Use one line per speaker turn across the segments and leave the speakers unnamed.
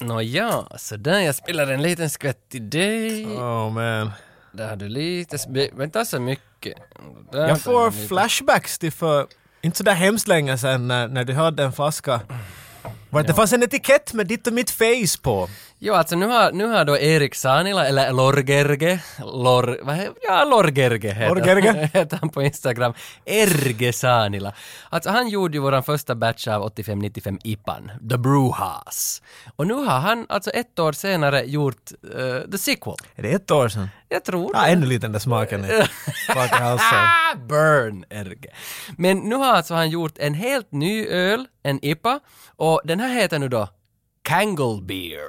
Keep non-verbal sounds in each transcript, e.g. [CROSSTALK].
Nåja, så där jag spelade en liten skvätt till dig.
Oh man.
Där har du lite, sp- men inte så mycket. Där tar
Jag får
en liten-
flashbacks till för inte så där hemskt länge sedan när, när du hade en flaska. Var det, det fanns en etikett med ditt och mitt face på.
Jo, alltså nu har, nu har då Erik Sanila, eller Lorgerge, Lor, vad he, ja, Lorgerge heter,
Lorgerge.
[LAUGHS] heter han på Instagram, Erge Sanila. Alltså han gjorde ju våran första batch av 85-95 IPAN, The Brewhas. Och nu har han alltså ett år senare gjort eh, The Sequel.
Är det ett år sedan?
Jag tror
Ja, ännu lite den där smaken i bak i [LAUGHS] halsen.
Ah, burn, Erge. Men nu har alltså han gjort en helt ny öl, en IPA, och den här heter nu då Kangle Beer.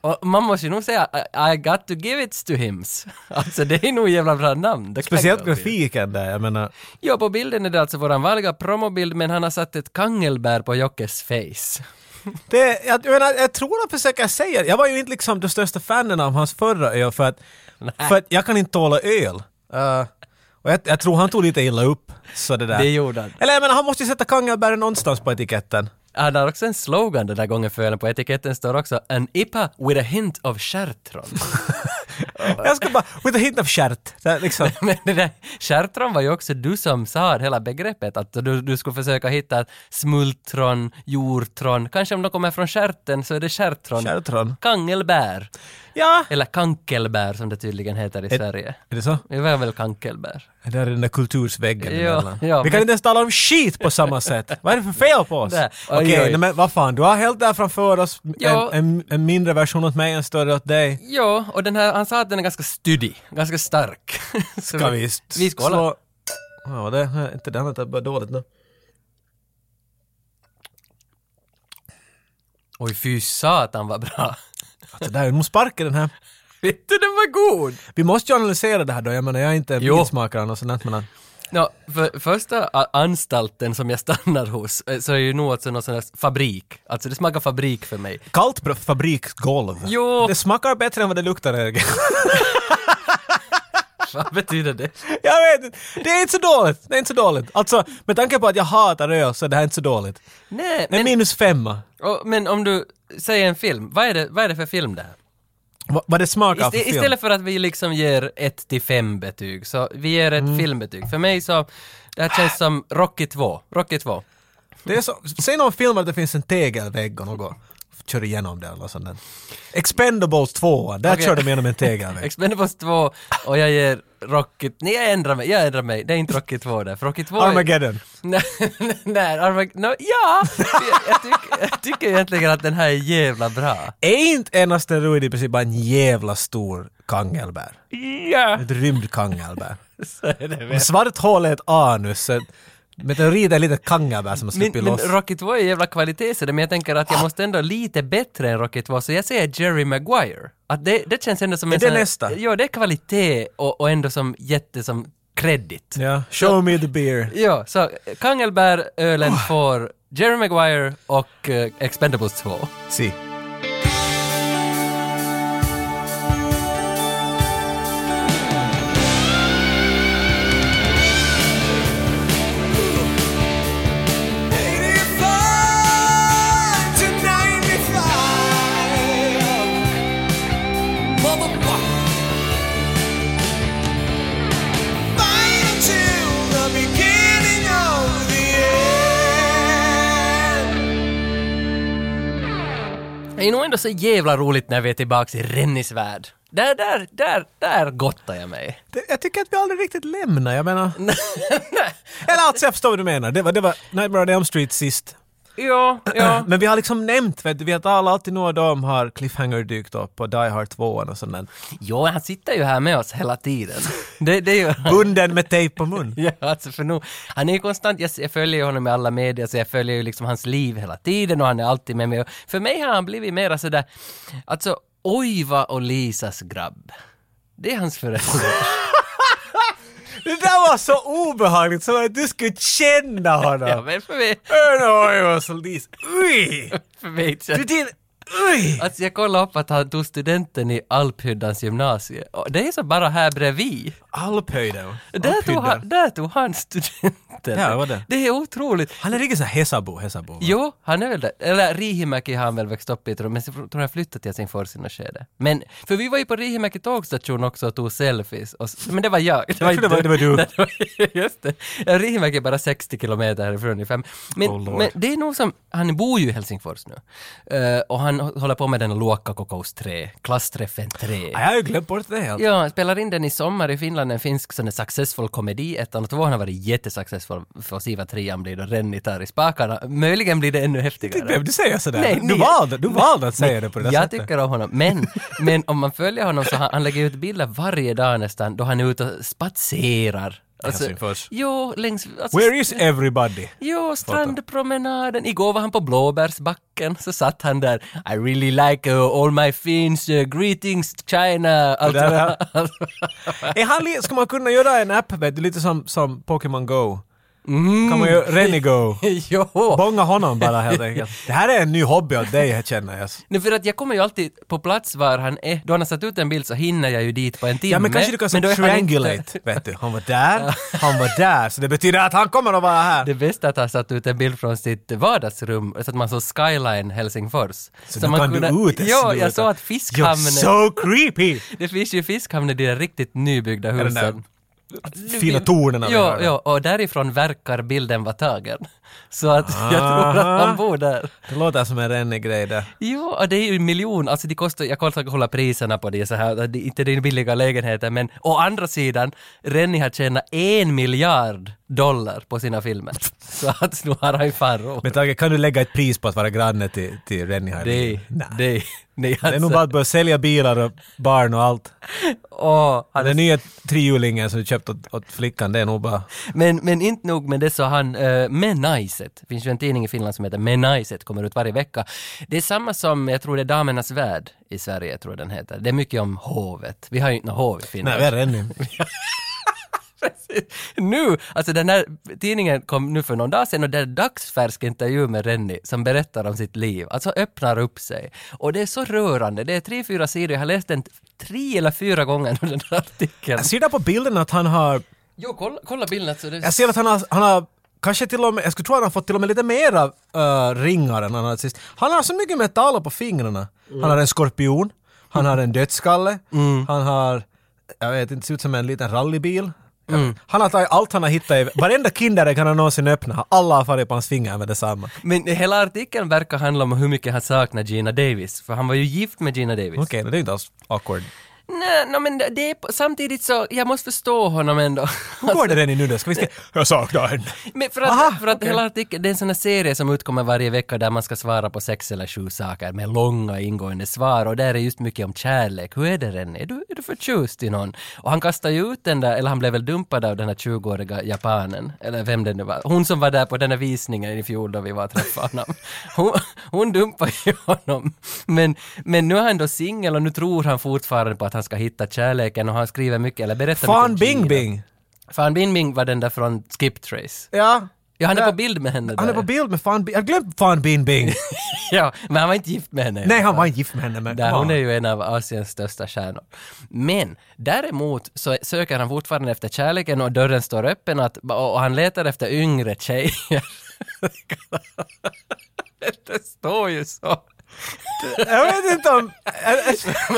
Och man måste ju nog säga I, I got to give it to hims. [LAUGHS] Alltså det är nog jävla bra namn. The
Speciellt
Kangle Beer.
grafiken där, jag menar.
Ja, på bilden är det alltså våran vanliga promobild men han har satt ett kangelbär på Jockes face.
Det, jag, jag, menar, jag tror han försöker säga Jag var ju inte liksom den största fanen av hans förra öl för att, för att jag kan inte tåla öl. Eh, och jag, jag tror han tog lite illa upp. Så det där.
Det gjorde han.
Eller jag menar, han måste ju sätta kangelbären någonstans på etiketten.
Han har också en slogan den där gången för ölen. På etiketten står också “An IPA with a hint of [LAUGHS] stjärtron”.
Jag ska bara, with a hint of stjärt. Så här, [LAUGHS] Liksom.
[LAUGHS] Men det där kärtron var ju också du som sa hela begreppet, att du, du skulle försöka hitta ett smultron, jordtron, kanske om de kommer från stjärten så är det stjärtron.
Stjärtron.
Kangelbär.
Ja.
Eller kankelbär som det tydligen heter i Sverige.
Är det så?
Det var väl kankelbär.
Det där är den där kultursväggen
Ja,
emellan.
ja,
Vi
men-
kan inte ens tala om skit på samma sätt. Vad är det för fel på oss?
Där. Oj,
Okej,
oj.
nej, men vad fan, du har helt där framför oss
Ja.
en, en, en mindre version åt mig, en större åt dig.
Ja, och den här, han sa att den är ganska studig, ganska stark. [LAUGHS] Så
Ska vi, s-
Vi skålar.
slå- Ja, det är inte det annat, det är bara dåligt nu.
Oj, fy satan vad bra. [LAUGHS]
Alltså, där, de sparkar den här.
Vet du, den var god!
Vi måste ju analysera det här då, jag menar jag är inte
Jo.
vinsmakaren och sånt men...
Ja, för första a- anstalten som jag stannar hos eh, så är ju nog alltså någon sån här fabrik. Alltså det smakar fabrik för
[LAUGHS]
mig.
Kallt bra- fabriksgolv.
Jo.
Det smakar bättre än vad det luktar, Erge.
Vad betyder det?
Jag vet inte. Det är inte så dåligt. Det är inte så dåligt. Alltså, med tanke på att jag hatar öl så är det här inte så dåligt.
Nej,
En
men,
minus femma.
och, men om du säger en film, vad är det, vad är det för film det här?
Va- Vad det smakar
Ist-
för film.
istället för att vi liksom ger 1 till 5 betyg, så vi ger ett
Mm.
filmbetyg. För mig så, det här känns som Rocky 2. Rocky 2.
Det är så, säg någon film att det finns en tegelvägg och något kör igenom det eller sånt där. Expendables 2, där
Okej.
kör de igenom
[LAUGHS]
en tegelvägg.
Expendables 2 och jag ger Rocky... Nej, jag ändrar mig. Jag ändrar mig. Det är inte Rocky 2 där. För Rocky 2 är-
Armageddon.
[LAUGHS] Nej, nej, Armag- no, ja! Jag, jag, tyck, jag tycker egentligen att den här är jävla bra.
Är inte en asteroid i princip bara en jävla stor kangelbär?
Ja!
Ett rymdkangelbär.
Så är det
Om
väl.
svart hål är ett anus, så meteorit är lite kangelbär som
Min,
har sluppit
min
loss.
Rocky 2 är jävla kvalitet så det, men jag tänker att jag måste ändå lite bättre än Rocky 2, så jag säger Jerry Maguire. Att det, det känns ändå som en
det
sån här-
nästa?
Ja, det är kvalitet och, och ändå som jätte som credit.
Ja, show me the beer.
Ja, så Kangelbär-ölen
Oh.
får Jerry Maguire och eh, Expendables 2.
Si.
Det är nog ändå så jävla roligt när vi är tillbaks i Rennies värld. Där, där, där, där gottar jag mig. [LAUGHS]
Det, jag tycker att vi aldrig riktigt lämnar, jag menar... Eller alltså, jag förstår vad du menar. Det var, det var Nightmare on Elm Street sist.
Ja, ja.
Men vi har liksom nämnt, vet du, vi har talat alltid några av dem har Cliffhanger dykt upp och Die Hard 2 och sånt där.
Jo, han sitter ju här med oss hela tiden. Det, det är ju... [LAUGHS]
Bunden med tejp på mun.
Ja, alltså för nu, han är ju konstant, jag, jag följer ju honom i alla medier, så jag följer ju liksom hans liv hela tiden och han är alltid med mig. Och För mig har han blivit mera sådär, alltså Oiva och Lisas grabb. Det är hans föräldrar.
Det där var så obehagligt, som att du skulle
[LAUGHS]
känna
Ja,
[LAUGHS] honom.
men för mig,
Örn och Oj, vad så lis. Ui!
för mig känns
Du din Oj!
[LAUGHS] Alltså jag kollade upp att han tog studenten i Alphyddans gymnasium. Och Det är så bara här bredvid.
Alphöjden.
Där tog,
Alphydden.
han, där tog han studenten.
Ja, det var det.
är otroligt.
Han är riktigt såhär Hesabo, Hesabo.
Jo, han är väl det. Eller Riihimäki har han väl växt upp i, tror jag. men jag tror han flyttade till Helsingfors i något skede. Men, för vi var ju på Riihimäki tågstation också och tog selfies. Och, s- men det var jag. Det
Jag tror det var-
[LAUGHS]
det var du.
Nej, det var- Just det. Ja, Riihimäki är bara 60 kilometer härifrån ungefär. Men,
Oh, Lord.
men det är nog som, han bor ju i Helsingfors nu. Eh, och han hå- håller på med den Luokkakokous 3, klassträffen 3.
Jag har ju glömt bort det helt.
Ja, han spelar in den i sommar i Finland, en finsk sån där successful komedi. Ettan och tvåan har varit jättesuccessful. Får se vad trean blir då. Renny tar i spakarna. Möjligen blir det ännu häftigare.
Behöver du säga sådär?
Nej,
du,
ni-
valde, du valde att säga det på det där
Jag
sättet.
tycker om honom, men, men om man följer honom så han, han lägger ut bilder varje dag nästan då han är ute och spatserar.
Helsingfors.
jo, längs... Alltså,
Where is everybody?
Jo, strandpromenaden. Igår var han på Blåbärsbacken, så satt han där. I really like uh, all my Finns, uh, greetings China. Alltså,
där, ja. [LAUGHS] Är han li- ska man kunna göra en app, vet du, lite som, som Pokémon Go?
Mm.
Kan man göra Renigo?
[LAUGHS] jo.
Bonga honom bara
[LAUGHS]
helt enkelt. Det här är en ny hobby åt dig, jag känner jag.
Nej, för att jag kommer ju alltid på plats var han är. Då han har satt ut en bild så hinner jag ju dit på en timme.
Ja men kanske du kan som
då är han inte-
triangulate, vet du. Han var där, han var där, så det betyder att han kommer att vara här.
Det bästa är att han satt ut en bild från sitt vardagsrum så att man såg skyline Helsingfors.
Så, nu kan du ut
Ja,
sluta.
jag såg att
You're
fiskhamnen...
so creepy!
Det finns ju fiskhamnen i de riktigt nybyggda
Är den där
husen.
fina tornen vi
Ja,
har där.
ja, och därifrån verkar bilden vara tagen. [LAUGHS] Så att jag tror att
Aha.
han bor där.
Det låter som en rennig grej där.
Ja, och det är ju en miljon, alltså det kostar, jag kollar kolla priserna på det så här, det, är inte det är billiga lägenheter men å andra sidan, Rennie har tjänat en miljard dollar på sina filmer. [LAUGHS] Så att nu har han ju fan råd.
Men Tage, kan du lägga ett pris på att vara granne till, till Renny här? i
Det,
livet? Nej.
det, nej
Det är nog
alltså.
bara att börja sälja bilar och barn och allt.
Åh, han
Den nya trihjulingen som du köpt åt, åt flickan, det är nog bara...
Men, men inte nog med det så han, uh, Menaiset, det finns ju en tidning i Finland som heter Menaiset, kommer ut varje vecka. Det är samma som, jag tror det är Damernas Värld i Sverige, jag tror den heter. Det är mycket om hovet. Vi har ju inte något hov i Finland.
Nej, värre ännu.
[LAUGHS] nu, alltså den här tidningen kom nu för någon dag sedan och det är en dagsfärsk intervju med Renny som berättar om sitt liv, alltså öppnar upp sig. Och det är så rörande, det är tre, fyra sidor, jag har läst den tre eller fyra gånger nu den här artikeln.
Jag ser där på bilden att han har...
Jo, kolla, kolla bilden så det...
Jag ser att han har, han har kanske till och med... Jag skulle tro att han har fått till och med lite mera uh, ringar än han hade sist. Han har så mycket metaller på fingrarna. Han har en skorpion, han har en dödskalle, han har... Jag vet inte, ser ut som en liten rallybil. Jag vet- Han har tagit allt han har hittat i... Varenda Kinderägg han har någonsin öppnat, alla har farit på hans fingrar med detsamma.
Men hela artikeln verkar handla om hur mycket han saknar Gina Davis, för han var ju gift med Gina Davis.
Okej, men det är inte alls awkward.
Nej, nå, men det- det är, på- samtidigt så, jag måste förstå honom ändå.
Hur går Alltså, det Renny nu då? Ska vi se? Jag saknar henne.
Men för att,
Aha,
för att hela artikeln, det är en sån här serie som utkommer varje vecka där man ska svara på sex eller sju saker med långa ingående svar och där är just mycket om kärlek. Hur är det Renny? Är du, är du förtjust i någon? Och han kastar ju ut den där, eller han blev väl dumpad av den här 20-åriga japanen, eller vem det nu var. Hon som var där på den här visningen i fjol då vi var och träffade honom. [LAUGHS] Hon, hon dumpade ju honom. Men, men nu är han då singel och nu tror han fortfarande på att han ska hitta kärleken och han skriver mycket, eller berättar mycket
Fan
om
Bing
Gina.
Bing!
Fan Bing Bing var den där från Skip Trace.
Ja.
Ja, han är
Ja.
på bild med henne
Han
där.
är på bild med Fan Bing. Jag har glömt Fan Bing Bing.
[LAUGHS] Ja, men han var inte gift med henne.
Nej, han var inte gift med henne men...
Där, hon är ju en av Asiens största stjärnor. Men däremot så söker han fortfarande efter kärleken och dörren står öppen att, och han letar efter yngre tjejer. [LAUGHS] Det står ju så.
Jag vet inte om...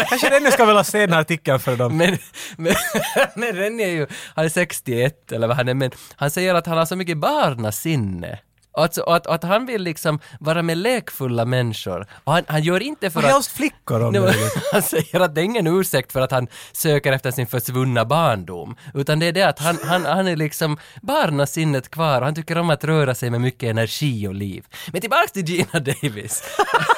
Kanske Renny ska vilja se den här artikeln för dem.
Men, men, [LAUGHS] men Renny är ju, han är 61 eller vad han är, men han säger att han har så mycket barnasinne. Och att, och att, och att han vill liksom vara med lekfulla människor. Och han, han gör inte för
Och
att...
helst flickor om
Nej, men
möjligt.
[LAUGHS] han säger att det är ingen ursäkt för att han söker efter sin försvunna barndom, utan det är det att han, han, han är liksom barnasinnet kvar och han tycker om att röra sig med mycket energi och liv. Men tillbaks till Gina Davis,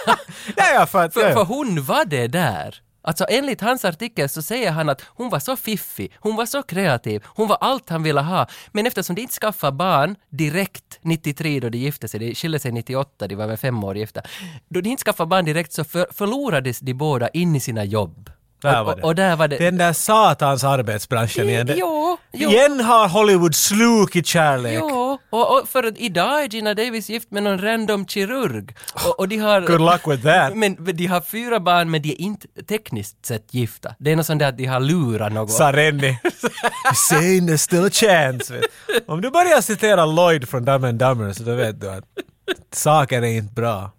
[LAUGHS]
Ja, ja, för att...
för, för
Ja.
hon var det där. Alltså enligt hans artikel så säger han att hon var så fiffig, hon var så kreativ, hon var allt han ville ha. Men eftersom de inte skaffade barn direkt 93 då de gifte sig, de skilde sig 98, de var väl fem år gifta. Då de inte skaffade barn direkt så för, förlorades de båda in i sina jobb.
Där
och,
var det.
och, och där var det.
Den där satans arbetsbranschen igen. Det-
Jo, jo.
Igen har Hollywood slukit kärlek.
Jo, och, och för att idag är Gina Davis gift med någon random kirurg. Och, och de har...
Good luck with
[LAUGHS]
that.
Men men de har fyra barn men de är inte tekniskt sett gifta. Det är något sånt där att de har lurat något.
Sa Rennie. Saying there's still a chance. vet. Om du börjar citera Lloyd från Dumb and Dumber så då vet du att saker är inte bra.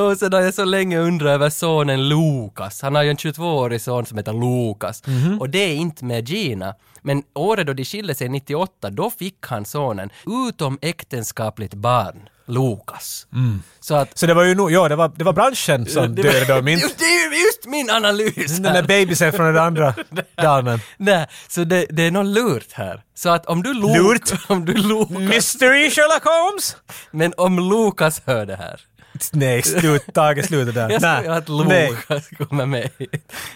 Och sen har jag så länge undrat över sonen Lukas. Han har ju en 22-årig son som heter Lukas.
Mhm.
Och det är inte med Gina. Men året då de skilde sig, 98, då fick han sonen utom äktenskapligt barn, Lukas.
Mm.
Så att...
Så det var ju nog, ja det var, det var branschen som
Det var-
dödade
[LAUGHS]
dem inte.
Det är ju just min analys!
Den
här.
där bebisen från den andra damen.
Nej, så det, det är något lurt här. Så att om du Lukas...
Lurt?
[LAUGHS]
Mm.
Om du Lukas...
Mystery Sherlock Holmes?
Men om Lukas hör det här.
Nej, slut, taget slutet där.
Jag
Nej,
tror att
nej.
Lukas kommer med.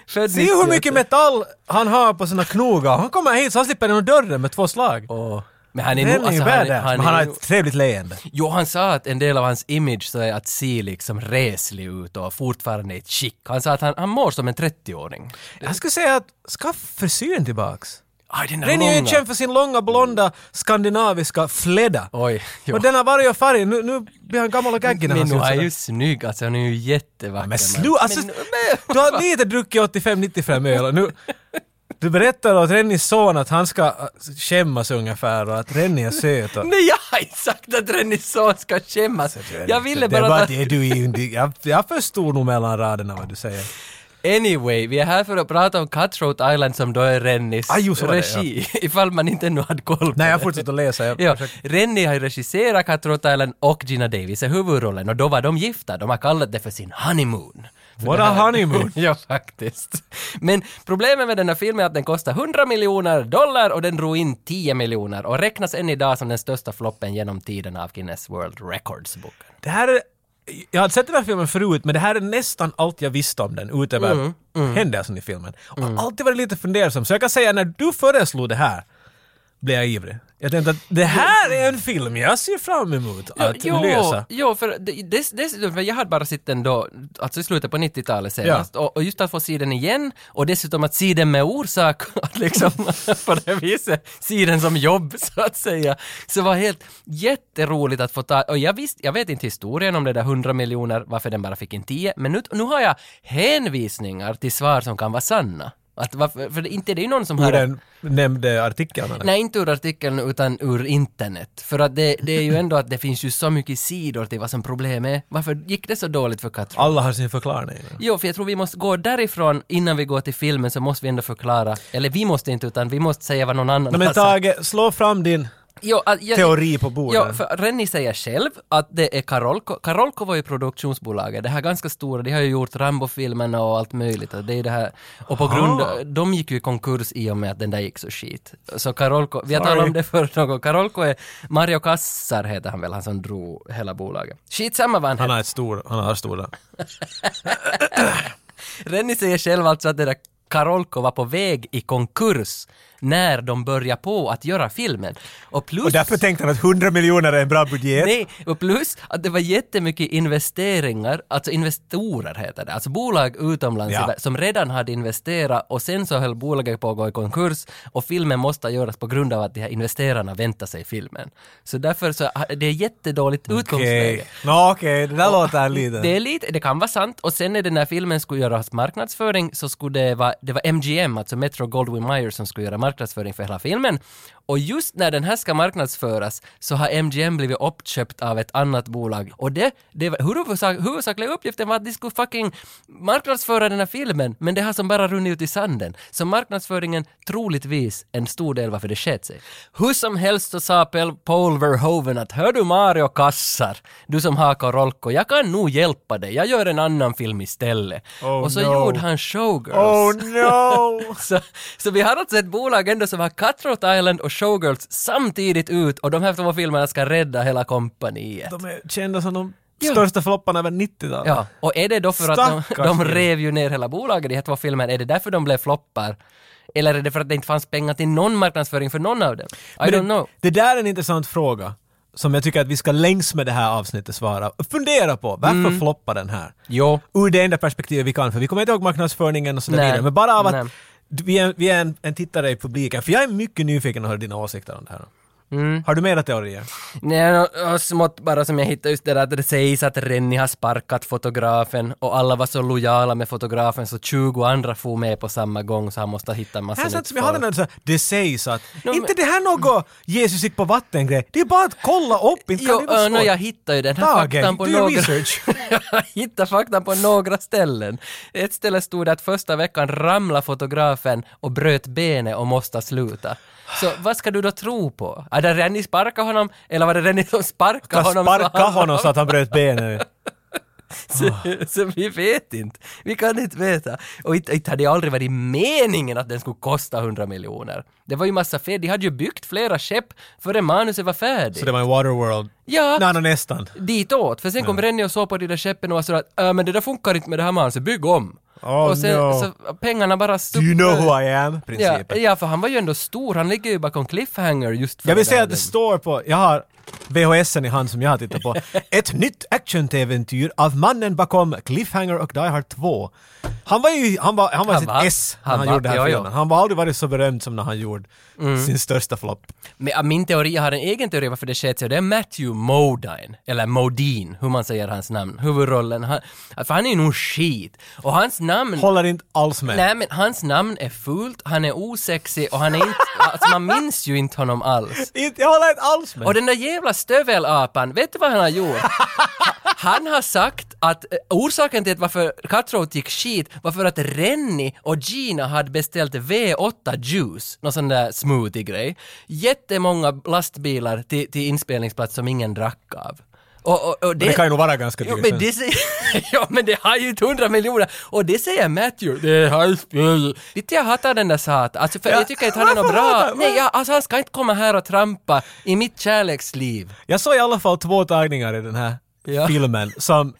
Född
Se hur
98.
mycket metall han har på sina knogar. Han kommer hit så han slipper genom dörren med två slag.
Åh. Men han är
Den
nog...
är ju
Alltså, han, är-
badass.
han,
Men han har
är nog,
ett trevligt leende.
jo, han sa att en del av hans image så är att se liksom reslig ut och fortfarande i ett skick. Han sa att han, han mår som en 30-åring.
Jag skulle säga att skaffa frisyren tillbaks.
Aj, den där
Den är ju
långa.
känd för sin långa blonda skandinaviska fläda.
Oj, jo.
Och den har varje färg. Nu, nu blir han gammal och gaggig när
Men
han
nu
ser ut
är
sådär.
ju snygg, alltså han är ju jättevacker.
Men slu, alltså,
Men- [LAUGHS]
du har lite druckit 85-95 öl och nu... Du berättar åt Rennies son att han ska äh, skämmas ungefär och att Rennie är söt och...
Nej, jag har inte sagt att Renison ska skämmas. [LAUGHS] Jag ville
Alltså, Det
bara...
var
att-
det du indi- jag, jag förstod nog mellan raderna vad du säger.
Anyway, vi är här för att prata om Cutthroat Island som då är Rennis
Ah, jo, så var det,
regi. [LAUGHS] Ifall man inte ännu hade koll på
Nej, jag
det.
fortsätter att läsa. Jag,
Ja, Rennie har ju regisserat Cutthroat Island och Gina Davis är huvudrollen och då var de gifta. De har kallat det för sin honeymoon. För
What
det
a
här-
honeymoon.
[LAUGHS] ja, faktiskt. Men problemet med den här filmen är att den kostar 100 miljoner dollar och den drog in 10 miljoner och räknas än idag som den största floppen genom tiden av Guinness World Records-boken.
Det här är, jag hade sett den här filmen förut, men det här är nästan allt jag visste om den utöver
Mm,
händelsen i filmen. Och jag har alltid varit lite fundersam, så jag kan säga när du föreslog det här blev jag ivrig. Jag tänkte att det här är en film jag ser fram emot att
jo,
lösa.
Jo, för det- dess- dessutom, för jag hade bara sett den då, alltså i slutet på 90-talet senast, och, och just att få se den igen, och dessutom att se den med orsak, [LAUGHS] att liksom på det viset, se den som jobb [LAUGHS] så att säga, så var helt jätteroligt att få ta, och jag visst, jag vet inte historien om det där 100 miljoner, varför den bara fick en 10, men nu, nu har jag hänvisningar till svar som kan vara sanna. Att varför, för det- inte det är ju någon som
Ur
har...
den nämnde artikeln. eller?
Nej, inte ur artikeln utan ur internet. För att det, det är ju ändå att det finns ju så mycket sidor till vad som problem är. Varför gick det så dåligt för Katrin?
Alla har sin förklaring.
Jo, för jag tror vi måste gå därifrån innan vi går till filmen så måste vi ändå förklara. Eller vi måste inte utan vi måste säga vad någon annan
Nej,
har
men
sagt.
Tage, slå fram din
Jo, att jag-
teori på bordet.
Alltså. Ja, för Rennie säger själv att det är Karolko. Karolko var ju produktionsbolaget. Det här ganska stora, de har ju gjort Rambo-filmerna och allt möjligt. Och det är det här. Och på grund de gick ju i konkurs i och med att den där gick så skit. Så Karolko, vi har talat om det förut någon gång. Karolko är Mario Kassar heter han väl, han som drog hela bolaget. Skitsamma vad han
Han
heter.
har ett stor, han har stora.
Rennie säger själv alltså att det där Karolko var på väg i konkurs när de började på att göra filmen. Och plus...
Och därför tänkte han att 100 miljoner är en bra budget.
Nej, och plus att det var jättemycket investeringar, alltså investorer heter det, alltså bolag utomlands
Ja.
som redan hade investerat och sen så höll bolaget på att gå i konkurs och filmen måste göras på grund av att de här investerarna väntar sig filmen. Så därför så, det är jättedåligt utgångsläge.
Okej, Nå, okej, det där låter lite...
Det är lite, det kan vara sant. Och sen när den här filmen skulle göras marknadsföring så skulle det vara, det var MGM, alltså Metro Goldwyn Mayer som skulle göra marknadsföring för hela filmen. Och just när den här ska marknadsföras så har MGM blivit uppköpt av ett annat bolag. Och det, det var, huvudsak, huvudsakliga uppgiften var att de skulle fucking marknadsföra den här filmen, men det har som bara runnit ut i sanden. Så marknadsföringen troligtvis en stor del varför det sket sig. Hur som helst så sa Pel- Paul Verhoeven att hör du Mario Kassar, du som har Karolko, jag kan nog hjälpa dig, jag gör en annan film istället.
Oh,
och så
no.
gjorde han Showgirls.
Oh no!
[LAUGHS] Så, så vi har alltså ett bolag ändå som har Cutthroat Island och Showgirls samtidigt ut och de här två filmerna ska rädda hela kompaniet.
[LAUGHS] De är kända som de
Ja.
största flopparna över 90-talet.
Ja, och är det då för att de,
Stackars
de
film.
rev ju ner hela bolaget, de här två filmerna, är det därför de blev floppar? Eller är det för att det inte fanns pengar till någon marknadsföring för någon av dem? I
Men
don't
det,
know.
det där är en intressant fråga. som jag tycker att vi ska längs med det här avsnittet svara. Fundera på, varför
Mm.
floppar den här?
Jo.
Ur det enda perspektivet vi kan, för vi kommer inte ihåg marknadsföringen och sådär
Nej.
vidare. Men bara av att
Nej.
vi är, vi är en, en tittare i publiken, för jag är mycket nyfiken att höra dina åsikter om det här.
Mm.
Har du mera teorier?
Nej, och- och smått bara som jag hittade just det där att det sägs att Rennie har sparkat fotografen och alla var så lojala med fotografen så 20 andra for med på samma gång så han måste hitta en massa
Här satt
nytt
som jag hade
folk.
den där, det sägs att...
men- Mm.
inte det här något Jesus gick på vatten grej. Det är bara att kolla upp, inte kan
Jo,
det vara
ö, nå,
svårt.
jag hittade ju den här
Tage,
faktan på
do your
några...
research.
[LAUGHS] jag hittade faktan på några ställen. Ett ställe stod det att första veckan ramlade fotografen och bröt benet och måste sluta. Så vad ska du då tro på? Är det Rennie sparkade honom, eller var det Rennie som sparkade
Jag
honom? [LAUGHS]
[LAUGHS] sparkade honom så att han bröt [LAUGHS] benet.
Så, så vi vet inte. Vi kan inte veta. Och inte, inte hade det aldrig varit meningen att den skulle kosta 100 miljoner. Det var ju massa fel. De hade ju byggt flera skepp före manuset var färdigt.
Så det var en Waterworld.
Ja,
Nej, nå, nästan.
ditåt. För sen kom Rennie och såg på de där skeppen och var sådär att äh, men det där funkar inte med det här manuset, bygg om.
Oh,
och sen
no.
så pengarna bara
Do
stup-
you know who I am?
ja,
Principen.
ja, för han var ju ändå stor. Han ligger ju bakom Cliffhanger just för
Jag vill
det
säga
där.
att det står på, jag har VHSen i hand som jag har
[LAUGHS]
tittat på. Ett nytt action-äventyr av mannen bakom Cliffhanger och Die Hard 2. Han var ju, han var, han var
Han
sitt
var-
S när han,
han var-
gjorde den här
ja, Mm. ja.
filmen. Han var aldrig varit så berömd som när han gjorde sin största flopp.
Men, äh, min teori, jag har en egen teori varför det sket sig. Det är Matthew Modine, eller Modine, hur man säger hans namn, huvudrollen. Han, för han är ju nog skit. Och hans namn...
Håller inte alls med.
Nej men hans namn är fult, han är osexig och han är inte... alltså man minns ju inte honom alls.
Inte- Jag håller inte alls med.
Och den där jävla stövelapan, vet du vad han har
[LAUGHS]
gjort? Ha- Han har sagt att eh, orsaken till att varför Cutthroat gick skit var för att Rennie och Gina hade beställt V8 juice, någon sån där smoothie-grej. Jättemånga lastbilar till, till inspelningsplats som ingen drack av. Och, och, och det,
Men det kan ju nog vara ganska
Jo
dyrt.
men, det säger, [LAUGHS] ja men det har ju inte hundra miljoner och det säger Matthew. Det har spel. Lite jag hatar den där satan. Alltså för jag tycker inte han är något bra. Nej jag, alltså han ska inte komma här och trampa i mitt kärleksliv.
Jag såg i alla fall två tagningar i den här
Ja.
filmen som...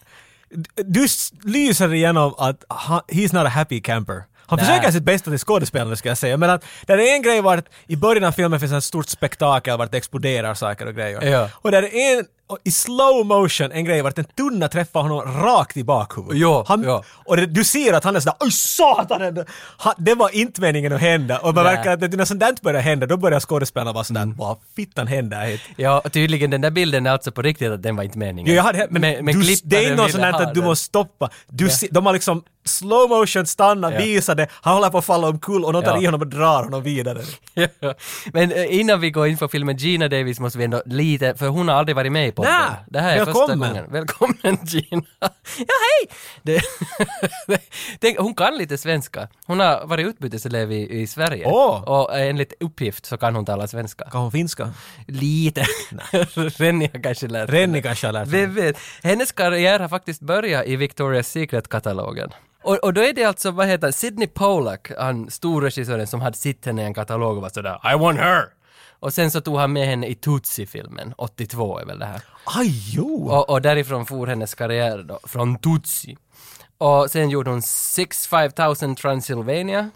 Du s- lyser igenom att han, he's not a happy camper. Han
Nej.
försöker sitt bästa till skådespelande ska jag säga, men att det är en grej vart i början av filmen finns ett stort spektakel vart det exploderar saker och grejer.
Ja.
Och där är en, och i slow motion en grej vart en tunna träffar honom rakt i bakhuvudet.
Ja,
han,
ja.
Och det, du ser att han är sådär oj satanen! Han, det var inte meningen att hända. Och man
Nej. Mm.
verkar att när sånt där börjar hända då börjar skådespelarna vara sådär vad fittan händer hit?
Ja och tydligen den där bilden är alltså på riktigt att den var inte meningen.
Jo, jag hade, men,
Men- men
du,
klipparen
det är något
ville
sånt här
ha
att du
den.
måste stoppa. Du, se- De har liksom slow motion stannat,
Ja.
visar det, han håller på att falla omkull och någon tar
Ja.
i honom och drar honom vidare.
[LAUGHS] men eh, innan vi går in på filmen Gina Davis måste vi ändå lite, för hon har aldrig varit med i podden.
Nä,
det här är första
välkommen.
gången. Välkommen [LAUGHS] Gina! Ja hej! Det, [LAUGHS] Tänk, hon kan lite svenska. Hon har varit utbyteselev i, i Sverige.
Åh.
Och eh, enligt uppgift så kan hon tala svenska.
Kan hon finska?
Lite. [LAUGHS] Rennie har kanske lärt sig.
Renny kanske har lärt sig.
Vem vet? Hennes karriär har faktiskt börjat i Victoria's Secret-katalogen. Och, och då är det alltså, vad heter Sidney Pollack, han storregissören som hade sett henne i en katalog och var sådär I want her! Och sen så tog han med henne i Tutsi-filmen, 82 är väl det här.
Aj jo!
Och, och därifrån for hennes karriär då, från Tutsi. Och sen gjorde hon Six 5000 Transylvania.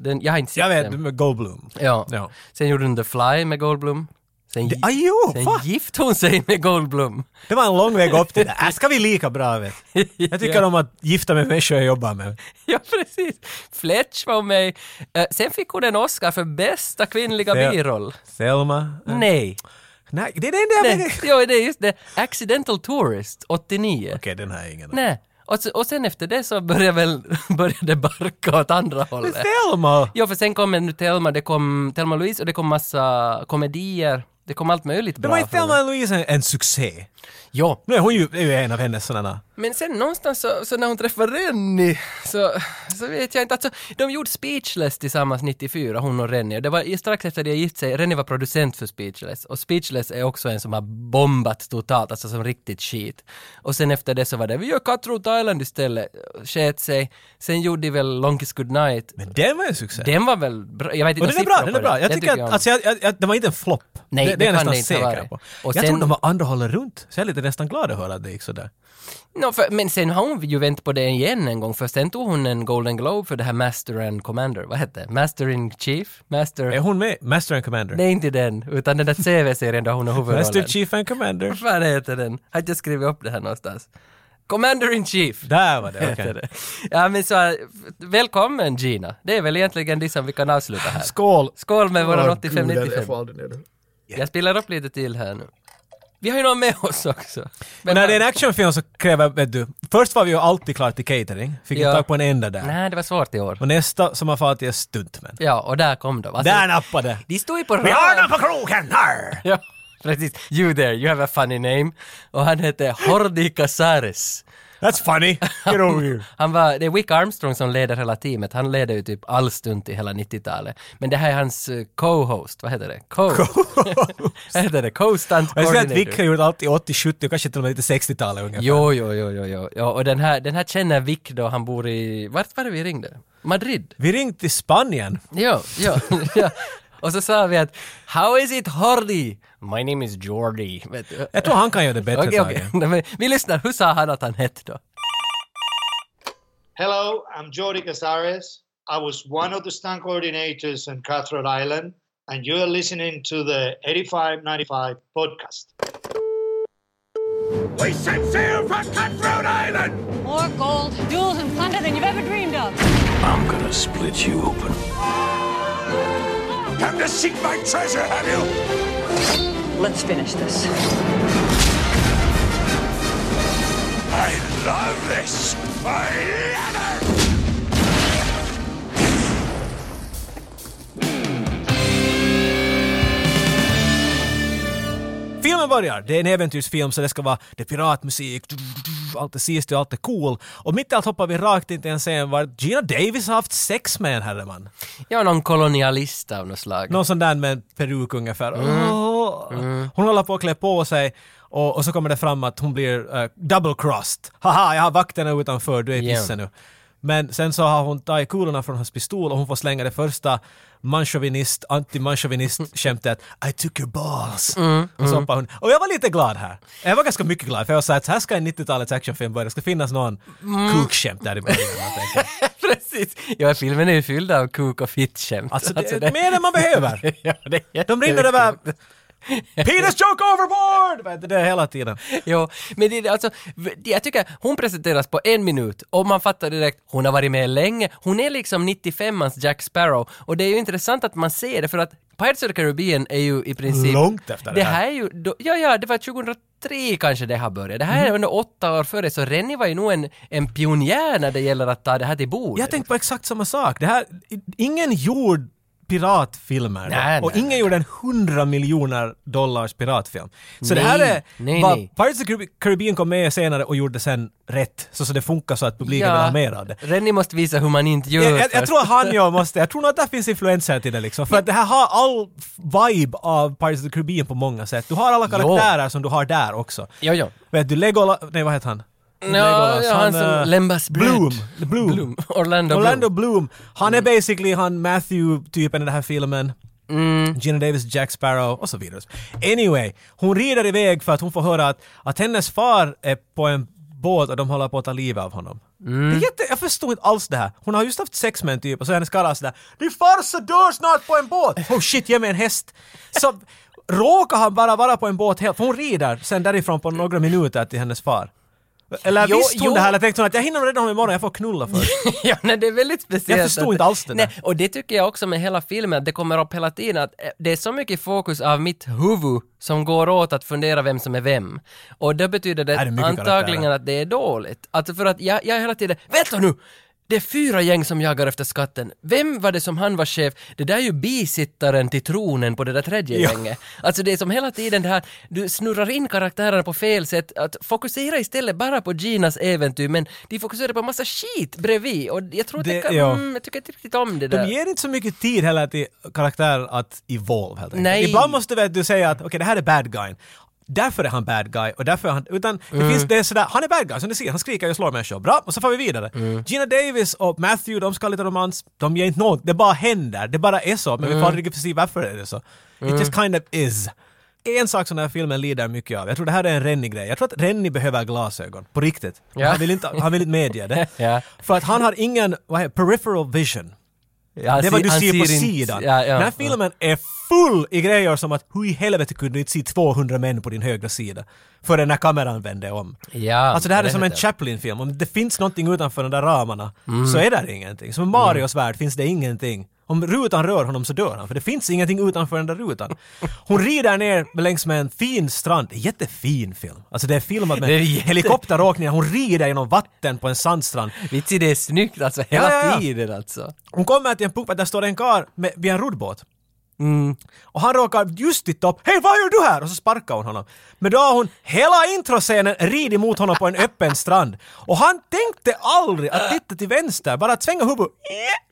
Den, jag har inte sett
Jag vet,
den.
med Goldblum.
Ja.
Ja.
Sen gjorde hon The Fly med Goldblum. Sen, gi-
Aj jo!
sen
Fan,
gifte hon sig med Goldblum.
det var en lång väg upp till det.
[LAUGHS]
Äh, ska vi lika bra vet du. Jag tycker om att gifta mig med människor jag jobbar med.
[LAUGHS] Ja, precis. Fletch var med. Eh, sen fick hon en Oscar för bästa kvinnliga
Ja.
biroll.
Selma? äh,
Nej.
Nej, det är det enda jag
Mm. Nej.
vet.
Jo, det är just det. Accidental Tourist, 89.
Okej, den har jag ingen aning
Nej. Och, så, och sen efter det så började väl [LAUGHS] började det barka åt andra
om.
hållet.
Selma!
Ja, för sen kom en Telma, det kom Telma Louise och det kom massa komedier. Det kom allt möjligt
Det
bra.
var inte
från-
Selma Louise en- en succé.
Ja.
Nu är hon ju, är ju en av hennes sådana
Men sen någonstans så, så när hon träffar Rennie så, så vet jag inte. Alltså, de gjorde Speechless tillsammans 94, hon och Rennie. Och Det var ju strax efter de gift sig. Rennie var producent för Speechless. Och Speechless är också en som har bombat totalt, alltså som riktigt shit. Och sen efter det så var det, vi gör Cutthroat Island istället. Sket sig. Sen gjorde de väl Long Kiss Goodnight.
Men den var ju en succé.
Den var väl bra? Jag vet inte
och den är bra, den är bra. Jag tycker,
jag
att,
om.
alltså, jag, jag, jag, den var inte en flopp.
Nej,
Den- det är jag
kan
nästan
inte ha
säker
varit.
på.
Och
jag
sen-
tror de var andra hållet runt, så jag är lite nästan glad att höra att det gick sådär.
Nå, för, men sen har hon ju vänt på det igen en gång, för sen tog hon en Golden Globe för det här Master and Commander, vad hette det? Master in Chief?
Är
Master...
hon med? Master and Commander?
Nej, inte den, utan den där CV-serien där hon har huvudrollen.
Master Chief and Commander.
Vad fan heter den? Har inte jag skrivit upp det här någonstans? Commander in Chief! [LAUGHS]
Där var det,
heter
okej.
det. Ja men så, äh, välkommen Gina! Det är väl egentligen det som vi kan avsluta här.
Skål!
Skål med våran
Åh, gud, jag- Jag
85-95.
får aldrig ner det.
Jag spelar upp lite till här nu. Vi har ju någon med oss också. Men
När det är en actionfilm så kräver, vet du, först var vi ju alltid klara till catering, fick
Ja.
inte tag på en enda där.
Nej, det var svårt i år.
Och nästa som har fallit är stuntmän.
Ja, och där kom de. Alltså,
Där nappade!
de stod ju på
Vi har
rad.
dem på kroken! Arr!
[LAUGHS] Ja, precis. You there, you have a funny name. Och han hette Hordi Casares.
That's funny!
[LAUGHS]
Get over here!
Han var, det är Wick Armstrong som leder hela teamet. Han leder ju typ all stunt i hela 90-talet. Men det här är hans eh, co-host, vad heter det?
[LAUGHS]
Co- [LAUGHS] Vad heter det? Co-stunt
Jag ser att Vic har
coordinator.
gjort allt i 80, 70 och kanske till och med lite 60-talet ungefär.
Jo, jo, jo, jo, jo. Ja, och den här, den här känner Vic då, han bor i, vart var det vi ringde? Madrid?
Vi ringde till Spanien.
Ja, ja, [LAUGHS] ja. Och så sa vi att How is it Hordi? My name is Jordi. Vet du?
Jag tror han kan göra det bättre
Okej,
Tage.
okej. [LAUGHS] Nej, men Vi lyssnar, hur sa han att han hette då?
Hello, I'm Jordi Casares. I was one of the stunt coordinators in Cutthroat Island, and you're listening to the 8595 podcast.
We set sail for Cutthroat Island!
More gold, jewels, and plunder than you've ever dreamed of.
I'm gonna split you open.
Come to seek my treasure, have you?
Let's finish this.
I love this! I love it!
Filmen börjar, det är en äventyrsfilm så det ska vara, det är piratmusik, allt är sist och allt är cool. Och mitt i allt hoppar vi rakt in till en scen var Gina Davis har haft sex med en herreman.
Ja, någon kolonialist av något slag.
Någon sån där med en peruk ungefär. Åh. Hon håller på att klä på sig och, och så kommer det fram att hon blir eh, double crossed. Haha, jag har vakterna utanför, du är i
Yeah.
pissen nu. Men sen så har hon tagit kulorna från hans pistol och hon får slänga det första manchauvinist, anti-manchauvinist-skämtet I took your balls. Och så hoppar hon. Och jag var lite glad här. Jag var ganska mycket glad för jag sa att så här ska en 90-talets actionfilm börja. Det ska finnas någon kukskämt där i början. helt enkelt.
[LAUGHS] Precis. Ja, filmen är ju fylld av kuk och fittskämt. [LAUGHS]
Alltså, det, är mer än man behöver.
ja, det är
De rinner
jättemycket.
över... Penis joke overboard! Vet du, Det är hela tiden.
Jo, men det, är alltså, v- jag tycker hon presenteras på en minut och man fattar direkt, hon har varit med länge. Hon är liksom 95ans Jack Sparrow och det är ju intressant att man ser det för att Pirates of the Caribbean är ju i princip...
Långt efter det
det
här.
här. är ju, då, ja, ja, det var 2003 kanske det här började. Det här
Mm.
är under åtta år före, så Rennie var ju nog en, en pionjär när det gäller att ta det här till bordet.
Jag tänkte på exakt samma sak. Det här, ingen gjorde piratfilmer. då.
Nej,
och
nej,
ingen gjorde en 100 miljoner dollars piratfilm. Så det här är
nej,
vad
nej.
Pirates of the Carib- Caribbean kom med senare och gjorde sen rätt. Så, så det funkar så att publiken vill ha mer av det.
Rennie måste visa hur man inte gör.
Jag, jag, jag
först. [LAUGHS]
tror han jag måste, jag tror nog att det finns influenser till det liksom. För att det här har all vibe av Pirates of the Caribbean på många sätt. Du har alla karaktärer som du har där också.
Jo, jo.
Vet du, Legolas, nej vad heter han?
Ja, ja, han som
eh,
Lembas bröd.
Bloom. Bloom.
Bloom. Orlando Bloom.
Orlando Bloom. Han är basically han Matthew-typen i den här filmen. Gina Davis, Jack Sparrow och så vidare. Anyway, hon rider iväg för att hon får höra att, att hennes far är på en båt och de håller på att ta livet av honom. Det är jätte, jag förstår inte alls det här. Hon har just haft sex med en typ och så är hennes karlar sådär “Din farsa dör snart på en båt!” “Oh shit, ge mig en häst!” Så [LAUGHS] råkar han bara vara på en båt helt, för hon rider sen därifrån på några minuter till hennes far. Eller
Jo,
visste hon
jo.
det här eller tänkte hon att jag hinner rädda honom imorgon, jag får knulla först.
[LAUGHS] ja, nej, det är väldigt speciellt.
Jag förstod
att-
inte alls det där.
nej, Och det tycker jag också med hela filmen, att det kommer upp hela tiden att eh, det är så mycket fokus av mitt huvud som går åt att fundera vem som är vem. Och det betyder det,
Är det mycket
antagligen
karaktärer?
att det är dåligt. Alltså för att jag, jag hela tiden, vänta nu! Det är fyra gäng som jagar efter skatten. Vem var det som han var chef? Det där är ju bisittaren till tronen på det där tredje
Ja.
gänget. Alltså det är som hela tiden det här, du snurrar in karaktärerna på fel sätt. Att fokusera istället bara på Ginas äventyr, men de fokuserar på massa skit bredvid. Och jag tror att det,
Det-
kan,
ja.
mm, jag tycker inte riktigt om det där.
De ger inte så mycket tid heller till karaktärer att evolve helt enkelt.
Nej.
Ibland måste vet du säga att okej det här är bad guyn. Därför är han bad guy och därför är han... Utan
Mm.
det finns det är sådär, han är bad guy som du ser, han skriker och slår människor. Bra, och så får vi vidare.
Mm.
Gina Davis och Matthew, de ska ha lite romans, de ger
Mm.
inte något, det bara händer, det bara är så, men vi får aldrig riktigt se varför det är så. It just kind of is. en sak som den här filmen lider mycket av. Jag tror det här är en Rennie-grej. Jag tror att Rennie behöver glasögon. På riktigt. Men
Ja.
Han, vill inte, han vill inte medge det.
[LAUGHS] Ja.
För att han har ingen, vad heter peripheral vision.
Ja,
det är vad du
Alltså, han
ser på
inte-
sidan.
Ja, ja,
Den här
ja.
filmen är full i grejer som att hur i helvete kunde du inte se 200 män på din högra sida förrän när kameran vände om.
Ja,
alltså det här
det Mm.
är som
vet
en
jag.
Chaplin-film. Om det finns någonting utanför de där ramarna så är där ingenting. Som i Marios värld finns det ingenting. Om rutan rör honom så dör han, för det finns ingenting utanför den där rutan. Hon rider ner längs med en fin strand. Det är Jättefin film. Alltså det är filmat med
Det är jätte-
helikopteråkningar. Hon rider genom vatten på en sandstrand.
Vits i det är snyggt alltså, hela
ja, ja.
tiden alltså.
Hon kommer till en punkt att där står en kar med, vid en roddbåt. Mm. Och han råkar just titta upp. Hej, vad gör du här? Och så sparkar hon honom. Men då har hon hela introscenen ridit mot honom på en öppen strand. Och han tänkte aldrig att titta till vänster, bara att svänga huvudet.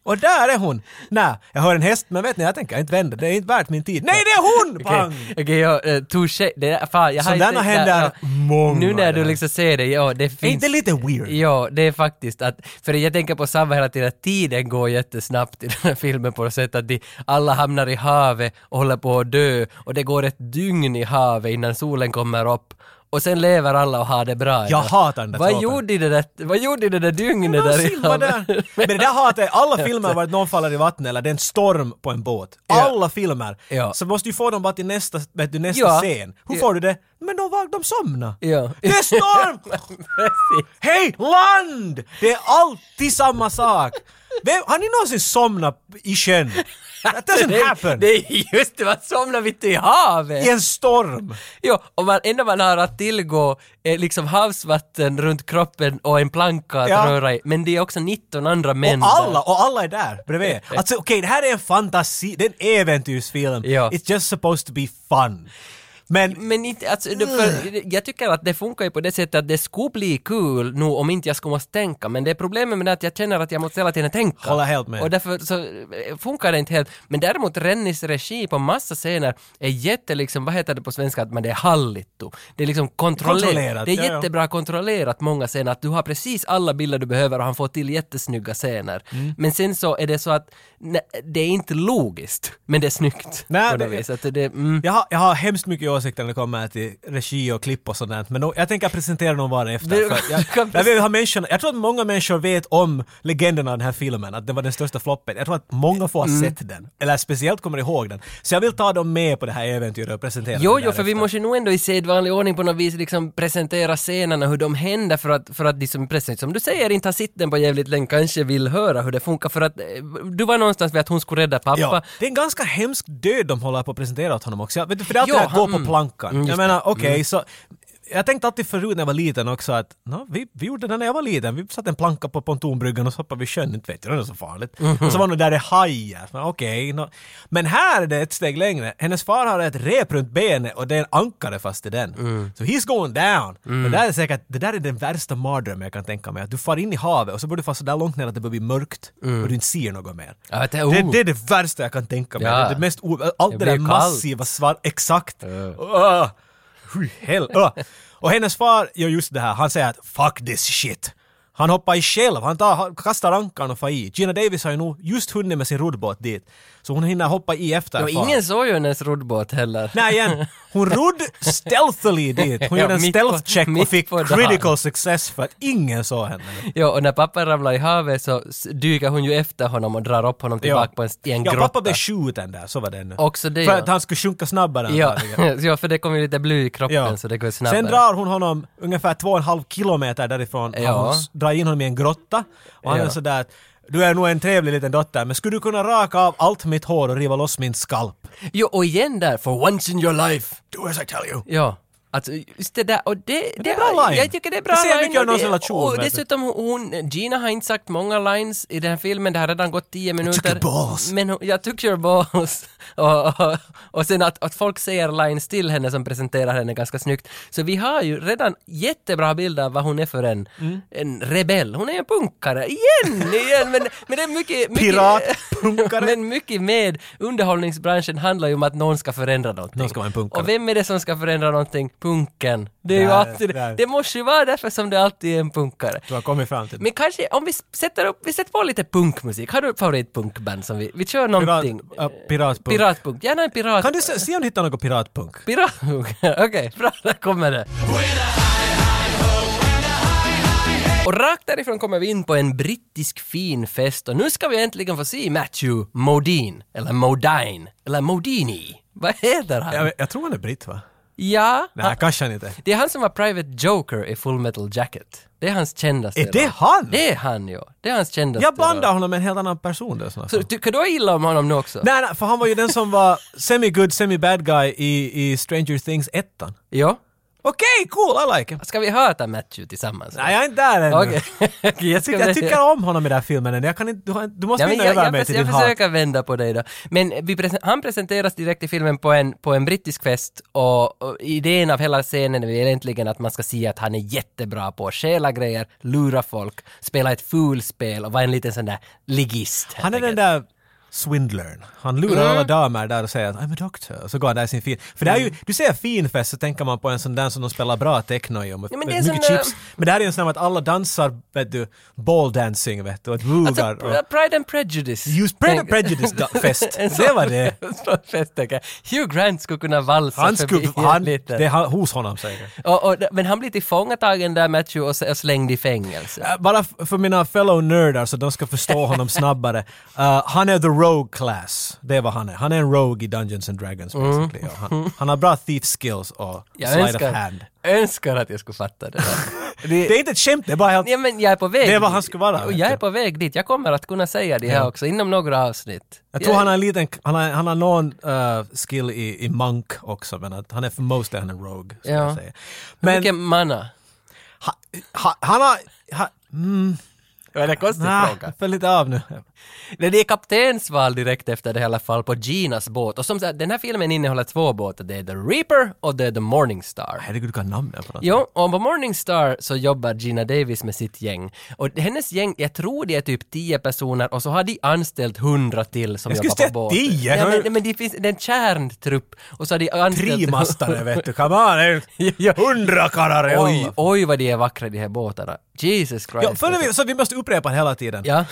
Och där är hon. Nej, jag hör en häst, men vet ni, jag tänker inte vända. Det är inte värt min tid. Nej, det är hon!
Okej,
Pang!
okay, jag, eh, touché, det är, fan, jag har
Sådana
inte-
händer
ja, ja.
många
Nu när du
där.
liksom ser det, ja det finns.
Är inte lite weird?
Ja, det är faktiskt att, för jag tänker på samma hela tiden, att tiden går jättesnabbt i den här filmen på det sättet att de, alla hamnar i havet och håller på att dö och det går ett dygn i havet innan solen kommer upp och sen lever alla och har det bra.
Jag hatar den där
Vad
tråpen.
gjorde det där, vad gjorde det där dygnet
Men
där i
Silva där.
[LAUGHS] havet?
Men det där har att alla filmer varit någon faller i vattnet eller det är en storm på en båt. Alla filmer.
Ja.
Så måste du få dem bara till nästa, vet du, nästa
Ja.
scen. Hur
Ja.
får du det? Men de, var- de somnar.
Ja.
Det
[LAUGHS]
är storm!
Precis.
Hej, land! Det är alltid samma sak. Vem, har ni någonsin somnat i sjön?
[LAUGHS]
That
det,
doesn't happen.
det är just det, man somnar mitt i havet!
I en storm.
Jo, och man, enda man har att tillgå är liksom havsvatten runt kroppen och en planka att
Ja.
röra i. Men det är också 19 andra män
och
där.
alla, och alla är där bredvid. Alltså okej, det här är en fantasi, det är en äventyrsfilm.
Ja.
It's just supposed to be fun. Men
Men inte, alltså, det,
Mm.
för, jag tycker att det funkar ju på det sättet att det skulle bli kul nu om inte jag skulle måste tänka. Men det är problemet med det att jag känner att jag måste hela tiden tänka.
Håller helt med.
Och därför så eh, funkar det inte helt. Men däremot Rennis regi på massa scener är jätte, liksom, vad heter det på svenska, att man det är halligt. då. Det är liksom kontrollerat.
Kontrollerat,
det är
ja, ja.
jättebra kontrollerat många scener, att du har precis alla bilder du behöver och han får till jättesnygga scener.
Mm.
Men sen så är det så att nej, det är inte logiskt, men det är snyggt.
Nej,
på något
det-
vis. Att det, mm.
Jag har, jag har hemskt mycket åsikter när det kommer till regi och klipp och sådant, men nog- jag tänker presentera dem var och efter.
Du-
för
[LAUGHS]
jag,
du kan
jag, vill ha människorna, jag tror att många människor vet om legenderna av den här filmen, att det var den största floppen. Jag tror att många får ha
Mm.
sett den, eller speciellt kommer ihåg den. Så jag vill ta dem med på det här äventyret och presentera
Jo,
dem
jo, för vi
därefter.
måste ju nog ändå i sedvanlig ordning på något vis liksom presentera scenerna, hur de händer för att, för att de som precis som du säger inte har sett den på jävligt länge kanske vill höra hur det funkar för att eh, du var någonstans vid att hon skulle rädda pappa.
Ja, det är en ganska hemsk död de håller på att presentera åt honom också. Jag Vet du, för det är alltid
Ja,
att gå
han-
på
mm.
plankan.
Mm,
jag
just
menar,
det.
okej, så... Jag tänkte alltid förut när jag var liten också att nå, vi, vi gjorde det när jag var liten. Vi satte en planka på pontonbryggan och så hoppade vi i sjön. Inte vet jag, det är så farligt.
Mhm.
Och så var det där det hajar. Men Okej. nå. Men här är det ett steg längre. Hennes far har ett rep runt benet och det är en ankare fast i den.
Mm.
Så he's going down. Det, där är säkert, det där är den värsta mardrömmen jag kan tänka mig. Att du far in i havet och så börjar du fara så där långt ner att det börjar bli mörkt och du inte ser något mer.
Mm. Ja, det-
det,
oh.
det är det värsta jag kan tänka mig.
Ja.
Det är det mest o- allt
Det
det
blir
där
kallt.
massiva svart, exakt. Uh. Uh. Hell, uh. Och hennes far gör just det här, han säger att “fuck this shit”. Han hoppar i själv, han tar, han kastar ankaren och far i. Gina Davis har ju nog just hunnit med sin roddbåt dit. Så hon hinner hoppa i efter
och
far.
ingen såg ju hennes roddbåt heller.
Nej igen,
[LAUGHS]
hon rodd stealthily dit. Hon
Ja,
gjorde en
mitt på-
stealth check
mitt
och fick
på dagen.
critical success för att ingen såg henne.
Ja, och när pappa ramlar i havet så s- dyker hon ju efter honom och drar upp honom tillbaka på en, i en
ja,
grotta.
pappa blev skjuten där, så var det nu.
Också det,
för
ja.
att han skulle sjunka snabbare
ja, [LAUGHS]
antagligen.
ja, för det kom ju lite bly i kroppen så Alltså, det går snabbare.
Sen drar hon honom ungefär två och en halv kilometer därifrån.
Ja.
Ja. Hon s- drar in honom i en grotta. Och han
Ja.
är sådär att du är nog en trevlig liten dotter men skulle du kunna raka av allt mitt hår och riva loss min skalp?
Jo, och igen där, for once in your life.
Do as I tell you.
Ja. Alltså just det där, och det, det,
är bra line.
Jag tycker det är bra
Det ser mycket
line.
av någons
och, det,
relation,
och
vet du.
dessutom hon, Gina har inte sagt många lines i den här filmen, det har redan gått tio minuter.
took your balls.
Men hon, jag took your balls. [LAUGHS] och, och, och sen att, att folk säger lines till henne som presenterar henne ganska snyggt. Så vi har ju redan jättebra bilder av vad hon är för en,
Mm.
en rebell. Hon är en punkare, igen, igen! Men, men det är mycket... mycket
Pirat,
[LAUGHS]
punkare.
men mycket med underhållningsbranschen handlar ju om att någon ska förändra någonting.
Någon ska vara en punkare.
Och vem är det som ska förändra någonting? punken. Det är ju
Där,
alltid det.
där.
Det måste ju vara därför som det alltid är en punkare.
Du har kommit fram till det.
Men kanske om vi s- sätter upp, vi sätter på lite punkmusik. Har du favoritpunkband som vi, vi kör
Pirat,
någonting?
äh, piratpunk.
Piratpunk. Gärna en pirat...
Kan du se, se om du hittar något piratpunk?
Piratpunk? [LAUGHS] Okej, bra, där kommer det. Och rakt därifrån kommer vi in på en brittisk fin fest och nu ska vi äntligen få se Matthew Modine, eller Modine, eller Modini. Vad heter han?
Jag, jag tror han är britt va?
Ja,
Nej, kanske han inte.
det är han som var Private Joker i Full Metal Jacket. Det är hans kändaste
Är det
roll.
han?
Det är han ja. Det är hans kändaste
Jag bandar
roll.
honom med en helt annan person där snart.
Så tycker du illa om honom nu också?
Nej, nej, för han var ju den som var semi-good, semi-bad guy i, i Stranger Things 1. Okej,
Ja.
cool, I like him.
Ska vi höra Matthew tillsammans?
Nej, jag är inte där
[LAUGHS]
ännu.
Okej. jag,
Jag, jag tycker om honom i den här filmen än. Jag kan inte, du, har- du måste
Ja, men
vinna
jag,
över
jag,
mig
förs-
till
jag
din hat.
försöker vända på dig då. Men vi presen- han presenteras direkt i filmen på en, på en brittisk fest och, och idén av hela scenen är väl egentligen att man ska se att han är jättebra på att stjäla grejer, lura folk, spela ett fulspel och vara en liten sån där ligist. helt
Han är den
enkelt.
där swindlern. Han lurar
Mm.
alla damer där och säger att I'm a doctor. Och så går han där i sin fin... För det är
Mm.
ju, du säger fin fest så tänker man på en sån där som de spelar bra techno i och med,
Ja, men
med
det är
mycket
sån där-
chips. Men det här är ju en sån där att alla dansar, vet du, ball dancing vet du, och rugar.
Alltså, Pr- Pride and Prejudice.
Just Pride and
Tänk-
Prejudice da- fest.
[LAUGHS] En
Det
sån- [LAUGHS]
var det.
en sån fest, tänker jag. Hugh Grant skulle kunna valsa
han skulle...
förbi
Han, det
lite.
är han- hos honom säkert.
Och, och, men han blir tillfångatagen där Matthew och, s- och slängd i fängelse.
Äh, Bara f- för mina fellow nördar så de ska
[LAUGHS]
förstå honom snabbare. Uh, han är the rogue class. Det är vad han är. Han är en rogue i Dungeons and Dragons basically. Och Han, han har bra thief skills och
Mm. [LAUGHS] Jag
slide
önskar,
of hand.
önskar att jag skulle fatta det där.
[LAUGHS] Det är inte ett skämt, det är bara helt...
Ja, men jag är på väg
Det är vad
dit.
han ska vara,
Och
vet
jag är
du.
på väg dit. Jag kommer att kunna säga det här också inom några avsnitt.
Jag tror han har en liten, han har, han har någon eh, skill i, i Monk också men att han är för mostly han är rogue. ska
Ja.
jag säga.
Men...
Men
Vilken manna?
ha, ha, han har... Ha, mm,
Det var en konstig
nah,
fråga.
jag föll lite av nu.
Men Det är kaptensval direkt efter det i alla fall på Ginas båt. Och som sagt, den här filmen innehåller två båtar. Det är The Reaper och det är The Morningstar.
Herregud, du kan namnen på något.
Jo, och på Morningstar så jobbar Gina Davis med sitt gäng. Och hennes gäng, jag tror det är typ 10 personer och så har de anställt 100 till som
Jag skulle
jobbar på
säga
båten.
10.
Ja, men, nej, men det finns det är en kärntrupp och så har de anställt...
Trimastare vet du, come on! det är ju Hundra karlar,
[LAUGHS] Oj,
oj!
oj vad de är vackra de här båtarna. Jesus Christ.
Ja, följer vi, så vi måste upprepa det hela tiden.
Ja,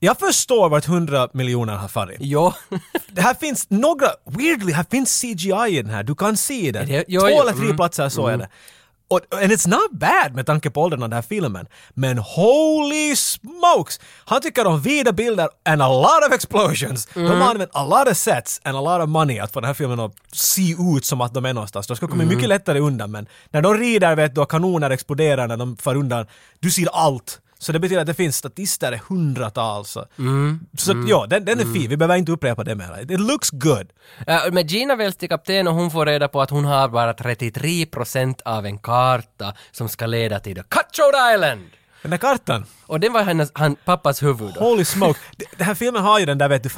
Jag förstår vart hundra miljoner har farit.
jo.
Det här finns några, weirdly, här finns CGI i den här. Du kan se den.
det- jo,
Två
jo,
eller tre
mm,
platser så är det. Och, and it's not bad med tanke på åldern av den här filmen. Men holy smokes! Han tycker om vida bilder and a lot of explosions. De har använt a lot of sets and a lot of money att få den här filmen att se ut som att de är någonstans. De ska komma mycket lättare undan men när de rider vet du och kanoner exploderar när de far undan, du ser allt. Så det betyder att det finns statister i hundratals. Så ja, den, den är fin. Vi behöver inte upprepa det mer. It looks good.
Eh, Men Gina väljs till kapten och hon får reda på att hon har bara 33% av en karta som ska leda till The Cutthroat Island!
Den där kartan.
Och den var hennes, han, pappas huvud då.
Holy smoke. [LAUGHS] D- Den här filmen har ju den där vet du,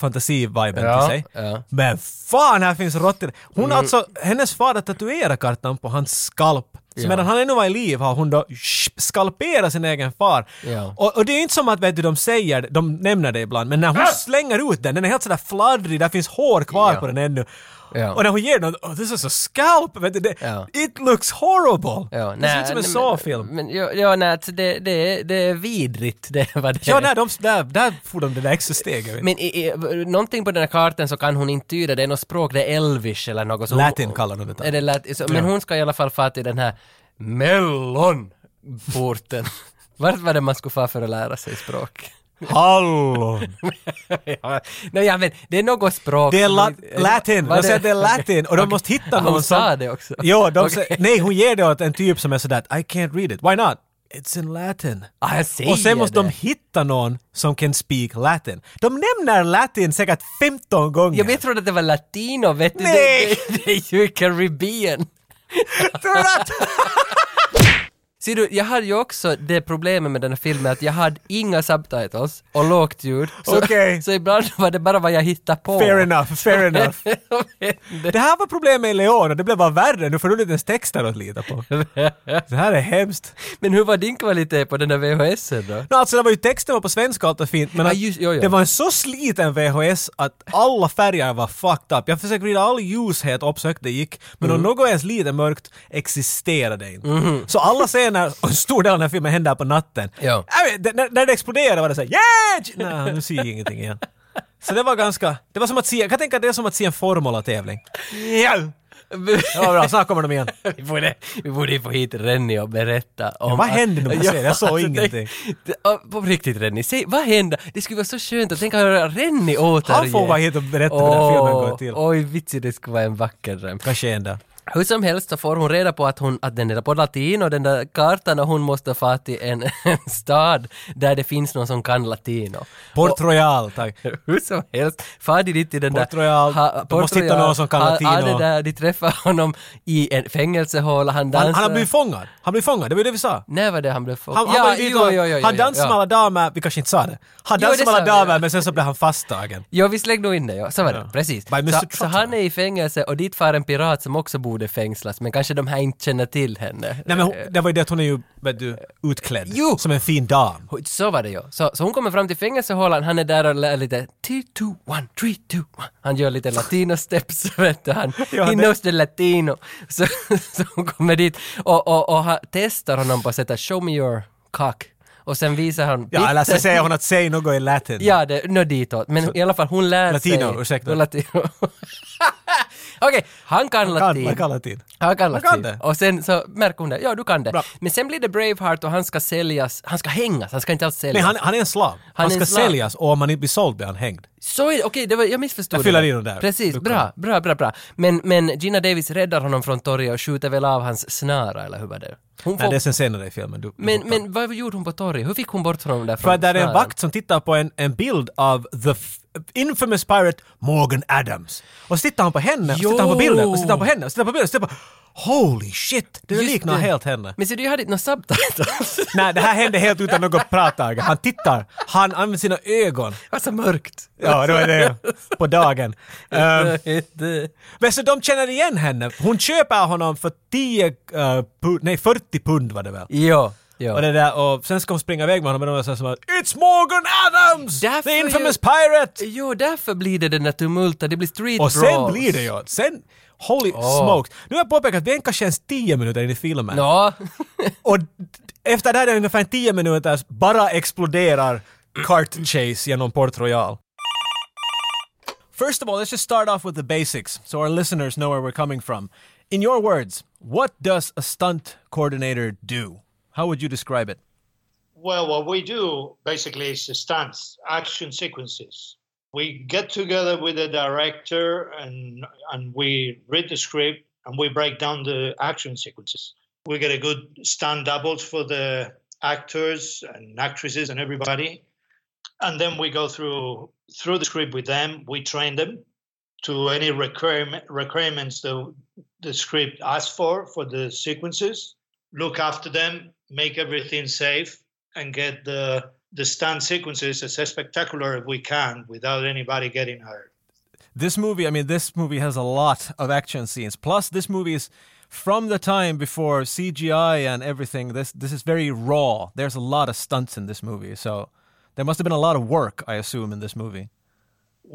familjefantasi-viben
Ja,
till sig.
ja. Mm.
Men fan, här finns råttor! Hon alltså, hennes far har tatuerat kartan på hans skalp. Så
Ja.
medan han ännu var i liv har hon då sh- skalperat sin egen far.
Ja.
Och, och det är inte som att vet du, de säger, de nämner det ibland, men när hon slänger ut den, den är helt sådär fladdrig, där finns hår kvar
Ah! Ja.
på den ännu.
Ja.
Och när hon ger den, oh, this is a scalp! Vet du, det,
Ja.
It looks horrible!
Ja,
det
nej,
ser ut som en
nej,
Saw-film.
Men, men, ja, ja, nej, alltså det, det, är- det är vidrigt. Det var det.
Ja, nej, de, där, där får de det där extra steget. vet du.
Men i, i, någonting på den här kartan så kan hon inte tyda, det är något språk, det är elvish eller något så
Latin kallar de det där.
Är det latin? Så, men hon ska i alla fall fara till den här
[LAUGHS]
mellonporten. Vart var det man skulle fara för att lära sig språk?
Hallon!
ja, [LAUGHS] nej, ja, men det är något språk.
Det är
som eh,
la-
inte-
latin!
Var
De säger att det är latin och de måste hitta
Ja,
någon
hon
som...
sa det också.
Jo, de
Okej.
säger, nej hon ger det åt en typ som är sådär I can't read it. Why not? It's in latin.
Ah, jag säger
Och sen måste
det.
de hitta någon som can speak latin. De nämner latin säkert 15 gånger.
Ja, men jag trodde att det var latino, vet du.
Nej!
[LAUGHS] Det, det, det är ju Caribbean.
Tror du att-
Ser du, jag hade ju också det problemet med den här filmen att jag hade inga subtitles och lågt ljud. Så,
Okej.
så ibland var det bara vad jag hittade på.
Fair enough, fair
[LAUGHS]
enough. Det här var problemet med Leon och det blev bara värre nu för nu är det inte ens texter att lita
[LAUGHS]
på. Det här är hemskt.
Men hur var din kvalitet på den där VHSen då?
No, alltså det var ju texten var på svenska och allt var fint men
Ja,
att
just- jo, jo.
det var en så sliten VHS att alla färger var fucked up. Jag försökte vrida all ljushet upp så högt det gick men
Mm.
om något ens lite mörkt existerade inte. Så alla scener, och en stor del av den här filmen hände här på natten.
Mm-hmm. Ja.
Jag vet, när, när det exploderade var det såhär yeah! Nej, nu ser jag ingenting igen. Så det var ganska, det var som att se, jag kan tänka att det är som att se en formula-tävling. Yeah!
[LAUGHS]
Det var bra, snart kommer de igen.
Vi borde, vi borde ju få hit Renny och berätta om...
vad
att-
hände
[LAUGHS]
nu? Jag ser det, jag såg
alltså,
ingenting.
tänk- det- ja, på riktigt Renny, säg vad hände? Det skulle vara så skönt att tänka höra Renny återge.
Han får vara hit och berätta hur den här filmen går till.
Oj, vitsi det skulle vara en vacker dröm.
Kanske en dag.
Hur som helst så får hon reda på att, hon, att den är på latin och den där kartan och hon måste få till en, [LAUGHS] en stad där det finns någon som kan latino.
Port Royal, tack.
[LAUGHS] Hur som helst, far de dit till den
Port
där...
Royal. De måste hitta någon som kan
ha- ha
latino.
det där, de träffar honom i en fängelsehåla, han dansar...
Han, han har blivit fångad. Han blev fångad, det var ju det vi sa.
När var det han blev fångad?
Han, han, blev jo, han dansade med alla damer, vi kanske inte sa det. Han
Jo,
dansade
det
med alla
sa vi,
damer
ja.
men sen så blev han fasttagen.
Ja, vi slängde nog in det, ja. så var det. Precis.
By Mr.
Så,
Trotter.
så han är i fängelse och dit far en pirat som också borde fängslas, men kanske de här inte känner till henne.
Nej men hon, det var ju det att hon är ju, vet du, utklädd.
Eh. Jo.
Som en fin dam.
Så var det ju. Så, så hon kommer fram till fängelsehålan, han är där och lär lite 3, 2, 1, 3, 2, 1. Han gör lite latino steps, [LAUGHS] vet du. Han,
Ja,
he
det-
knows the latino. Så, [LAUGHS] så hon kommer dit och, och, och ha, testar honom på sättet show me your cock. Och sen visar han
Ja, eller så
pitten.
säger hon att säg något i latin.
Ja, det, nå ditåt. Men i alla fall, hon lär sig...
Latino, ursäkta.
Latino. [LAUGHS] Okej, han kan
Kan,
latin.
man kan latin.
Han kan
Han
latin.
kan det.
Och sen så märker hon det. Ja, du kan det.
Bra.
Men sen blir det Braveheart och han ska säljas. Han ska hängas, han ska inte alls säljas.
Nej, han, han är en slav. Han,
är en
ska
slav.
säljas och om han inte blir såld blir han hängd.
Så är det, okej, det var- jag missförstod
Jag fyller
det.
i den där.
Precis,
Luckan.
bra, bra, bra, bra. Men, men Gina Davis räddar honom från torget och skjuter väl av hans snara, eller hur var det? Hon får,
Nej, det är sen senare i filmen. Du, du
men,
hoppar.
men vad gjorde hon på torget? Hur fick hon bort honom därifrån?
För att där är en
snaran?
vakt som tittar på en, en bild av the f- infamous pirate Morgan Adams. Och så tittar han på henne, och så tittar han på bilden, och så tittar han på henne, och så tittar han på bilden, och så tittar han på... Holy shit! Det
Just
liknar
det.
helt henne.
Men ser du, jag hade inte några subtitles.
Nej, det här hände helt utan något prat. Aga. Han tittar, han använder sina ögon.
[LAUGHS] Det var så mörkt.
Ja, det var det. På dagen. Ehm,
Det-
men så de känner igen henne. Hon köper honom för 10, eh, pund, nej 40 pund var det väl.
ja, ja.
Och, det där, och sen ska hon springa iväg med honom och de är så här som att It's Morgan Adams!
Därför
the infamous
ju-
pirate!
Jo, därför blir det den där tumulten, det blir street
Och sen
brawls.
blir det ju, sen, holy smokes. Nu har jag påpekat att vi är kanske ens 10 minuter in i filmen.
Ja,
Och d- efter det här är det ungefär 10 minuter bara exploderar cart chase genom Port Royal. First of all, let's just start off with the basics so our listeners know where we're coming from. In your words, what does a stunt coordinator do? How would you describe it?
Well, what we do basically is stunts, action sequences. We get together with the director and and we read the script and we break down the action sequences. We get a good stunt doubles for the actors and actresses and everybody, and then we go through through the script with them. We train them to any requirement, requirements the the script asks for for the sequences. Look after them, make everything safe, and get the the stunt sequences as spectacular as we can without anybody getting hurt.
this movie i mean this movie has a lot of action scenes plus this movie is from the time before cgi and everything this this is very raw there's a lot of stunts in this movie so there must have been a lot of work i assume in this movie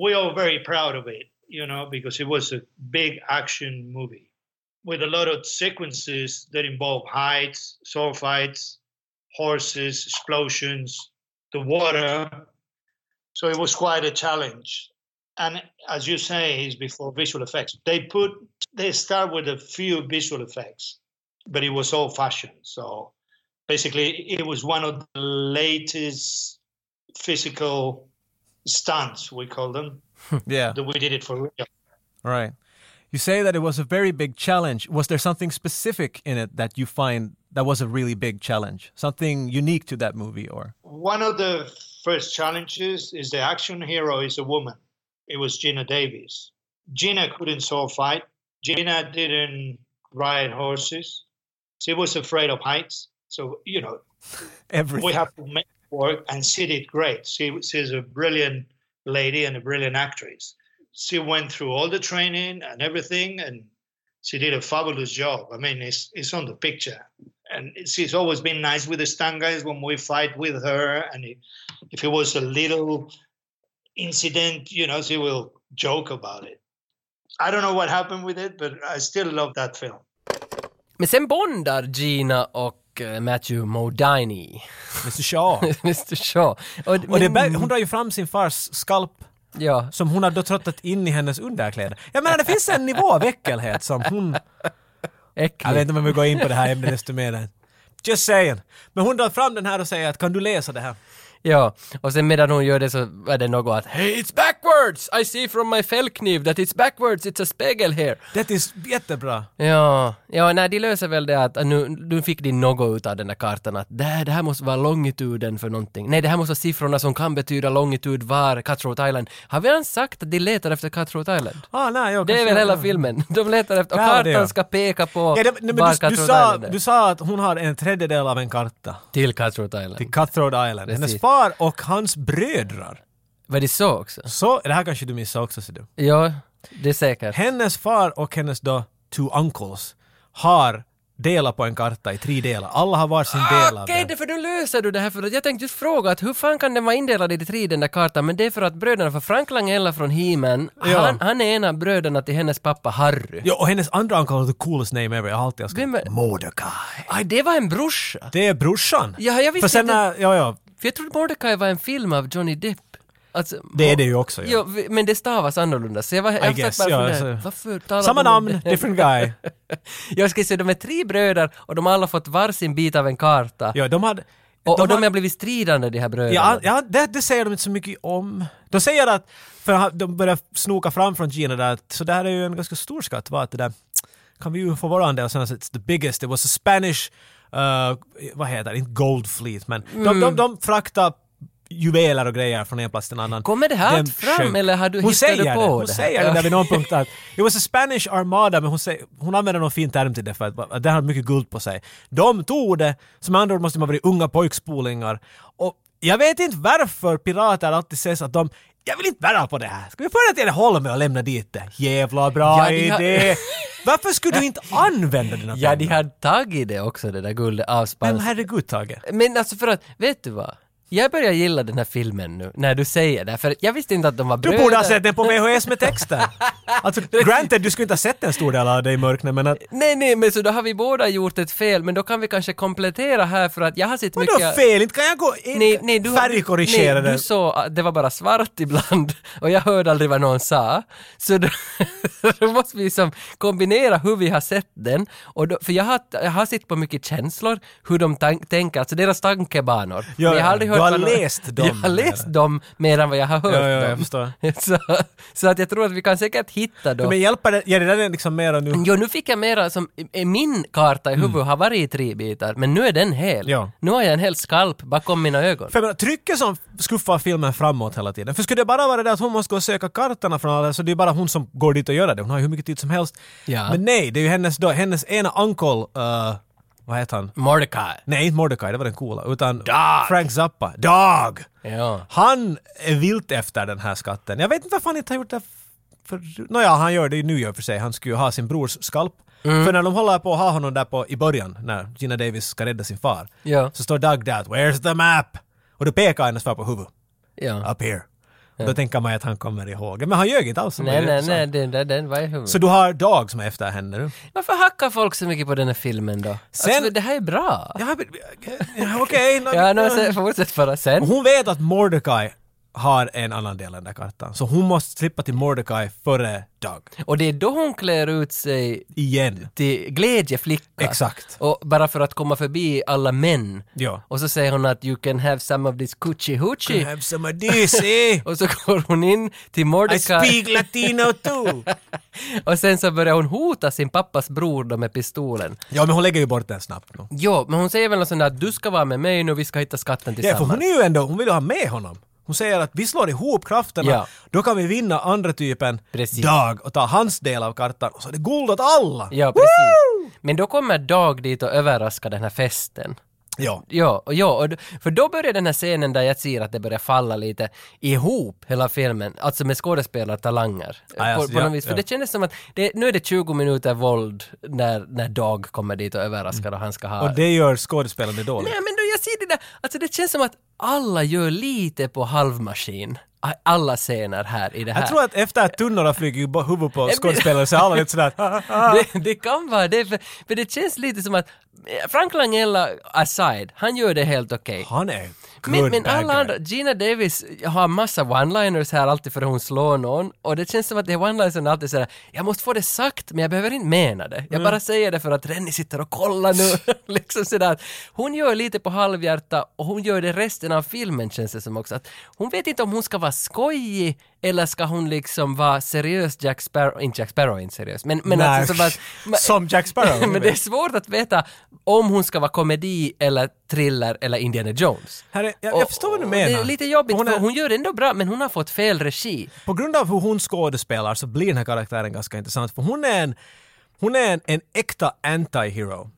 We are very proud of it, you know, because it was a big action movie with a lot of sequences that involve heights, sword fights, horses, explosions, the water. So it was quite a challenge. And as you say, is before visual effects. They put they start with a few visual effects, but it was old fashioned. So basically it was one of the latest physical stunts we call them
yeah
that we did it for real
right you say that it was a very big challenge was there something specific in it that you find that was a really big challenge something unique to that movie or
one of the first challenges is the action hero is a woman it was gina davis gina couldn't sword fight gina didn't ride horses she was afraid of heights So you know,
Everything.
we have to make it work. And she did great. She she's a brilliant lady and a brilliant actress. She went through all the training and everything, and she did a fabulous job. I mean, it's it's on the picture, and she's always been nice with the stunt guys when we fight with her. And it, if it was a little incident, you know, she will joke about it. I don't know what happened with it, but I still love that film.
Men sen bondar Gina och eh, Matthew Modini, [LAUGHS]
Mr Shaw.
Mr Shaw. Och,
Och det,
men-
bär- hon drar ju fram sin fars skalp
Ja,
som hon har då trottat in i hennes underkläder. Jag menar, det finns en nivå av äckelhet som hon... Jag vet
äckligt.
inte om jag vill gå in på det här ämnet desto mer. Just saying. Men hon drar fram den här och säger att kan du läsa det här?
Ja, och sen medan hon gör det så är det något att Hey, it's backwards! I see from my fällkniv that it's backwards, it's a spegel here.
Det är jättebra.
Ja, ja nej, de löser väl det att äh, nu, nu fick de något ut av den där kartan att det här, det här måste vara longituden för någonting. Nej, det här måste vara siffrorna som kan betyda longitud var Cutthroat Island. Har vi ens sagt att de letar efter Cutthroat Island?
Ah, nej, jag
Det är
kanske-
väl hela filmen. [LAUGHS] De letar efter, och
Ja, det är
kartan
det.
ska peka på
Ja, det, nej, men
var
du, du,
Cutthroat
sa,
Island är.
du sa att hon har en tredjedel av en karta.
Till Cutthroat Island.
Till Cutthroat Island.
Precis.
Hennes far och hans brödrar.
Var det så också?
Så, det här kanske du missade också ser du.
Ja, det är säkert.
Hennes far och hennes då two uncles har delat på en karta i tre delar. Alla har var sin del
Ah,
av
Okej,
den.
det för då löser du det här för att jag tänkte just fråga att hur fan kan den vara indelad i tre den där kartan men det är för att bröderna, för Frank Langella från He-Man,
Ja.
han, han är en av bröderna till hennes pappa Harry.
Jo, och hennes andra uncle har the coolest name ever. Jag har alltid älskat
Vem är-
Mordecai.
Aj, det var en brorsa!
Det är brorsan.
Ja, jag visste
För sen
inte-
när, ja, ja,
För jag trodde Mordecai var en film av Johnny Depp. Alltså,
det är det ju också.
Ja.
Ja.
vi- men det stavas annorlunda, så jag var jag
guess,
bara
ja,
funderade,
alltså.
varför talar
Samma
de om
namn,
det?
different guy.
[LAUGHS] Jag ska säga, de är tre bröder och de har alla fått varsin bit av en karta.
Ja, de hade...
[LAUGHS] och, och de
hade-
har blivit stridande, de här bröderna.
Ja, ja det, det säger de inte så mycket om. De säger att, för han- de börjar snoka fram från Gina där, att så det här är ju en ganska stor skatt, va? Att det där, kan vi ju få vår andel? Och sen alltså, it's the biggest, it was a Spanish, uh, vad heter det, inte gold fleet, men de,
Mm.
de, de fraktar juveler och grejer från en plats till en annan.
Kommer det här
Den
allt fram,
sjönk.
eller har du-
hon
hittar du
säger
på
det? Hon
det här?
säger det där vid
Ja.
någon punkt att it was a Spanish armada, men hon, säger, hon använder någon fin term till det för att, att det har mycket guld på sig. De tog det, som med andra ord måste de ha varit unga pojkspolingar. Och jag vet inte varför pirater alltid sägs att de jag vill inte bära på det här. Ska vi föra till en holme och lämna dit det? Jävla bra
Ja, de har-
idé! Varför skulle du inte använda dina
ja, de
pengar?
har tagit det också, det där guldet av
Men
Spanien.
herregud Tage.
Men alltså för att, vet du vad? Jag börjar gilla den här filmen nu, när du säger det, för jag visste inte att de var
Du
bröder.
borde ha sett den på VHS med texten.
[LAUGHS]
Alltså, granted, du skulle inte ha sett en stor del av det i mörknet, men att...
Nej, nej, men så då har vi båda gjort ett fel, men då kan vi kanske komplettera här för att jag har sett
Vadå
mycket...
fel? Inte kan jag gå in
Nej, nej, du, har-
färgkorrigera
nej,
den?
du sa att det var bara svart ibland och jag hörde aldrig vad någon sa. Så då, [LAUGHS] då måste vi liksom kombinera hur vi har sett den. Och då, för jag har, jag har sett på mycket känslor, hur de tan- tänker, alltså deras tankebanor.
Ja,
Men jag
ja.
har aldrig hört
Du har
vad någon-
läst dem.
Jag har läst dem mer än vad jag har hört
Ja, ja, jag
dem.
förstår.
[LAUGHS] Så, så att jag tror att vi kan säkert hitta dem.
Men hjälper det? Ger det den liksom mera nu?
Jo, nu fick jag mera som, i- i min karta i huvudet har varit i tre bitar, men nu är den hel.
Mm. Ja.
Nu har jag en hel skalp bakom mina ögon.
För jag menar, trycket som skuffar filmen framåt hela tiden. För skulle det bara vara det där att hon måste gå och söka kartorna från alla, så det är bara hon som går dit och gör det. Hon har ju hur mycket tid som helst.
Ja.
Men nej, det är ju hennes då, hennes ena uncle, eh, vad heter han?
Mordecai.
Nej, inte Mordecai, det var den coola, utan Frank Zappa. Dag!
Ja.
Han är vilt efter den här skatten. Jag vet inte varför han inte har gjort det för... Nåja, han gör det ju nu i och för sig. Han skulle ju ha sin brors skalp.
Mm.
För när de håller på att ha honom där på, i början, när Gina Davis ska rädda sin far,
Ja.
så står Doug där att “Where's the map?” och då pekar hennes far på huvudet.
ja.
“Up here”. Då tänker man ju att han kommer ihåg. Men han ljög inte alls. om det.
Nej, nej,
Så-
nej, den, den, den var i huvudet.
Så du har Dag som är efter henne nu?
Varför hackar folk så mycket på den här filmen då? Alltså,
Sen-
det här är bra.
Ja, men- ja,
[LAUGHS]
okej. nå-
Ja, no, sen, fortsätt bara sen.
Hon vet att Mordecai har en annan del av den där kartan. Så hon måste slippa till Mordecai före Doug.
Och det är då hon klär ut sig
Igen.
till glädjeflicka.
Exakt.
Och bara för att komma förbi alla män.
Ja.
Och så säger hon att you can have some of this coochie hoochie.
have some of this,
[LAUGHS]
eh?
Och så går hon in till Mordecai.
I speak latino too!
[LAUGHS] Och sen så börjar hon hota sin pappas bror då med pistolen.
ja, men hon lägger ju bort den snabbt nu.
Jo, men hon säger väl något sånt där att du ska vara med mig nu, vi ska hitta skatten
Ja, för
tillsammans.
hon är ju ändå, hon vill ju ha med honom. Hon säger att vi slår ihop krafterna,
Ja.
då kan vi vinna andra typen
Precis.
Dag och ta hans del av kartan. Och så är det guld åt alla!
Ja, precis. Men då kommer Dag dit och överraskar den här festen.
Ja.
Ja, och ja, och, d- för då börjar den här scenen där jag ser att det börjar falla lite ihop, hela filmen, alltså med skådespelartalanger.
Ja,
på,
alltså,
på
ja,
något vis. För
ja.
det kändes som att det, nu är det 20 minuter våld när, när Dag kommer dit och överraskar och han ska ha...
Och det gör skådespelarna dåligt.
Nej men då jag ser det där, alltså det känns som att alla gör lite på halvmaskin, A- alla scener här i det här.
Jag tror att efter att tunnorna flyger i huvudet på skådespelare så är alla lite sådär [LAUGHS]
det, det kan vara det, för, för det känns lite som att eh, Frank Langella aside, han gör det helt okej.
Han är good
Men, men
bad
alla
guy.
andra, Gina Davis har massa one-liners här alltid för hon slår någon och det känns som att det är one-liners alltid sådär, jag måste få det sagt men jag behöver inte mena det.
Mm.
Jag bara säger det för att Rennie sitter och kollar nu. [LAUGHS] liksom sådär. Hon gör lite på halvhjärta och hon gör det resten av filmen känns det som också. Att hon vet inte om hon ska vara skojig eller ska hon liksom vara seriös Jack Sparrow, inte Jack Sparrow, inte seriös, men, men
Nej.
alltså som att...
[LAUGHS] Som Jack
[LAUGHS]
Sparrow.
men det är svårt att veta om hon ska vara komedi eller thriller eller Indiana Jones.
Här är- jag- jag förstår vad du
och Det
menar.
är lite jobbigt,
Hon
hon,
är-
för hon gör ändå bra, men hon har fått fel regi.
På grund av hur hon skådespelar så blir den här karaktären ganska intressant för hon är en, hon är en, en äkta anti-hero.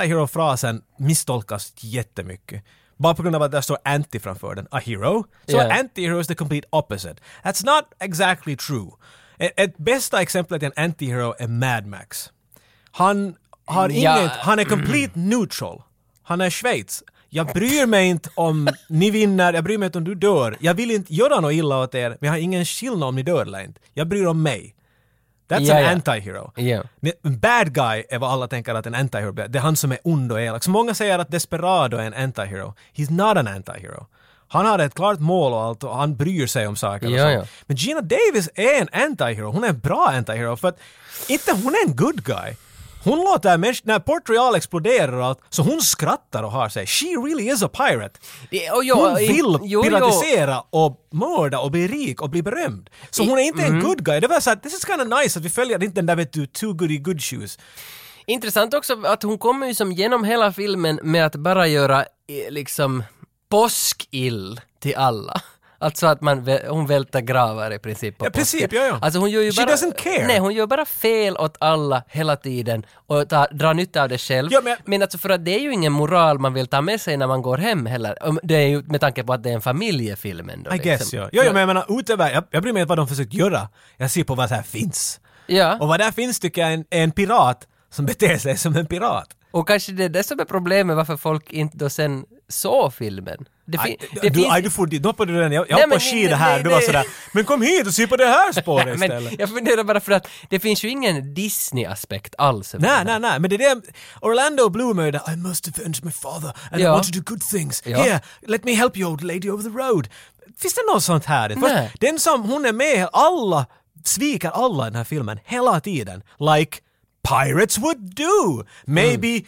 Anti-hero-frasen misstolkas jättemycket. Bara på grund av att där står anti framför den. A hero? Så
Ja.
anti-hero is the complete opposite. That's not exactly true. Ett, ett bästa exemplet till en anti-hero är Mad Max. Han har inget,
Ja. Mm.
han är complete neutral. Han är Schweiz. Jag bryr mig inte om ni vinner, jag bryr mig inte om du dör. Jag vill inte göra något illa åt er, men jag har ingen skillnad om ni dör eller inte. Jag bryr om mig. That's
Ja,
an
ja.
anti-hero.
Ja.
Men En bad guy är vad alla tänker att en anti-hero blir. Det är han som är ond och elak. Så många säger att Desperado är en anti-hero. He's not an anti-hero. Han har ett klart mål och allt och han bryr sig om saker och
Ja,
så.
ja.
Men Gina Davis är en anti-hero. Hon är en bra anti-hero för att inte hon är en good guy. Hon låter människor, när Portrial exploderar och allt, så hon skrattar och har sig. She really is a pirate.
Det- och jag-
hon
i-
vill
jo,
piratisera och mörda och bli rik och bli berömd. Så hon är inte
mm-hmm.
en good guy. Det var såhär, this is kinda nice att vi följer inte den där vet du, too goody good shoes.
Intressant också att hon kommer ju som genom hela filmen med att bara göra eh, liksom påskill till alla. [LAUGHS] Alltså att man, vä- hon välter gravar i princip på
Ja, princip,
påsken.
ja, ja.
Alltså hon gör ju
She
bara...
doesn't care.
Nej, hon gör bara fel åt alla hela tiden och ta, drar nytta av det själv.
Ja, men-
alltså för att det är ju ingen moral man vill ta med sig när man går hem heller. Om- Det är ju med tanke på att det är en familjefilm ändå. liksom.
I guess ja. Jo, jo, men jag menar utöver, jag, jag bryr mig inte vad de försökt göra. Jag ser på vad det här finns.
Ja.
Och vad där finns tycker jag är en, är en pirat som beter sig som en pirat.
Och kanske det är det som är problemet varför folk inte då sen såg filmen. Det, fin-
I,
det
du,
finns-
aj, du får, dit. då hoppade du den, jag, jag
Nej,
hoppar
men-
skidor
nej,
här,
nej,
du var
nej.
sådär men kom hit och se på det här
[LAUGHS]
spåret istället.
men jag funderar bara för att det finns ju ingen Disney-aspekt alls. över
Nej,
det här.
nej, nej, men det är det Orlando Bloom är ju där, I must avenge my father and I
Ja.
want to do good things.
Ja.
Here, let me help you old lady over the road. Finns det något sånt här? Först,
Nej.
den som hon är med, alla sviker alla i den här filmen hela tiden. Like pirates would do. Maybe
Mm.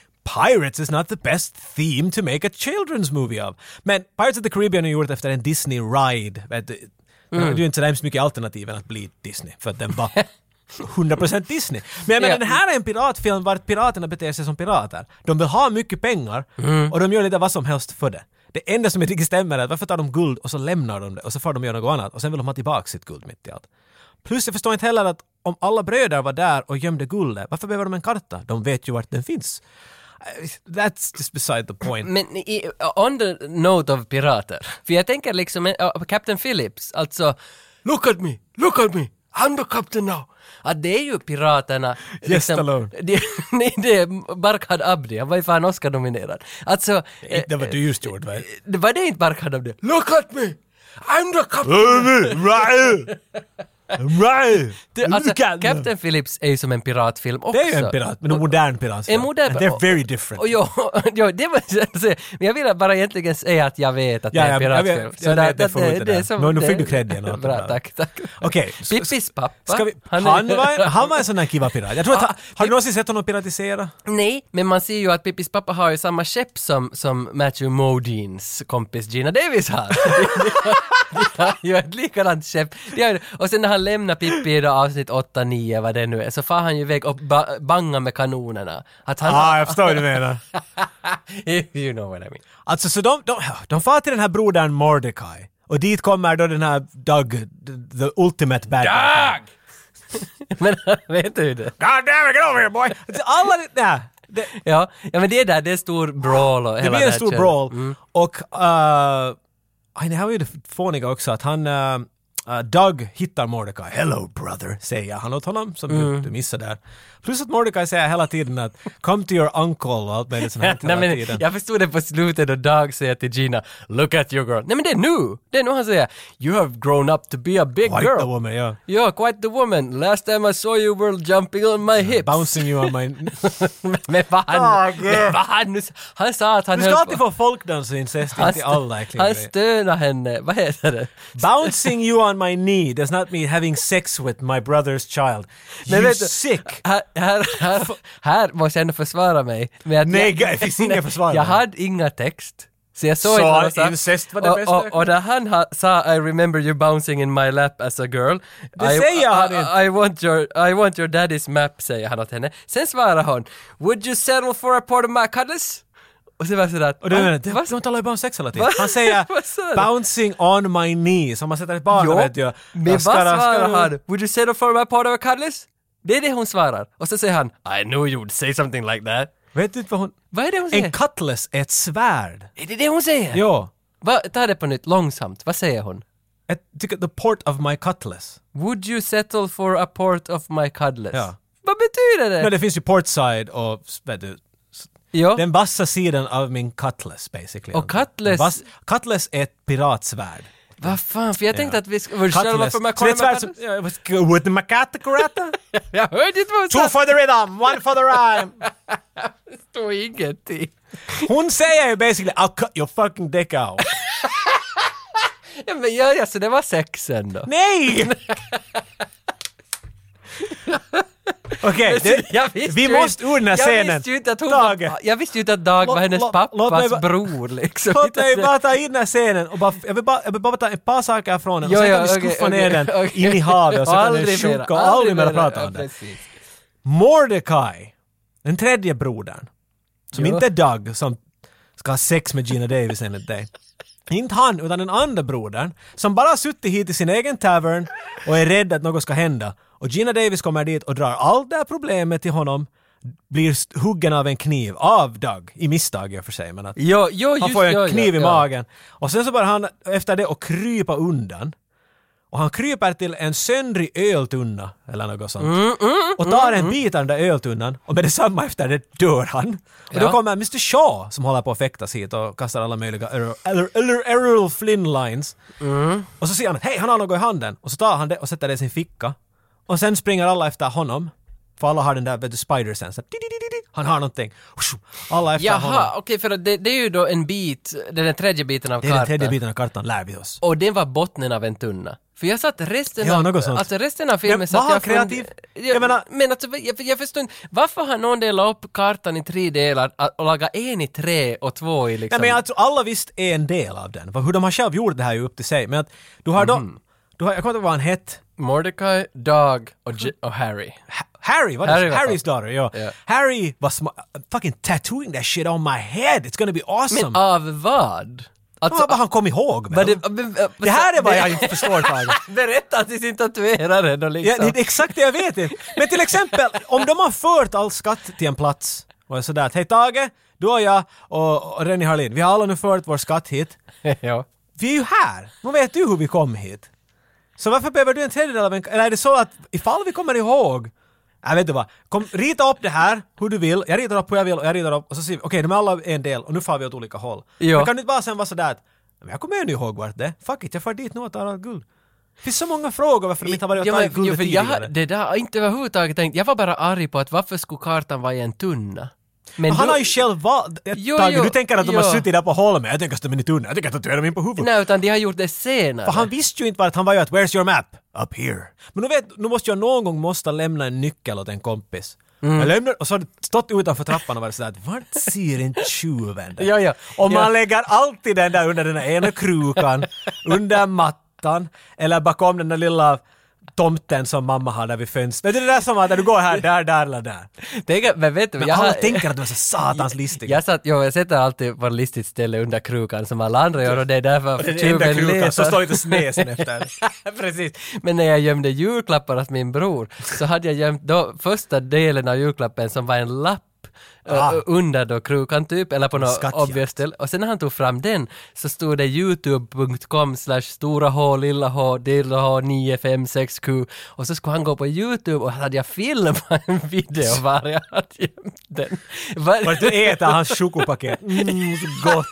Pirates is not the best theme to make a children's movie of. Men Pirates of the Caribbean är gjort efter en Disney-ride. vet du.
Mm.
Det är ju inte så hemskt mycket alternativ än att bli Disney, för att den
[LAUGHS]
var 100% Disney. Men jag menar,
Ja.
den här är en piratfilm vart piraterna beter sig som pirater. De vill ha mycket pengar och de gör lite vad som helst för det. Det enda som jag tycker stämmer är att varför tar de guld och så lämnar de det och så får de göra något annat och sen vill de ha tillbaka sitt guld mitt i allt. Plus jag förstår inte heller att om alla bröder var där och gömde guldet, varför behöver de en karta? De vet ju vart den finns. Eh, That's just beside the point.
Men i, on the note of pirater, för jag tänker liksom eh, Captain Phillips, alltså Look at me, look at me, I'm the captain now. Att det är ju piraterna. liksom.
Stallone.
[LAUGHS] det, nej, det är Barkhad Abdi, han var ju fan Oscar-nominerad. Alltså, eh,
Det var du just gjorde, va?
det var det inte Barkhad Abdi? Look at me, I'm the captain.
eh, Right! Right!
Det- Alltså,
Look at them.
Captain Phillips är ju som en piratfilm också.
Det är ju en pirat, Alltså, men en modern pirat.
En modern...
And They're very
Och, [LAUGHS]
different.
och, ja, ja, det var alltså, Men jag ville bara egentligen säga att jag vet att
Ja,
det är en
ja, jag vet-
piratfilm.
jag vet, jag får ut det där.
som-
Nå, nu
det-
fick du cred igen, Arthur.
[LAUGHS] Bra, tack, tack.
Okej, s-
Pippis pappa.
Ska vi, han,
är- [LAUGHS]
var, han var en sån där kiva pirat. Jag tror att, han- har du någonsin sett honom piratisera?
Nej, men man ser ju att Pippis pappa har ju samma skepp som, som Matthew Modines kompis Gina Davis har. [LAUGHS] De har ju ett likadant skepp. De har ju- Och sen när han lämnar Pippi i då avsnitt 8, 9, vad det nu är, så far han ju iväg och ba- bangar med kanonerna. Att han...
Ah, jag förstår vad du menar.
[LAUGHS] you know what I mean.
[LAUGHS] Alltså, så de, de, de far till den här brodern Mordecai. Och dit kommer då den här Doug, the- the ultimate bad guy.
Men [LAUGHS] vet du det?
God damn it, get over here, boy!
Alltså, Alla, nej, det,
Ja, ja men det där, det är stor brawl och
det Mm.
hela
blir en
här
stor
köret.
brawl. Och, uh, aj, det här var ju det fåniga också att han, eh, eh, Doug hittar Mordecai. Hello brother, säger han åt honom som du, du missade där. Plus att Mordecai säger hela tiden att come to your uncle och allt möjligt [LAUGHS] sånt här
[LAUGHS] Nej,
hela
men
tiden.
jag förstod det på slutet och Doug säger till Gina “Look at you girl”. Nej men det är nu! Det är nu han säger “You have grown up to be a big
White
girl”.
the woman, ja.
Ja, quite the woman. Last time I saw you were jumping on my hips. [LAUGHS]
Bouncing you on my...
men vad han...
[LAUGHS] Ah, gud.
men vad han nu... Han sa att han
Du ska
höll
alltid
på-
få folkdans och incest
Han,
till alla
stö-
äckliga
han
grejer.
stönar henne. Vad heter det?
Bouncing you on my knee does not mean having sex with my brother's child.
Men
you
vet du-
sick!
Här, här, här, här måste jag ändå försvara mig. Med att
Nej,
jag,
det finns inga försvar.
Jag hade inga text. Så jag såg
Så
inte vad han sa.
incest var det
och,
bästa jag
Och, och när han ha, sa I remember you bouncing in my lap as a girl.
Det
I,
säger han
I,
inte.
I, I, want your, I want your daddy's map, säger han åt henne. Sen svarar hon Would you settle for a part of my cuddles? Och så var jag sådär att, "Ah,
Och du menar,
"Va?
de de talar ju bara om sex hela tiden.
Va?
Han säger
Vad sa du?
uh, “bouncing on my knee” som man sätter ett barn,
Jo,
vet du.
men vad
Ska- ska-
svarar han? Would you settle for my part of a cuddles? Det är det hon svarar. Och så säger han I knew you would say something like that.
Vet du inte vad hon...
Vad är det hon säger?
En cutlass är ett svärd.
är det det hon säger?
Jo.
Va, ta det på nytt, långsamt. Vad säger hon?
Ett, tycker, the port of my cutlass.
Would you settle for a port of my cuddles?
Ja.
Vad betyder det?
Men det finns ju portside och... Vet du, s-
ja.
den vassa sidan av min cutlass basically.
Och cutlass-
Vass, cutlass är ett piratsvärd.
Vad fan, för jag tänkte att vi skulle... Would you settle
Cutlass.
for my
Så det är ett svärd
cuddles?
som... ja, vad ska- With my cut, karate?
Jag hörde inte vad hon
[LAUGHS] Two
sa.
for the rhythm, one for the rhyme.
Det stod ingenting.
Hon säger ju basically I'll cut your fucking
[LAUGHS]
dick out.
Ja, men ja, ja, så det var sexen [LAUGHS] då.
Nej! Okej, det-
Jag visste
vi
ju
måste ur den här
jag
scenen.
Visste ju inte att hon
Tage,
var, jag visste ju inte att Dag
Låt-
var hennes
låt-
pappas
låt mig bara-
bror liksom.
låt
[LAUGHS]
mig bara ta in den här scenen och bara, jag, vill bara, jag vill bara ta ett par saker från den och sen kan vi skuffa ner den in i havet och så kan den sjunka och aldrig mer prata om den.
den.
Mordecai, den tredje brodern, som
Jo.
inte är Doug som ska ha sex med Gina Davis enligt dig. Inte han, utan den andra brodern som bara har suttit hit i sin egen tavern och är rädd att något ska hända. Och Gina Davis kommer dit och drar allt det här problemet till honom, blir st- huggen av en kniv, av Doug, i misstag i och för sig. Men att
Jo, jo, just,
han får ju
ja,
en kniv
ja,
i
ja.
magen. Och sen så börjar han efter det att krypa undan. Och han kryper till en söndrig öltunna eller något sånt.
Mm,
och tar en bit av den där öltunnan och med detsamma efter det dör han. Och då
Ja.
kommer Mr Shaw som håller på att fäktas hit och kastar alla möjliga Errol- Errol Errol- Errol Flynn-lines.
Mm.
Och så ser han att hej, han har något i handen. Och så tar han det och sätter det i sin ficka. Och sen springer alla efter honom. För alla har den där vet du, spider-sensen. Han har någonting. Alla efter honom.
Jaha, okej, för att det, det är ju då en bit, den där tredje biten av
Det är den
kartan.
tredje biten av kartan, lär vi oss.
Och den var bottnen av en tunna. För jag satt resten
Ja,
av,
något sånt.
alltså resten av filmen
Men
satt
var han
jag fund-
kreativ?
Jag,
Jag menar-
men alltså, jag, jag förstår inte, varför har någon delat upp kartan i tre delar att- och lagat en i tre och två i liksom...
Nej, men jag tror alla visst är en del av den. För Hur de har själv gjort det här är ju upp till sig. Men att du har då, du har, jag kommer inte ihåg vad han hette,
Mordecai, Doug och, J- och Harry.
Ha- Harry, vad
Harry
Harry
var
Harry's
fast.
daughter, ja.
Ja.
Harry var sma- fucking tattooing that shit on my head, it's gonna be awesome.
Men av vad?
det var
Alltså,
vad han kom ihåg med.
var
Det,
det, men, äh,
[LAUGHS] det här är vad
det-
jag inte förstår Tage.
[LAUGHS] Berätta till sin tatuerare då
Ja,
liksom.
det är exakt det jag vet inte. Men till exempel, om de har fört all skatt till en plats och är sådär att hej Tage, du och jag och, och Rennie Harlin, vi har alla nu fört vår skatt hit.
[LAUGHS] ja.
vi är ju här! Nu vet du hur vi kom hit. Så varför behöver du en tredjedel av en... Eller är det så att ifall vi kommer ihåg... Jag vet inte vad. Kom, rita upp det här hur du vill. Jag ritar upp hur jag vill och jag ritar upp och så ser vi, okej de är alla en del och nu far vi åt olika håll.
Ja.
Men kan du inte bara sen vara sådär att, men jag kommer ju nu ihåg vart det är. Fuck it, jag far dit nu och tar allt guld. Det finns så många frågor varför de inte har varit och
Ja, men-
tagit guldet
för jag,
tidigare.
Det där har inte överhuvudtaget tänkt. Jag var bara arg på att varför skulle kartan vara i en tunna? Men
Men han
då-
har ju själv valt...
Jo,
Tage,
jo,
du tänker att de har
jo.
suttit där på holmen. Jag tänker att de är i tunnan. Jag tänker att de tatuerar dem in på huvudet.
Nej, utan de har gjort det senare.
För han visste ju inte vart han var ju att “Where's your map?” “Up here”. Men nu vet, nu måste jag någon gång måste lämna en nyckel åt en kompis.
Mm.
Jag lämnar, och så har du stått utanför trappan och varit sådär att “Vart ser inte tjuven den?”
Ja, ja.
Och man
Ja.
lägger alltid den där under den där ena
[LAUGHS]
krukan, under mattan, eller bakom den där lilla tomten som mamma har där vid fönstret. Vet du det där som att när du går här, där, där eller där.
Tänk, att- men vet du,
Men
jag,
alla
har-
tänker att de är så satans listiga.
jag satt, jo, jag sätter alltid på listigt ställe under krukan som alla andra gör och det är därför
Och den enda
letar.
krukan, så står lite snesen efter.
[LAUGHS] Precis. Men när jag gömde julklappar åt min bror så hade jag gömt då första delen av julklappen som var en lapp ö, ö, under då krukan typ, eller på något
Ah. Skattjakt.
obvious ställe. Och sen när han tog fram den så stod det youtube.com slash stora H, lilla H, lilla H, 9567 och så skulle han gå på youtube och hade jag filmat en video var jag hade gömt den. Var-
Vart du äter hans chokopaket. Mm, så gott!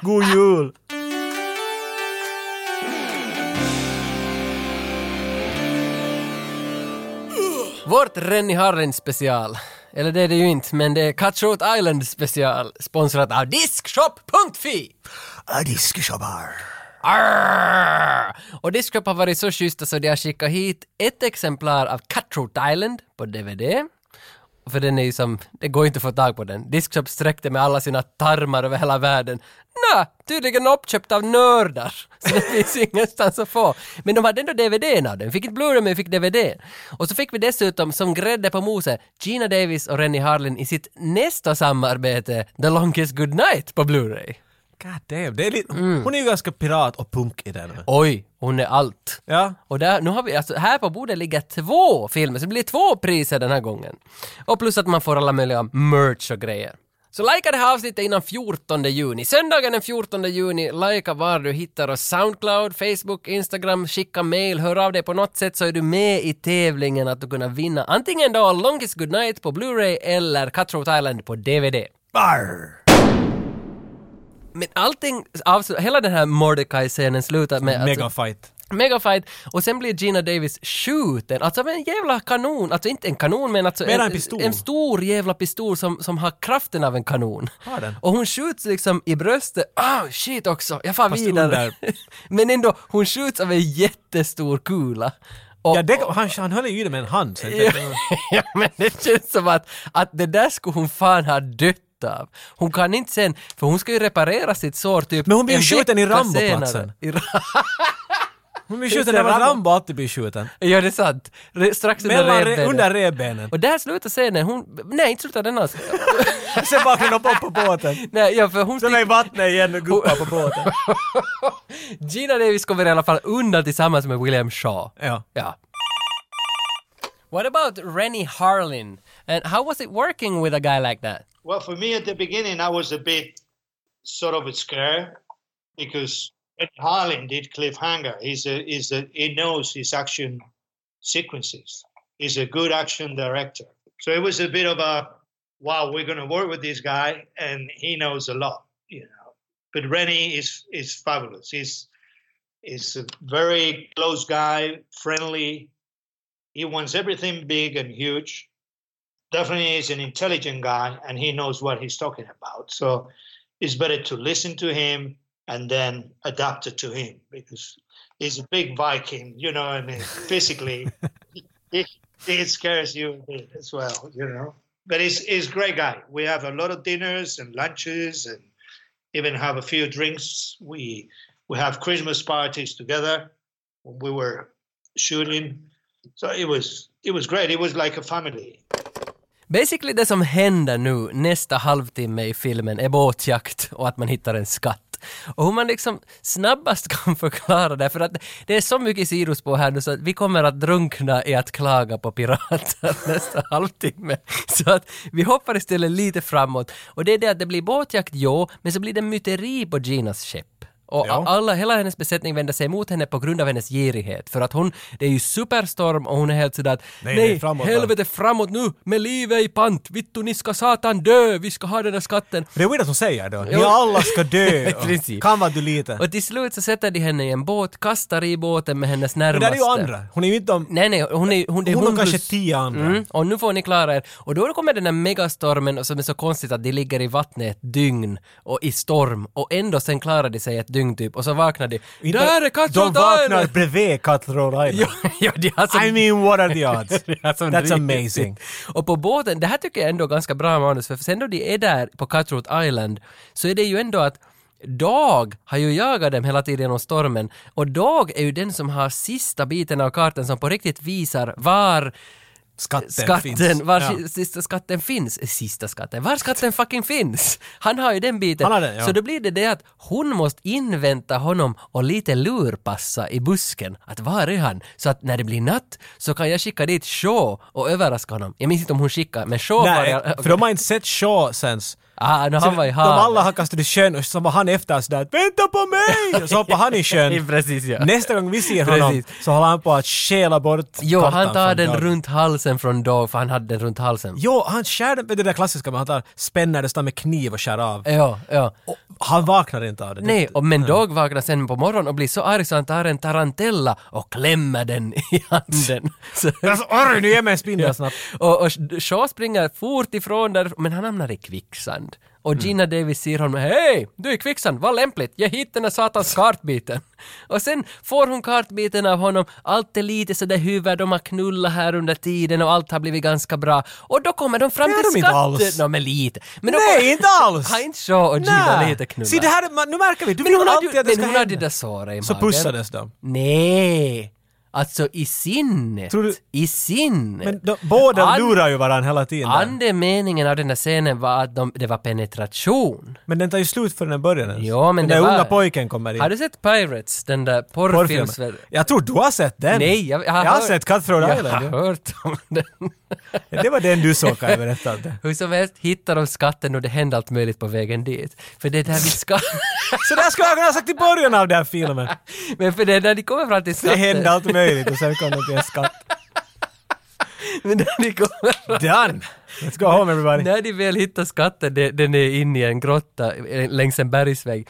God jul!
Vårt Rennie Harren special. Eller det är det ju inte, men det är Cutthroat Island special sponsrat av Diskshop.fi!
Adiskishabar.
Arr! Och Discshop har varit så schyssta så de har skickat hit ett exemplar av Cutthroat Island på DVD. För den är ju som, det går inte att få tag på den. Discshop sträckte med alla sina tarmar över hela världen. Nä, tydligen uppköpt av nördar. Så det finns [LAUGHS] ingenstans att få. Men de hade ändå DVDn av den. Fick inte Blu-ray men vi fick DVD. Och så fick vi dessutom som grädde på moset Gina Davis och Rennie Harlin i sitt nästa samarbete The Longest Goodnight på Blu-ray.
God damn, det är lite, hon är ju ganska pirat och punk i den.
Oj, hon är allt.
Ja.
Och där, nu har vi, alltså, här på bordet ligger två filmer, så det blir två priser den här gången. Och plus att man får alla möjliga merch och grejer. Så likea det här avsnittet innan 14 juni. Söndagen den 14 juni, likea var du hittar oss. Soundcloud, Facebook, Instagram, skicka mail, hör av dig på något sätt så är du med i tävlingen att du kunna vinna antingen då Longest Goodnight på Blu-ray eller Cutthroat Island på DVD.
Arr.
Men allting, avslu- hela den här Mordecai-scenen slutar med... alltså-
Megafight.
Megafight och sen blir Gina Davis skjuten, alltså med en jävla kanon, alltså inte en kanon men alltså
Mera en pistol.
en stor jävla pistol som, som har kraften av en kanon.
Har den?
Och hon skjuts liksom i bröstet, ah shit också, jag far
Fast
vidare.
under.
[LAUGHS] men ändå, hon skjuts av en jättestor kula. Och,
Ja, det, han, han höll ju i det med en hand. Så jag
Ja,
tänkte,
ja, [LAUGHS] men det känns som att, att det där skulle hon fan ha dött av. Hon kan inte sen, för hon ska ju reparera sitt sår typ
Men hon blir
en
ju skjuten i
vecka
Rambo-platsen.
senare. [LAUGHS] I Ra-
Hon blir
Just det,
skjuten när
Rambo.
Rambo alltid blir skjuten.
Ja, det är sant. Re- strax under
Mellan, re,
revbenen.
under revbenen.
Och där slutar scenen, hon... Nej, inte slutar den alls.
Sen vaknar de upp på båten.
Nej, ja, för hon...
Sen är i vattnet igen och guppar
[LAUGHS]
på båten.
Gina Davis kommer i alla fall undan tillsammans med William Shaw.
Ja.
Ja. What about Rennie Harlin? And how was it working with a guy like that?
Well, for me at the beginning, I was a bit sort of scared because Ed Harlan did cliffhanger. He's a, he's a, he knows his action sequences. He's a good action director. So it was a bit of a wow, we're going to work with this guy, and he knows a lot, you know. But Rennie is is fabulous. He's he's a very close guy, friendly. He wants everything big and huge definitely is an intelligent guy and he knows what he's talking about. So it's better to listen to him and then adapt it to him because he's a big Viking, you know what I mean? Physically, he, he scares you a bit as well, you know? But he's, he's a great guy. We have a lot of dinners and lunches and even have a few drinks. We, we have Christmas parties together when we were shooting. So it was it was great. It was like a family.
Basically det som händer nu nästa halvtimme i filmen är båtjakt och att man hittar en skatt. Och hur man liksom snabbast [LAUGHS] kan förklara det, för att det är så mycket sidospår här nu så att vi kommer att drunkna i att klaga på pirater [LAUGHS] nästa halvtimme. Så att vi hoppar istället lite framåt. Och det är det att det blir båtjakt, ja, men så blir det myteri på Ginas skepp. Och
Ja.
alla, hela hennes besättning vänder sig emot henne på grund av hennes girighet. För att hon, det är ju superstorm och hon är helt sådär att
Nej,
nej,
nej, framåt,
helvete framåt nu med livet i pant, vittu ni ska satan dö, vi ska ha den här skatten.
Det är weird att hon säger då. Ni
Jo.
alla ska
[LAUGHS]
dö.
I princip.
Kan vara du lite.
Och till slut så sätter de henne i en båt, kastar i båten med hennes
Det
närmaste.
där är ju andra. Hon är ju inte de...
Nej, nej, hon är, hon, det är
Hon har kanske
plus-
tio andra.
Mm, och nu får ni klara er. Och då kommer den här megastormen och som är så konstigt att de ligger i vattnet ett dygn och i storm och ändå sen klarar de sig ett dygn typ och så vaknar de.
Inte-
Där är
De vaknar
Katrodalen!
bredvid Cutthroat
Ja,
Island.
[LAUGHS] ja, de har som
I mean, what are
[LAUGHS]
the odds?
Alltså,
That's
riktigt.
amazing.
Och på båten, det här tycker jag ändå är ganska bra manus, för sen då de är där på Cutthroat Island så är det ju ändå att Dag har ju jagat dem hela tiden genom stormen och Dag är ju den som har sista biten av kartan som på riktigt visar var
Skatten,
skatten,
finns.
var
Ja.
sista skatten finns, Eh, sista skatten, var skatten fucking finns. [LAUGHS] Han har ju den biten.
Han har den, ja.
Så då blir det det att hon måste invänta honom och lite lurpassa i busken att var är han? Så att när det blir natt så kan jag skicka dit Shaw och överraska honom. Jag minns inte om hon skickade, men Shaw var
Nej,
det.
för de har inte sett Shaw sen.
Ah, no, han var i
de
havet.
alla har kastat i sjön och så var han efter sådär att “vänta på mig!” och så hoppar han i
[LAUGHS]
sjön.
Precis, ja.
Nästa gång vi ser honom
Precis.
så håller han på att stjäla bort
Jo,
kartan
han tar
från
den
Doug.
runt halsen från Dog, för han hade den runt halsen.
Jo, han skär den, det där klassiska, men han tar spänner det står med kniv och skär av.
Ja, ja.
Och han vaknar inte av det.
Eh. Nej, och men Dog vaknar sen på morgonen och blir så arg så han tar en tarantella och klämmer den
[LAUGHS]
i handen. Så,
Jag är så arg, Alltså, nu ger mig en spindel snabbt.
och, och Shaw springer fort ifrån där, men han hamnar i kvicksand. Och
Mm.
Gina Davis ser honom, hej, du är i kvicksand, vad lämpligt, jag hittade den där satans kartbiten. [LAUGHS] Och sen får hon kartbiten av honom, allt är lite sådär huvud, de har knullat här under tiden och allt har blivit ganska bra. Och då kommer de fram
Det har
till
de inte
skatten.
alls.
No, men lite. Men då kommer-
Nej, inte alls!
Har inte Shaw och Gina
Nej.
lite knullat?
Se det här, man, nu märker vi, du
Men
vill
hon hade
alltid
ju
att det
men
ska
hon hade det
hända.
där såret i
Så
magen.
pussades de.
Nej! Alltså i sinnet.
Tror du-
I sinnet.
Men de, båda
And-
lurar ju varandra hela tiden. där.
Andemeningen av den där scenen var att de, det var penetration.
Men den tar ju slut förrän den börjar ens.
Ja, men
den
det
där
var-
unga pojken kommer in.
Har du sett Pirates, den där
Porrfilmen.
porrfilms...
Jag tror du har sett den.
Nej, jag, har,
Jag har
hört-
sett Cutthroat
jag
Island,
Jag
ja.
har hört om den.
[LAUGHS] Det var den du såg, kan jag berätta.
[LAUGHS]
om det.
Hur som helst hittar de skatten och det händer allt möjligt på vägen dit. För det är där vi
[LAUGHS]
ska...
Så där skulle jag kunna ha sagt i början av den här filmen.
Men för det är när de kommer fram till
Det
skatten...
hände allt möjligt och sen kom det till en skatt.
Men när de kommer fram
Done! Let's go home everybody.
När de väl hittar skatten, de- den är inne i en grotta eh, längs en bergsväg.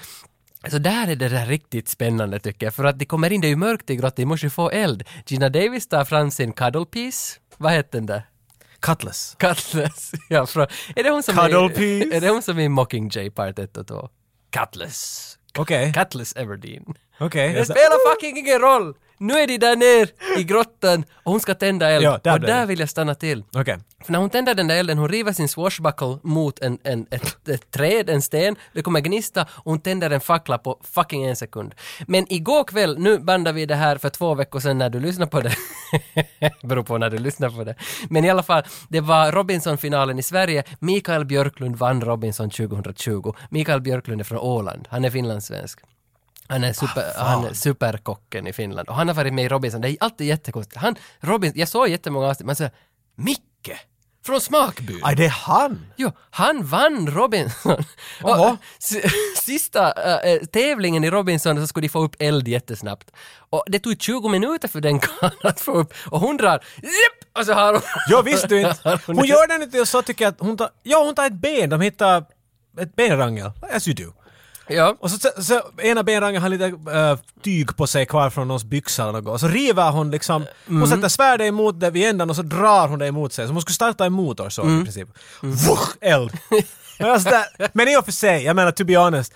Så där är det där riktigt spännande tycker jag, för att de kommer in, det är ju mörkt i grottan, de måste ju få eld. Gina Davis tar fram sin cuddle piece, vad heter den där?
Cutlass.
Cutlass. [LAUGHS] Ja, från, är det hon som
Cuddle
är, [LAUGHS]
piece.
Är det hon som är i Mockingjay part 1 och 2? Cutlass.
Okej.
Cutlass Everdeen.
Okej.
Det spelar fucking ingen roll! Nu är de där ner i grottan och hon ska tända eld.
Ja, där
och
blev
där
det.
vill jag stanna till.
Okej.
För när hon tänder den där elden, hon river sin swashbuckle mot en, en, ett, ett träd, en sten, det kommer gnista och hon tänder en fackla på fucking en sekund. Men igår kväll, nu bandar vi det här för två veckor sedan när du lyssnar på det. [LAUGHS] Beror på när du lyssnar på det. Men i alla fall, det var Robinson-finalen i Sverige. Mikael Björklund vann Robinson 2020. Mikael Björklund är från Åland, han är finlandssvensk. Han är,
Ah,
super, han är superkocken i Finland och han har varit med i Robinson. Det är alltid jättekonstigt. Han, Robinson, jag såg jättemånga avsnitt, men så Micke! Från Smakbyn!
Aj, det är han!
Jo, han vann Robinson. Och,
Jaha.
äh, s- [LAUGHS] sista äh, äh, tävlingen i Robinson så skulle de få upp eld jättesnabbt. Och det tog 20 minuter för den karln att få upp och hon drar Jipp! och så har hon...
Jag visste inte. Hon gör den inte och så tycker jag att hon tar... Ja, hon tar ett ben. De hittar ett benrangel. As you do.
Ja.
Och så, så, så ena benrangen har lite äh, tyg på sig kvar från någons byxa eller något. Och så river hon liksom, hon
Mm.
sätter svärdet emot det vid ändan och så drar hon det emot sig. Som hon skulle starta en motorsåg
Mm.
i princip. Vuch, eld! men, alltså där, men i och för sig, jag menar to be honest,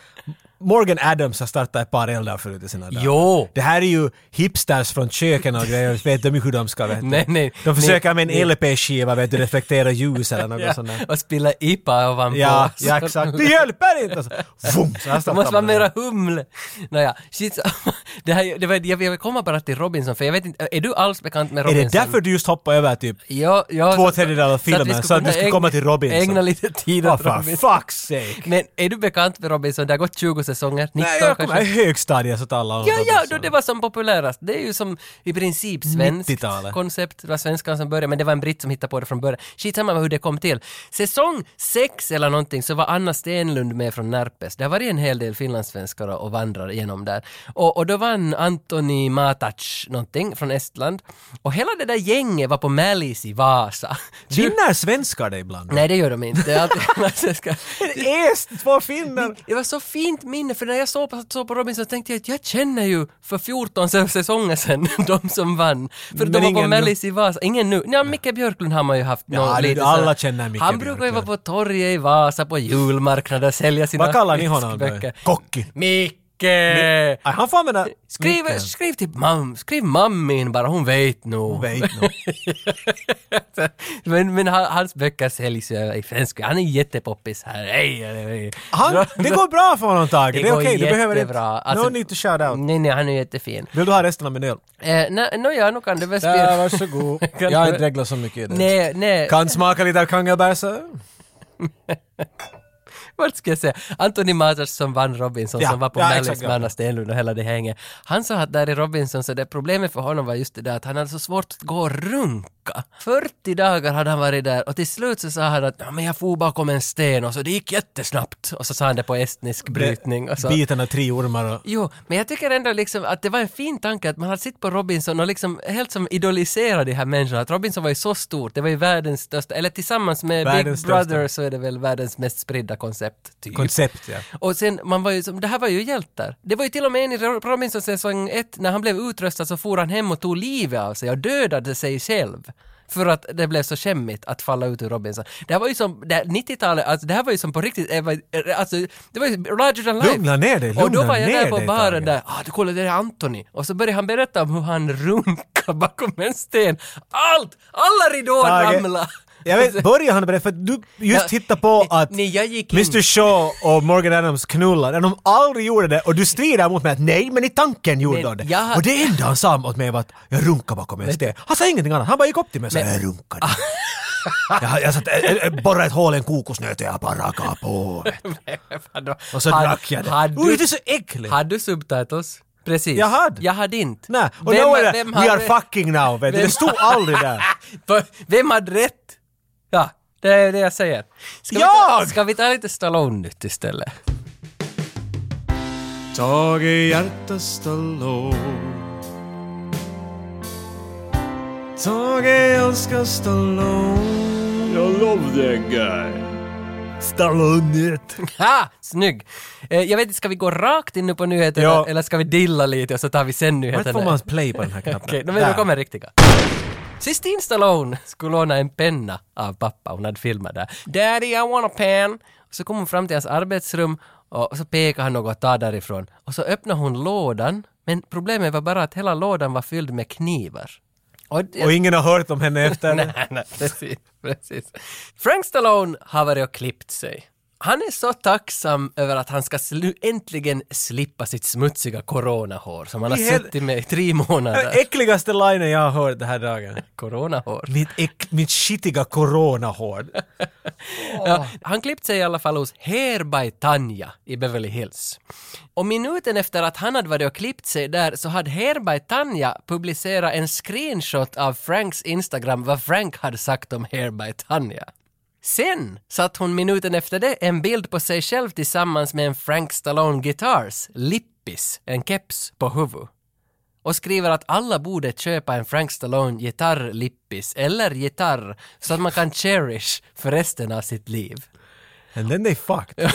Morgan Adams har startat ett par eldar förut i sina dagar.
Jo.
Det här är ju hipsters från köken och grejer, vet de ju hur de ska vet du.
Nej, nej.
De försöker med
Nej,
en LP-skiva vet du, reflektera ljus eller något sånt där.
och spilla IPA ovanpå. [LAUGHS]
Ja, ja exakt. Det hjälper inte! Alltså. Vum, så här
Det
startar
måste vara
man den.
mera humle. Nåja, shit. [LAUGHS] Det här, det var, jag vill komma bara till Robinson, för jag vet inte, är du alls bekant med
Är
Robinson?
det därför du just hoppar över typ
Ja, ja,
Två
så-
tredjedelar av
så att vi
filmen, så att
kunna
vi skulle
ägna-
komma till Robinson.
Ägna lite tid
Oh,
åt
for
Robinson.
fuck's sake!
Men är du bekant med Robinson? Det har gått 20 säsonger, 19
Nej, jag kommer i
kanske?
högstadiet så talade
Ja, ja, då det var som populärast. Det är ju som i princip svenskt
90-talet.
koncept. Det var svenskan som började, men det var en britt som hittade på det från början. Skitsamma hur det kom till. Säsong 6 eller någonting så var Anna Stenlund med från Närpes. Det har varit en hel del finlandssvenskar och och vandrar igenom där. Och, och då vann Antoni Matac någonting från Estland. Och hela det där gänget var på Mallis i Vasa.
Vinner svenskar det ibland?
Nej, det gör de inte. Det är alltid [LAUGHS] finlandssvenskar.
Est, två finnar!
Det var så fint minne, för när jag såg på, såg på Robinson tänkte jag att jag känner ju för 14 sä- säsonger sedan [LAUGHS] de som vann. För
Men
de var på
ingen
Mellis i Vasa. Ingen nu. Nej, Micke Björklund har man ju haft
Ja,
någon
det-
lite
alla
sådär.
känner Micke
Han brukar ju vara
Björklund.
på torget i Vasa på julmarknader och sälja sina
Vad kallar ni honom?
fiskböcker.
Kocki?
Micke! Micke!
Aj, han får använda...
Skriv,
micken.
skriv till mam, skriv mammin bara, hon vet nog.
Hon vet nog.
[LAUGHS] men men han- hans böcker säljs ju i svenska, han är jättepoppis här. Hej, hej, hej.
Han, det går bra för honom Tage, det, är
går
okej, du behöver inte...
jättebra. Alltså-
no need to shout out.
Nej, nej, han är jättefin.
Vill du ha resten av min öl?
Eh, Nåja, no, ja, nu kan du väl spela.
[LAUGHS] varsågod.
Jag har inte
reglat så mycket i det.
Nej, nej.
Kan smaka lite av kangelbärsöl?
Vad ska jag säga? Anthony Mathers som vann Robinson,
Ja,
som var på
ja,
ja, Merlins
exakt, ja.
Manna Stenlund och hela det hänget. Han sa att där i Robinson, så det problemet för honom var just det där att han hade så svårt att gå och runka. 40 dagar hade han varit där och till slut så sa han att ja, men jag for bakom en sten och så det gick jättesnabbt. Och så sa han det på estnisk brytning. Och så.
Biten av tre ormar och...
Jo, men jag tycker ändå liksom att det var en fin tanke att man hade sett på Robinson och liksom helt som idoliserat de här människorna. Att Robinson var ju så stort, det var ju världens största, eller tillsammans med
Världens
Big Brother
största.
så är det väl världens mest spridda koncept. Typ.
Koncept ja.
Och sen, man var ju som, det här var ju hjältar. Det var ju till och med en i Ro- Robinson säsong ett, när han blev utröstad så for han hem och tog livet av sig och dödade sig själv. För att det blev så skämmigt att falla ut ur Robinson. Det här var ju som, det här 90-talet, alltså det här var ju som på riktigt, eh, vad- eh, alltså det var ju larger than life.
Lugna ner dig,
Och då
lugna
var jag
ner
där på
dig,
baren
Tage.
där, ah du kolla det är Anthony. Och så började han berätta om hur han runkade bakom en sten. Allt! Alla ridåer
Tage,
ramlade. [LAUGHS]
Jag vet, börjar han berätta, för att du just
Ja,
hittade på
nej,
att
nej, jag gick in. [LAUGHS]
Mr Shaw och Morgan Adams knullade, de aldrig gjorde det och du strider mot mig att nej men i tanken gjorde
Men
de det.
jag-
Och det enda han sa åt mig var att jag runkar bakom en sten. Han sa ingenting annat, han bara gick upp till mig och sa jag runkade.
Ah.
jag, jag satt, jag, jag borrade ett hål i en kokosnöt och jag bara rakade på. vet du.
Vadå?
Och så
Hade-
drack jag det.
hade
Oj,
du-
det är så äckligt!
Hade du subtitles? Precis.
Jag hade.
Jag hade inte.
Nej, och
Vem-
då är det
vem
“We are
hade-
fucking now”, vet du.
Vem-
Det stod aldrig där.
Va- Vem hade rätt? Ja, det är det jag säger. Ska, Vi,
Jag!
ta, ska vi ta lite Stallone nytt istället? [LAUGHS]
Tage Hjärta Stallone Tage älskar Stallone Jag love that guy
Stallonet.
Ha! Snygg! Eh, jag vet inte, ska vi gå rakt in nu på nyheterna
Ja.
eller ska vi dilla lite och så tar vi sen nyheterna?
Vart får man play på den här knappen?
[LAUGHS] Okej, okay,
Där.
men då kommer riktiga. Sistine Stallone skulle låna en penna av pappa, hon hade filmat där. Daddy I want a pen! Så kom hon fram till hans arbetsrum och så pekade han något, ta därifrån. Och så öppnade hon lådan, men problemet var bara att hela lådan var fylld med knivar. Och det-
Och ingen har hört om henne efter det.
[LAUGHS] nej, nej, precis, precis. Frank Stallone har varit och klippt sig. Han är så tacksam över att han ska slu- äntligen slippa sitt smutsiga coronahår som han har
I hel-
suttit med i tre
Den
månader.
äckligaste linen jag har hört den här dagen.
Coronahår.
Mitt, äck, mitt skitiga coronahår.
Ja, han klippte sig i alla fall hos Hair by Tanja i Beverly Hills. Och minuten efter att han hade varit och klippt sig där så hade Hair by Tanja publicerat en screenshot av Franks Instagram vad Frank hade sagt om Hair by Tanja. Sen satt hon minuten efter det en bild på sig själv tillsammans med en Frank Stallone Guitars, lippis, en keps på huvudet och skriver att alla borde köpa en Frank Stallone gitarrlippis eller gitarr så att man kan cherish för resten av sitt liv.
And then
[LAUGHS]
they fucked.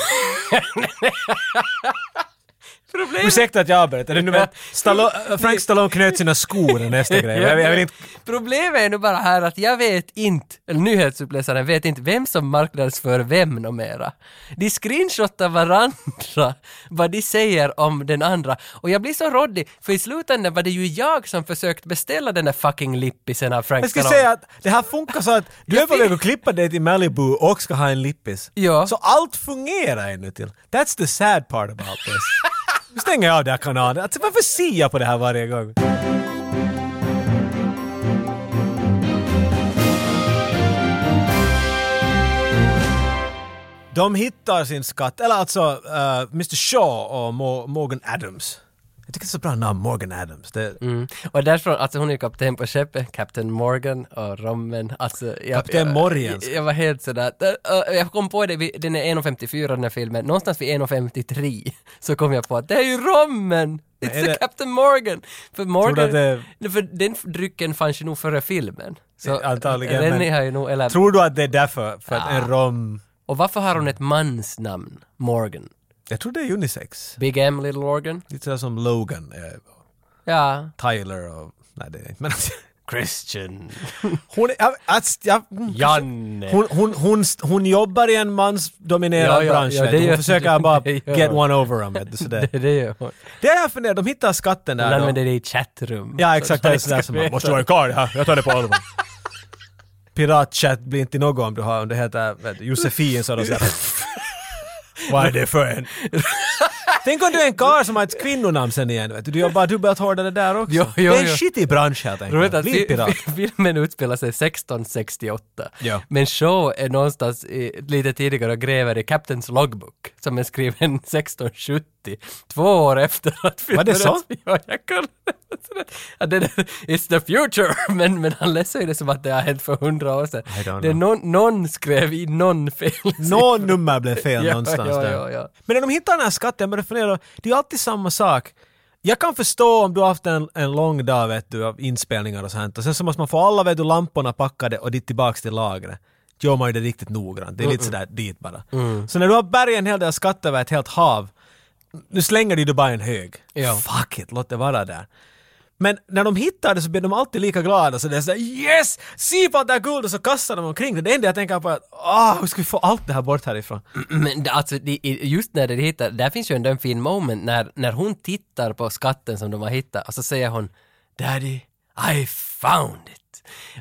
Ursäkta att jag avbryter. Nu vet, Stallone, Frank Stallone knöt sina skor är nästa
[LAUGHS]
grej. Jag, vill- jag vill inte...
Problemet är nu bara här att jag vet inte, eller nyhetsuppläsaren vet inte vem som marknadsför vem numera. De screenshotar varandra [LAUGHS] vad de säger om den andra. Och jag blir så råddig, för i slutändan var det ju jag som försökt beställa den där fucking lippisen av Frank
Jag ska
Stallone.
säga att det här funkar så att du är på väg att klippa dig till Malibu och ska ha en lippis.
Ja.
Så allt fungerar ännu till. That's the sad part about this. Nu stänger jag av den här kanalen. Alltså, varför ser jag på det här varje gång? De hittar sin skatt, eller alltså eh, Mr Shaw och Mo- Morgan Adams. Jag tycker det är så bra namn, Morgan Adams. Det,
Mm. Och därifrån, alltså hon är ju kapten på skeppet, Captain Morgan och rommen, alltså... Jag,
Kapten
jag-
Morgan.
Jag, jag var helt sådär, äh, äh, jag kom på det, vid- den är 1.54 den här filmen, någonstans vid 1.53 [LAUGHS] så kom jag på att det är ju rommen! It's
är
the
det-
Captain Morgan! För
du
Morgan,
att det-
Nej, för den drycken fanns ju nog före filmen. Så
Antagligen,
Rennie
men-
har ju nog, eller...
Tror du att det är därför? För att en rom...
Och varför har hon ett mansnamn? Morgan?
Jag tror det är unisex.
Big M, Little Organ?
Lite sådär som Logan, eh,
Ja.
Tyler och... Nej, det är inte. Men alltså,
Christian.
Hon, är- jag, alltså, jag, mm,
[LAUGHS] Janne.
Hon, hon, hon, st- hon jobbar i en mansdominerad
Ja, ja,
bransch.
ja,
vet
det
du. hon
gör-
försöker
[LAUGHS]
bara
det gör
get
hon.
one over on vet du,
[LAUGHS]
sådär.
[LAUGHS] det, det gör hon.
Det har jag funderat, de hittar skatten
Hon
där. då.
använder det i chattrum.
Ja, exakt. Det är sådär som man måste vara karl här. Jag tar det på [LAUGHS] allvar. Piratchatt blir inte något om du har, om det heter vet du, Josefin så är det sådär. [LAUGHS] Vad är det för en? Tänk om du är en karl som har ett kvinnonamn sen igen. Vet du. du jobbar dubbelt hårdare där också.
Jo, jo,
det är en
jo.
skitig bransch helt
Roligt
enkelt.
att
Bli
fi-
[LAUGHS] pirat.
fi- filmen utspelar sig 1668.
Ja.
Men Shaw är någonstans i, lite tidigare och gräver i Captains Logbook som är skriven 1670. Två år efter att
Var det så?
Ja, jag kollade. Ja, det där, It's the future! [LAUGHS] Men, men han läser ju det som att det har hänt för hundra år sedan.
I don't
Det är någon, någon skrev i någon fel
Något nummer blev
[LAUGHS]
fel
Ja,
någonstans
ja,
där.
ja, ja.
Men när de hittar den här skatten, jag börjar fundera, det är ju alltid samma sak. Jag kan förstå om du har haft en, en lång dag vet du, av inspelningar och sånt och sen så måste man få alla vet du, lamporna packade och dit tillbaks till lagret. Då Gör man ju det riktigt noggrant, det är lite sådär dit bara. Så när du har bergat en hel del skatter över ett helt hav, nu slänger du det bara i en hög.
Ja.
Fuck it, låt det vara där. Men när de hittar det så blir de alltid lika glada så det är sådär yes! Se på det här guldet! Så kastar de omkring det. Det enda jag tänker på är att ah, hur ska vi få allt det här bort härifrån?
Men det- alltså, det- just när de hittar, där finns ju ändå en fin moment när, när hon tittar på skatten som de har hittat och så säger hon Daddy, I found it.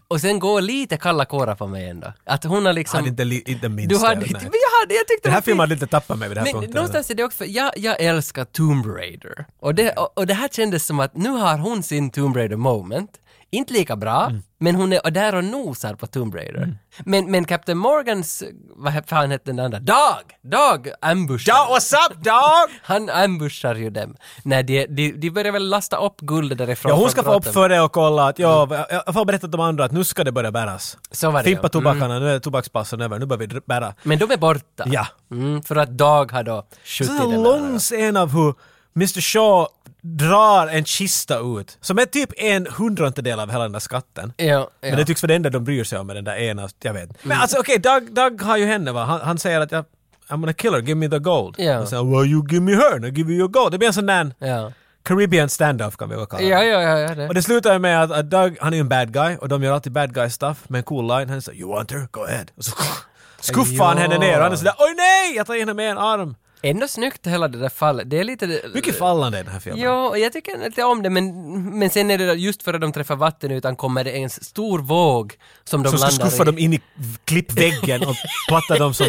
Och sen går lite kalla kårar på mig ändå. Att hon har
Jag
liksom...
hade inte, li- inte minst
du hade,
det,
inte,
nej.
men jag hade, [LAUGHS] jag tyckte
Den här
var fint.
filmen hade lite tappat mig vid den här
Men
punkten.
någonstans är det också, jag, jag älskar Tomb Raider. Och det, och, och det här kändes som att nu har hon sin Tomb Raider moment. Inte lika bra,
Mm.
men hon är där och nosar på Tomb Raider. Men, men Captain Morgans, vad fan hette den andra? Dag! Dag ambushar.
Ja, what's up dog?
Han ambushar ju dem. Nej, de, de, de börjar väl lasta upp guldet därifrån.
Ja, hon
från
ska få upp
grotten.
för det och kolla att ja, jag- jag får berätta till de andra att nu ska det börja bäras.
Så var det Mm.
Fimpa
ja.
tobakarna, nu är tobakspassen över, nu börjar vi dr- bära.
Men de är borta.
Ja.
Mm, för att Dag har då
Så
skjutit
här
den
lång
där.
scen av hur Mr Shaw drar en kista ut, som är typ en hundrantedel av hela den där skatten.
Ja, ja. Mm.
Men det typ- tycks vara det enda de bryr sig om med den där ena, jag vet. Men alltså okej, Doug, Doug har ju henne va, han, han säger att jag, I'm gonna kill her, give me the gold.
Ja.
Och sen, well you give me her, now give you your gold. Det blir en sån där
ja.
Caribbean standoff kan vi väl kalla det.
Ja, ja, ja, ja, det.
Och det slutar ju med att, att Doug, han är ju en bad guy och de gör alltid bad guy stuff med en cool line. Han säger “You want her? Go ahead”. Och så [LAUGHS] skuffar han
Ja.
henne ner och han är sådär “Oj nej! Jag tar in henne med en arm”.
Ändå snyggt hela det där fallet. Det är lite...
Mycket fallande i den här filmen.
Ja, och jag tycker inte om det, men, men sen är det där, just före de träffar vattenytan kommer det en stor våg som de
som ska
landar
skuffa
i.
dem in i klippväggen och platta
[LAUGHS]
dem som...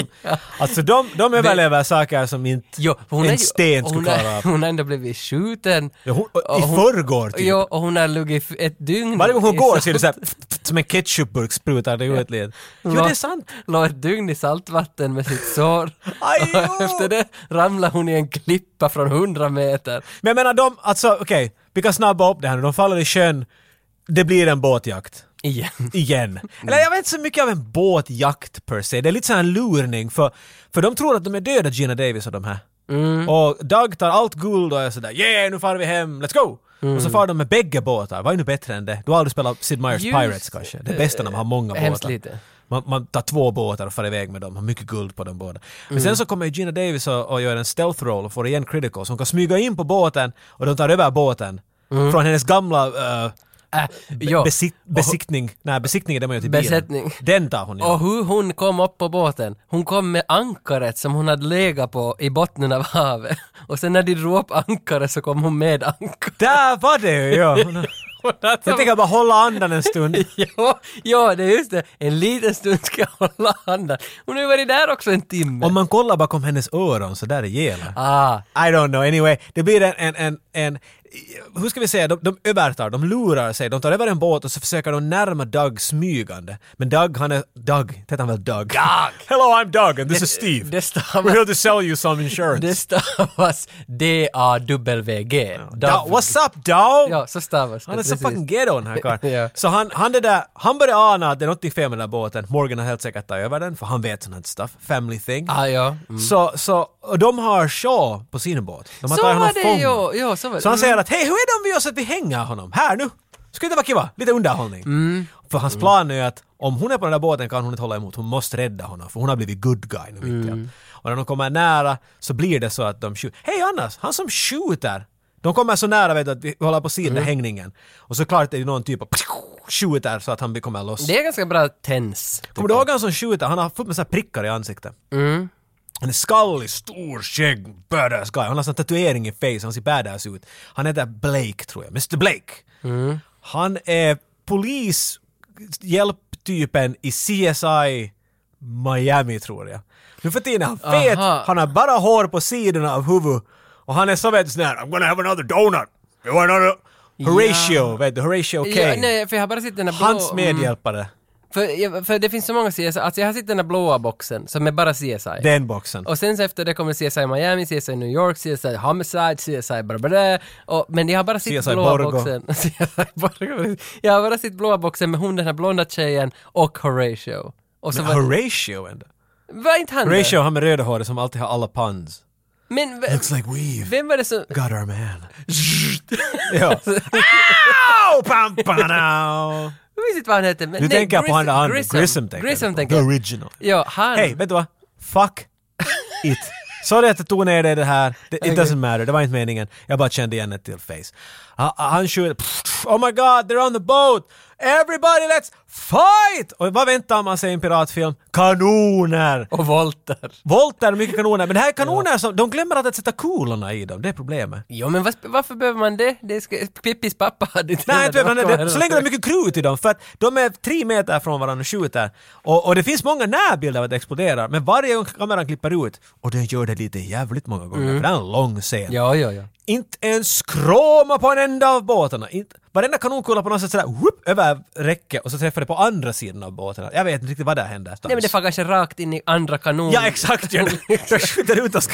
Alltså de, de överlever saker som inte
Jo, för hon är
en
ju-
sten skulle
hon har-
klara av.
Hon har ändå blivit skjuten.
Ja, hon-
Och
I förrgår typ.
Jo, och hon har luggit f- ett dygn.
Varje gång
i
hon går
salt-
så är
[LAUGHS]
det såhär [LAUGHS] som en ketchupburk sprutar det ut led. Jo det är sant!
Låg ett dygn i saltvatten med sitt sår. [LAUGHS]
Aj,
och
jo!
efter det ramlar hon i en klippa från 100 meter.
Men jag menar de, alltså okej, vi kan snabba upp det här nu. De faller i sjön, det blir en båtjakt.
Igen.
igen. Eller jag vet inte så mycket av en båtjakt per se. Det är lite sån här lurning för, för de tror att de är döda Gina Davis och de här.
Mm.
Och Doug tar allt guld och är sådär yeah nu far vi hem, let's go! Och
Mm.
så far de med bägge båtar, vad är nu bättre än det? Du har aldrig spelat Sid Meier's
Just,
Pirates kanske? Det bästa när man har många
hemskt
båtar.
lite.
Man, man tar två båtar och far iväg med dem, har mycket guld på de båda. Men
Mm.
sen så kommer ju Gina Davis och, och gör en stealth roll och får igen critical, så hon kan smyga in på båten och de tar över båten
Mm.
från hennes gamla eh,
Äh,
Ja.
jo.
Besikt, besiktning. Nej, besiktning är det man gör till
Besättning.
bilen. Den tar hon
Och
ju.
hur hon kom upp på båten. Hon kom med ankaret som hon hade legat på i botten av havet. [LAUGHS] Och sen när de drog upp ankaret så kom hon med ankaret. [LAUGHS]
Där var det ju! Ja. Jag tänker bara hålla andan en stund.
Ja, ja, det är just det. En liten stund ska [LAUGHS] jag hålla andan. Hon har ju varit där också en timme.
Om man kollar bakom hennes öron så där är gelar.
Ah,
I don't know, anyway. Det blir en, en, en, en hur ska vi säga, de, de övertar, de lurar sig, de tar över en båt och så försöker de närma Doug smygande. Men Doug, han är, Doug, heter han väl Doug? Doug! [LAUGHS] Hello I'm Doug and this is Steve.
det stavas-
We're here to sell you some insurance.
det stavas D-A-W-G.
Doug, what's up Doug?
Ja, så stavas det.
Han är så
precis.
fucking ghetto den här karln.
[LAUGHS] Ja.
Så han, han, det där, han började ana att det är något fel med den här båten. Morgan har helt säkert tagit över den för han vet sånt här stuff. Family thing.
Ah, ja.
Mm. Så, så, och de har Shaw på sin båt. De har
Så
tagit honom
var det
fången.
ju. Ja, så var det.
Så han
Mm.
säger att hej, hur är det om vi gör så att vi hänger honom? Här nu! Skulle det vara kiva? Lite underhållning.
Mm.
För hans plan är att om hon är på den där båten kan hon inte hålla emot. Hon måste rädda honom för hon har blivit good guy nu mitt i
Mm.
allt. Och när de kommer nära så blir det så att de skjuter. Hej annars, han som
Mm.
skjuter! De kommer så nära vet du, att vi håller på sidan hängningen. Och så klart är det någon typ av skjuter så att han kommer loss.
Det är ganska bra tens.
Kommer du ihåg han som skjuter? Han har fullt med såna här prickar i ansiktet.
Mm.
Han är skallig, stor, skägg, badass guy. Han har sån tatuering i face, han ser badass ut. Han heter Blake tror jag, Mr Blake.
Mm.
Han är polishjälptypen i CSI Miami tror jag. Nu för tiden är han fet,
Aha.
han har bara hår på sidorna av huvudet. Och han är så vet du sån här, I'm gonna have another donut. You want another... Horatio, vet du, Horatio
Ja,
Kane.
nej, för jag har bara sett den här blå...
Hans
Mm.
medhjälpare.
För, jag- för det finns så många CSI, alltså jag har sett den här blåa boxen som är bara CSI.
Den boxen.
Och sen så efter det kommer CSI Miami, CSI New York, CSI Homicide, CSI bla bla bla. Och, men jag har bara sett
CSI
blåa
Borgo.
boxen. [LAUGHS] CSI Borgo. Jag har bara sett blåa boxen med hon den här blonda tjejen och Horatio. Och så
Men
var,
Horatio ändå.
var inte han
Horatio, han med röda håret som alltid har alla puns.
det? Men v-
Looks like we've
vem var det som...
[LAUGHS]
[LAUGHS]
got our man. [LAUGHS] ja. Ow! Pam, pam, ow.
Jag minns inte vad han hette. Men,
Nu
nej,
tänker jag på
Grissom-
han där andra.
Grissom,
Grissom tänker jag
Grissom
på.
tänker
The
jag.
original.
Ja, han.
Hej, vet du vad? Fuck it. Sorry att jag tog ner dig i det här. Det- It doesn't matter, det var inte meningen. Jag bara kände igen ett till face. Ha- Han skjuter. Pff, Oh my god, they're on the boat! Everybody let's fight! Och vad väntar man sig i en piratfilm? Kanoner!
Och volter.
Volter och mycket kanoner. Men det här är kanoner som... De glömmer att sätta kulorna i dem, det är problemet.
[LAUGHS] Jo men vad- varför behöver man det? det ska, Pippis pappa hade inte
Nej, inte
den här
vet man det. Så länge det är
dockor.
mycket krut i dem, för att de är tre meter från varandra och skjuter. Och, och det finns många närbilder av att det exploderar, men varje gång kameran klipper ut, och den gör det lite jävligt många gånger, för det är en lång scen.
Mm. Ja, ja, ja.
Inte en skråma på en enda av båtarna. Inte, varenda kanonkula på något sätt sådär, whoop, över räcket och så träffar det på andra sidan av båtarna. Jag vet inte riktigt vad det händer.
Nej men det far kanske rakt in i andra kanon. [LAUGHS]
Ja, exakt! Jag, jag skjuter ut och ska...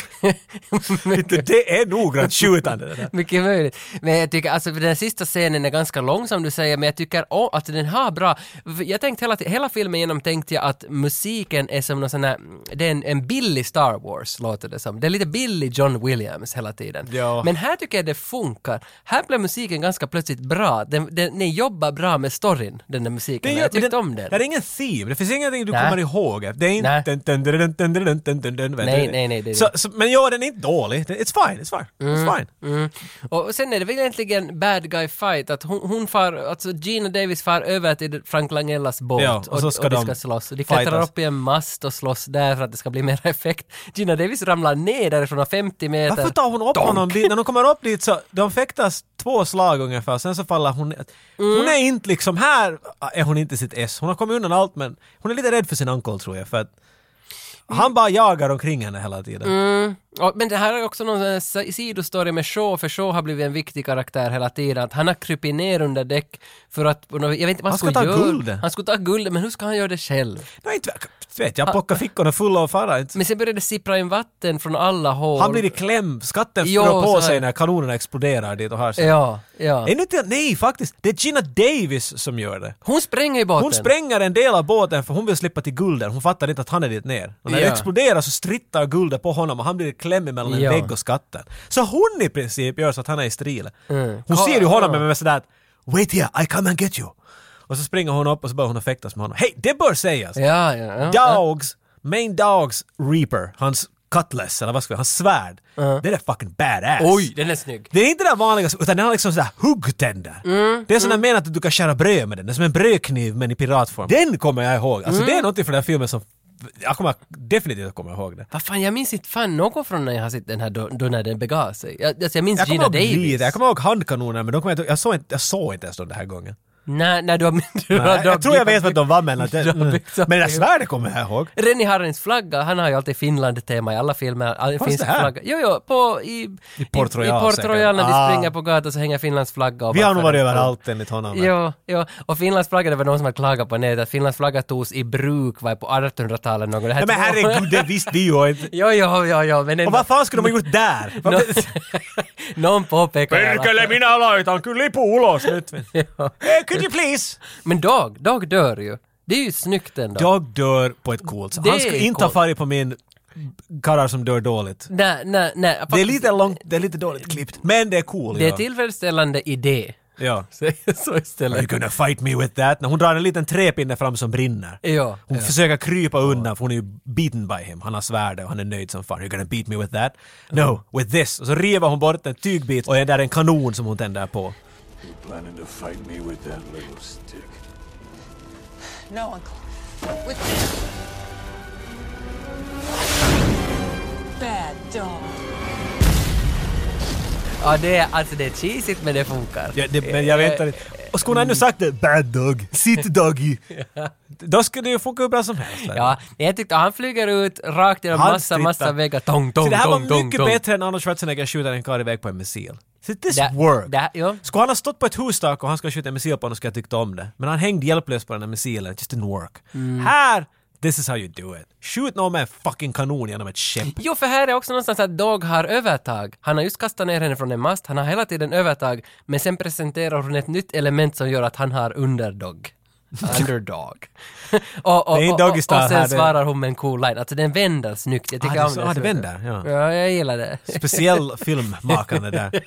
Det är noggrant skjutande det där.
Mycket möjligt. Men jag tycker, alltså för den sista scenen är ganska lång som du säger, men jag tycker om att den har bra... för Jag tänkte hela, hela filmen igenom tänkte jag att musiken är som någon sån här, det är en, en billig Star Wars låter det som. Det är lite billig John Williams hela tiden.
Ja.
Men här tycker jag det funkar. Här blev musiken ganska plötsligt bra. Den, den, den jobbar bra med storyn, den där musiken. jag tyckte om den.
Det är ingen theme, det finns ingenting du
Nej.
kommer ihåg. Det är inte...
Nej.
Dun, dun, dun, dun, dun, dun, dun, dun, dun, vet
Nej,
du.
nej, nej, det Mm, är
Så, så, men ja, den är inte dålig. Det- It's fine, it's fine. It's fine.
Och sen är det väl egentligen bad guy fight, att hon, hon far, alltså Gina Davis far över till Frank Langellas båt
Ja, och så ska
och de
de
ska slåss. De klättrar
fightas.
upp i en mast och slåss där för att det ska bli [LAUGHS] mer effekt. Gina Davis ramlar ner därifrån av 50 meter.
Varför tar hon upp honom dit? När de kommer upp dit så, de fäktas två slag ungefär, sen så faller hon ner.
Mm.
Hon är inte liksom, här är hon inte sitt S. Hon har kommit undan allt men hon är lite rädd för sin uncle tror jag för att han bara jagar omkring henne hela tiden.
Mm. Och, men det här är också någon sån här si- sidostory med Shaw, för Shaw har blivit en viktig karaktär hela tiden. Att han har krupit ner under däck för att, på något- jag vet inte vad
Han ska
skulle
ta
göra.
guldet.
Han skulle ta guld, men hur ska han göra det själv?
Nej, inte vet jag, plockar fickorna fulla och fara. Inte.
Men sen började det sippra in vatten från alla hål.
Han blir i kläm, skatten
Jo,
rör
så
på
här.
sig när kanonerna exploderar dit och har sig.
Ja, ja.
Ännu till, nej faktiskt, det är Gina Davis som gör det.
Hon spränger i båten.
Hon spränger en del av båten för hon vill slippa till gulden, hon fattar inte att han är dit ner. Och när
Ja.
det exploderar så strittar guldet på honom och han blir klämd mellan en
Ja.
vägg och skatten. Så hon i princip gör så att han är i stril. Hon
Ka-
ser ju honom
Mm. ja.
men med sådär att “Wait here, I come and get you”. Och så springer hon upp och så börjar hon att fäktas med honom. Hej, det bör sägas!
Ja, ja, ja.
Dogs, main dogs reaper, hans cutlass eller vad ska vi, hans svärd. Det är fucking badass.
Oj, den är snygg.
Det är inte den vanliga, utan den har liksom sådär huggtänder.
Mm,
det är sådär menat att du kan skära bröd med den. Det är som en brödkniv men i piratform. Den kommer jag ihåg. Alltså
Mm.
det är något från den här filmen som... Jag kommer definitivt att komma ihåg det.
Vad fan, jag minns inte fan något från när jag har sett den här då, då när den begav sig. Jag, alltså jag minns
Jag kommer
Gina
ihåg
Davis.
lite. Jag kommer ihåg handkanoner men de kommer jag, inte- jag, såg inte, jag såg inte ens dem den
[LAUGHS]
här gången.
Nej, nej, du har... Du har,
Nej, jag,
du har
tror jag vet vad de var men
[LAUGHS]
att det,
Du har
mm.
byggt upp
Men det där
det.
svärdet kommer jag ihåg.
Rennie Harrins flagga, han har ju alltid Finland-tema i alla filmer. All,
det
finsk
här?
flagga. Jo, jo, på, i, I
Port Royal
i Port
säkert.
Royal när
Ah.
de springer på gatan så hänger Finlands flagga. och
Vi har
bara-
nog varit överallt enligt honom.
Jo, jo. Och Finlands flagga, det var någon som hade klagat på nätet att Finlands flagga togs i bruk var det på 1800-talet någon gång. Det här
Nej, men herregud, det visste vi ju inte.
[LAUGHS] Jo, jo, jo, jo, men
Och
ändå.
vad fan skulle de ha gjort där?
[LAUGHS] Nå- Någon påpekar i alla fall.
Perkele, minä laitan kyllä puulos
[LAUGHS]
nyt. Eh, Could you please?
Men Dag, Dag dör ju. Det är ju snyggt ändå.
Jag dör på ett coolt sätt.
Det
Han skulle
är
inte
coolt.
ha farit på min karlar som dör dåligt.
Nej, nej, nej.
Det är
faktiskt,
lite långt, det är lite dåligt klippt. Men det är cool.
Det är
ja.
tillfredsställande idé. [LAUGHS]
Ja.
Så- Så
Are you
istället.
gonna fight me with that? När hon drar en liten träpinne fram som brinner.
Ja,
Hon
ja.
försöker krypa undan för hon är ju beaten by him. Han har svärdet och han är nöjd som fan. Are you gonna beat me with that? No, with this. Och så river hon bort en tygbit och är där en kanon som hon tänder på.
You planning to fight me with that little stick?
No, Uncle. With this. Bad dog.
Ja, det är, alltså det är cheesigt men det funkar.
Ja, det, men jag väntar inte. Och skulle hon ännu sagt det? Bad dog, sit
[LAUGHS]
doggy. Då skulle det ju funka hur bra som helst.
Ja, men jag tyckte han flyger ut rakt genom
Han
massa,
tittar.
massa väggar. Tong, tong,
Så det här
tong,
var
tong,
mycket
tong.
bättre än Arnold Schwarzenegger skjuter en karl iväg på en missil. Så this
Det-
worked.
det- ja.
Skulle han ha stått på ett hustak och han ska skjuta en missil på honom skulle jag tyckt om det. Men han hängde hjälplös på den där missilen, it just didn't work.
Mm.
Här, this is how you do it. Skjut någon med en fucking kanon genom ett skepp.
Jo, för här är också någonstans att Dog har övertag. Han har just kastat ner henne från en mast, han har hela tiden övertag, men sen presenterar hon ett nytt element som gör att han har
[LAUGHS]
underdog. Underdog. [LAUGHS] och, och,
Det är
och, och,
doggy
och
style här,
sen
det-
svarar hon med en cool line. Alltså den vänder snyggt. Jag tycker
Ah, det-
om
så-
[LAUGHS] det.
ah, det vänder, ja.
ja, jag gillar det.
Speciell [LAUGHS] filmmakande där.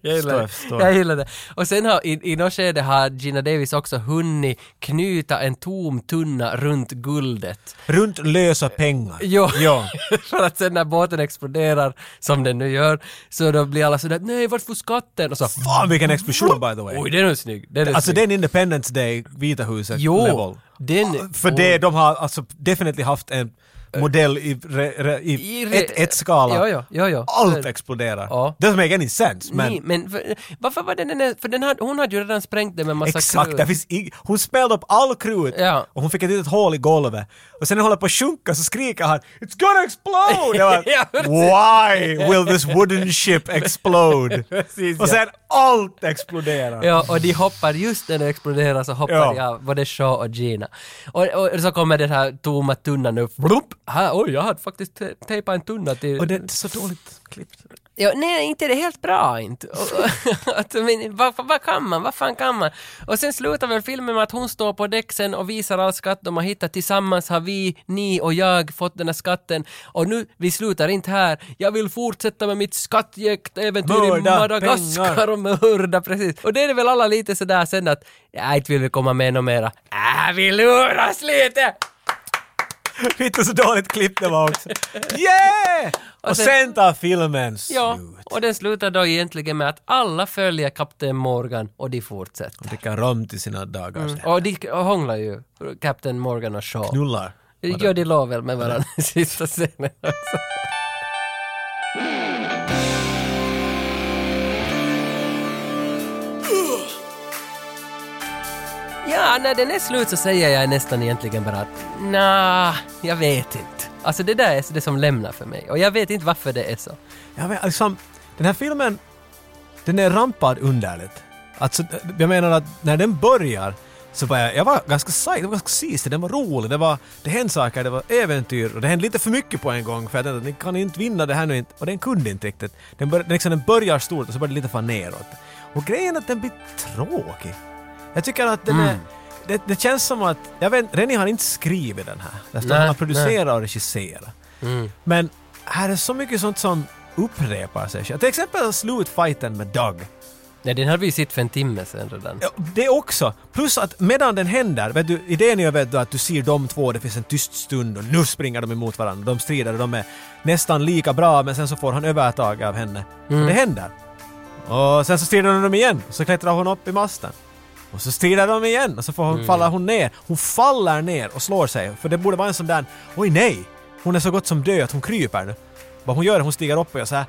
Jag [LAUGHS] gillar,
Står- står.
det. jag gillar det. Och sen har, i, i något skede har Gina Davis också hunnit knyta en tom tunna runt guldet.
Runt lösa pengar.
Jo,
Ja.
[LAUGHS] för att sen när båten exploderar, som den nu gör, så då blir alla sådär nej vart får skatten? Och så
Fan vilken explosion by the way.
oj den är snygg. Den är
Alltså det är
snygg.
en Independence Day, Vita huset
Jo,
level.
den-
För det, de har alltså definitivt haft en modell i, re, re, i,
I re-
ett, ett skala.
Ja, ja, ja, ja.
Allt
Så-
exploderar.
Ja.
Doesn't make any sense men...
Nej, men för, varför var den den där- för den hade, hon hade ju redan sprängt den med massa
Exakt,
krut.
det finns ing- hon spällde upp all krut
Ja.
och hon fick ett litet hål i golvet. Och sen när hon håller på att sjunka så skriker han “It's gonna explode!” Jag
[LAUGHS] Ja,
bara, “Why will this wooden ship explode?”
[LAUGHS] Precis,
Och
ja.
sen allt exploderar.
Ja, och de hoppar just när det exploderar så hoppar
Ja.
de av, både Shaw och Gina. Och, och så kommer den här tomma tunnan upp. Blup! Här, oj, jag hade faktiskt te- tejpat en tunna till...
Och det är så dåligt klippt.
Ja, nej, inte det är helt bra inte. Och- och- [LAUGHS] att, men, vad, vad kan man? Vad fan kan man? Och sen slutar väl filmen med att hon står på däck sen och visar all skatt de har hittat. Tillsammans har vi, ni och jag fått den här skatten. Och nu, vi slutar inte här. Jag vill fortsätta med mitt skattjäktäventyr i
Mörda
Madagaskar
pengar.
och mörda, precis. Och det är det väl alla lite sådär sen att, nej, inte vill vi komma med något mera. Äh, vi luras lite!
[LAUGHS] Inte så dåligt klipp det var också. Yeah! Och
sen-
sen tar filmen
Ja,
slut.
och den slutar då egentligen med att alla följer Kapten Morgan och de fortsätter.
Dricka rom till sina dagar.
Och de hånglar ju, Captain Morgan och Shaw.
Knullar.
Ja, de låg väl med varandra i sista scenen också. Ja, när den är slut så säger jag nästan egentligen bara att nja, jag vet inte. Alltså det där är det som lämnar för mig och jag vet inte varför det är så.
Ja, men liksom, den här filmen, den är rampad underligt. Alltså, jag menar att när den börjar så var jag, jag var ganska sajt, det var ganska sist, den var rolig, det var, det hände saker, det var äventyr och det hände lite för mycket på en gång för jag tänkte att ni kan inte vinna det här nu inte, och den kunde inte riktigt. Den, bör, den, liksom, den börjar stort och så börjar det lite fan neråt. Och grejen är att den blir tråkig. Jag tycker att den
Mm.
är, det, det känns som att, jag vet Rennie har inte skrivit den här. Det står
Nej, Mm.
att han producerar och regisserar. Men här är så mycket sånt som upprepar sig. Till exempel slutfighten med Doug.
Ja, den hade vi ju sett för en timme sedan redan.
Ja, Det också. Plus att medan den händer, vet du, idén är ju vet du, att du ser de två, det finns en tyst stund och nu springer de emot varandra. De strider och de är nästan lika bra men sen så får han övertag av henne.
Mm.
Och det händer. Och sen så strider de igen, så klättrar hon upp i masten. Och så strider de igen och så får hon,
Mm.
faller hon ner. Hon faller ner och slår sig. För det borde vara en sån där oj nej, hon är så gott som död att hon kryper nu. Vad hon gör är att hon stiger upp och gör såhär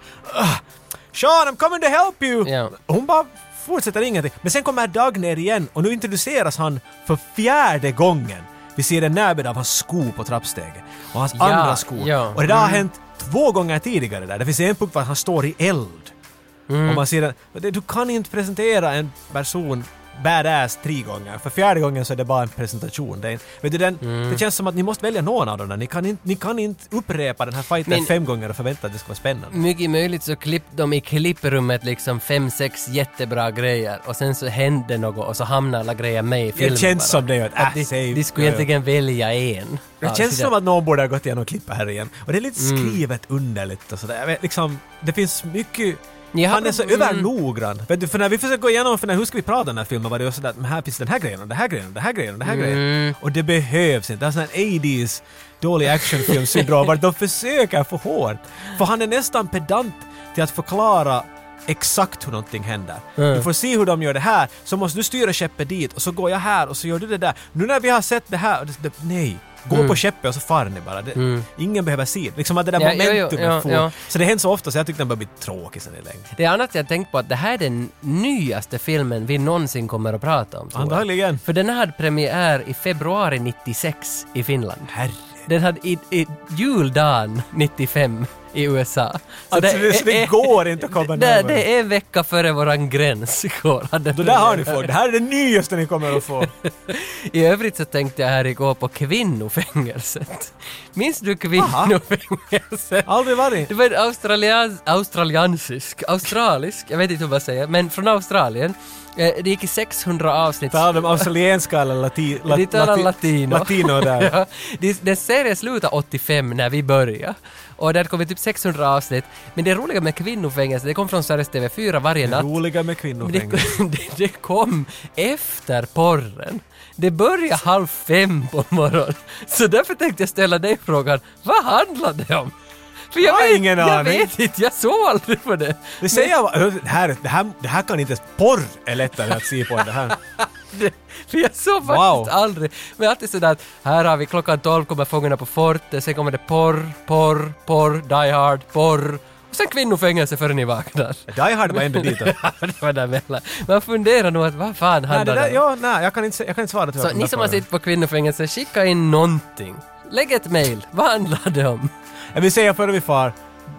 Sean I'm coming to help you!
Ja.
Hon bara fortsätter ingenting. Men sen kommer Doug ner igen och nu introduceras han för fjärde gången. Vi ser en närbild av hans sko på trappstegen och hans
Ja,
andra skor.
ja. Mm.
Och det där har hänt två gånger tidigare där. Det finns en punkt var han står i eld. Och man ser den, du kan inte presentera en person badass tre gånger. För fjärde gången så är det bara en presentation. Det, är, inte- vet du, den, det känns som att ni måste välja någon av dem där. Ni kan inte, ni kan inte upprepa den här fighten
Men- Mm.
fem gånger och förvänta att det ska vara spännande.
Mycket möjligt så klippte de i klipprummet liksom fem, sex jättebra grejer och sen så hände något och så hamnar alla grejer med i filmen.
känns
bara.
som det, att, äh,
de,
säg-
de skulle
ja, ja.
egentligen välja en.
Det
Ja,
känns
så
som att någon borde ha gått igenom och klippa här igen. Och det är lite skrivet underligt och sådär. Jag vet, Liksom, det finns mycket...
Ni har-
Han är så
mm.
övernoggrann. Vet du, för när vi försöker gå igenom, för när, hur ska vi prata om den här filmen, var det ju sådär att "Men här finns den här grejen och den här grejen och den här grejen och den här
Mm.
grejen. Och det behövs inte. Det är sån här 80s dålig actionfilmssyndrom vart de försöker för hårt. För han är nästan pedant till att förklara exakt hur någonting händer.
Mm.
Du får se hur de gör det här, så måste du styra skeppet dit och så går jag här och så gör du det där. Nu när vi har sett det här, det, det, nej. Gå på skeppet och så far ni bara. Det, Ingen behöver se. det. Liksom att det där
Mm. Ja, jo, jo,
momentumet
ja,
får.
ja.
Så det händer så ofta så jag tyckte den började bli tråkig sen i längden.
Det är annat jag tänkt på att det här är den nyaste filmen vi någonsin kommer att prata om. tror jag.
Antagligen.
För den hade premiär i februari 96 i Finland.
Herre.
Den hade i, i juldagen 95 i USA. Så
Alltså, det- det går inte att komma
det, det,
närmare.
det är en vecka före våran gräns. [LAUGHS] går den
Då där har ni folk. Det här är det nyaste ni kommer att få.
I övrigt så tänkte jag här igår på kvinnofängelset. Minns du kvinnofängelset?
Aldrig varit.
Det var en australians, australiansisk, australisk, jag vet inte hur man säger, men från Australien. Eh, Det gick i 600 avsnitt.
Talar de australienska eller lati,
De talar latino.
latino där?
[LAUGHS] ja, det- den serien slutade 85 när vi började. Och där kom det typ 600 avsnitt. Men det roliga med kvinnofängelse, det kom från Sveriges TV4 varje natt.
Roliga med
Men
kvinnofängelse.
det, [LAUGHS] det, det kom efter porren. Det började halv fem på morgonen. Så därför tänkte jag ställa dig frågan, vad handlar det om? För jag,
Jag har
vet,
ingen
jag
aning.
vet inte, jag såg aldrig på det.
Det säger jag bara, det här, det, här, det här kan inte ens... Porr är lättare att se på än det här.
Det- [LAUGHS] För jag såg
Wow.
faktiskt aldrig. Men alltid sådär att här har vi klockan 12 kommer Fångarna på fortet, sen kommer det porr, porr, porr, Die Hard, porr. Och sen kvinnofängelse förrän ni vaknar. [LAUGHS]
Die Hard var ändå dit.
det var däremellan. Man funderar nog att vad fan
Nej, det
handlar
där,
det om?
ja, nej, jag kan inte, jag kan inte svara till
Så ni som har suttit på kvinnofängelse, skicka in någonting. Lägg ett mail. [LAUGHS] Vad handlar det om?
Jag vill säga före vi far,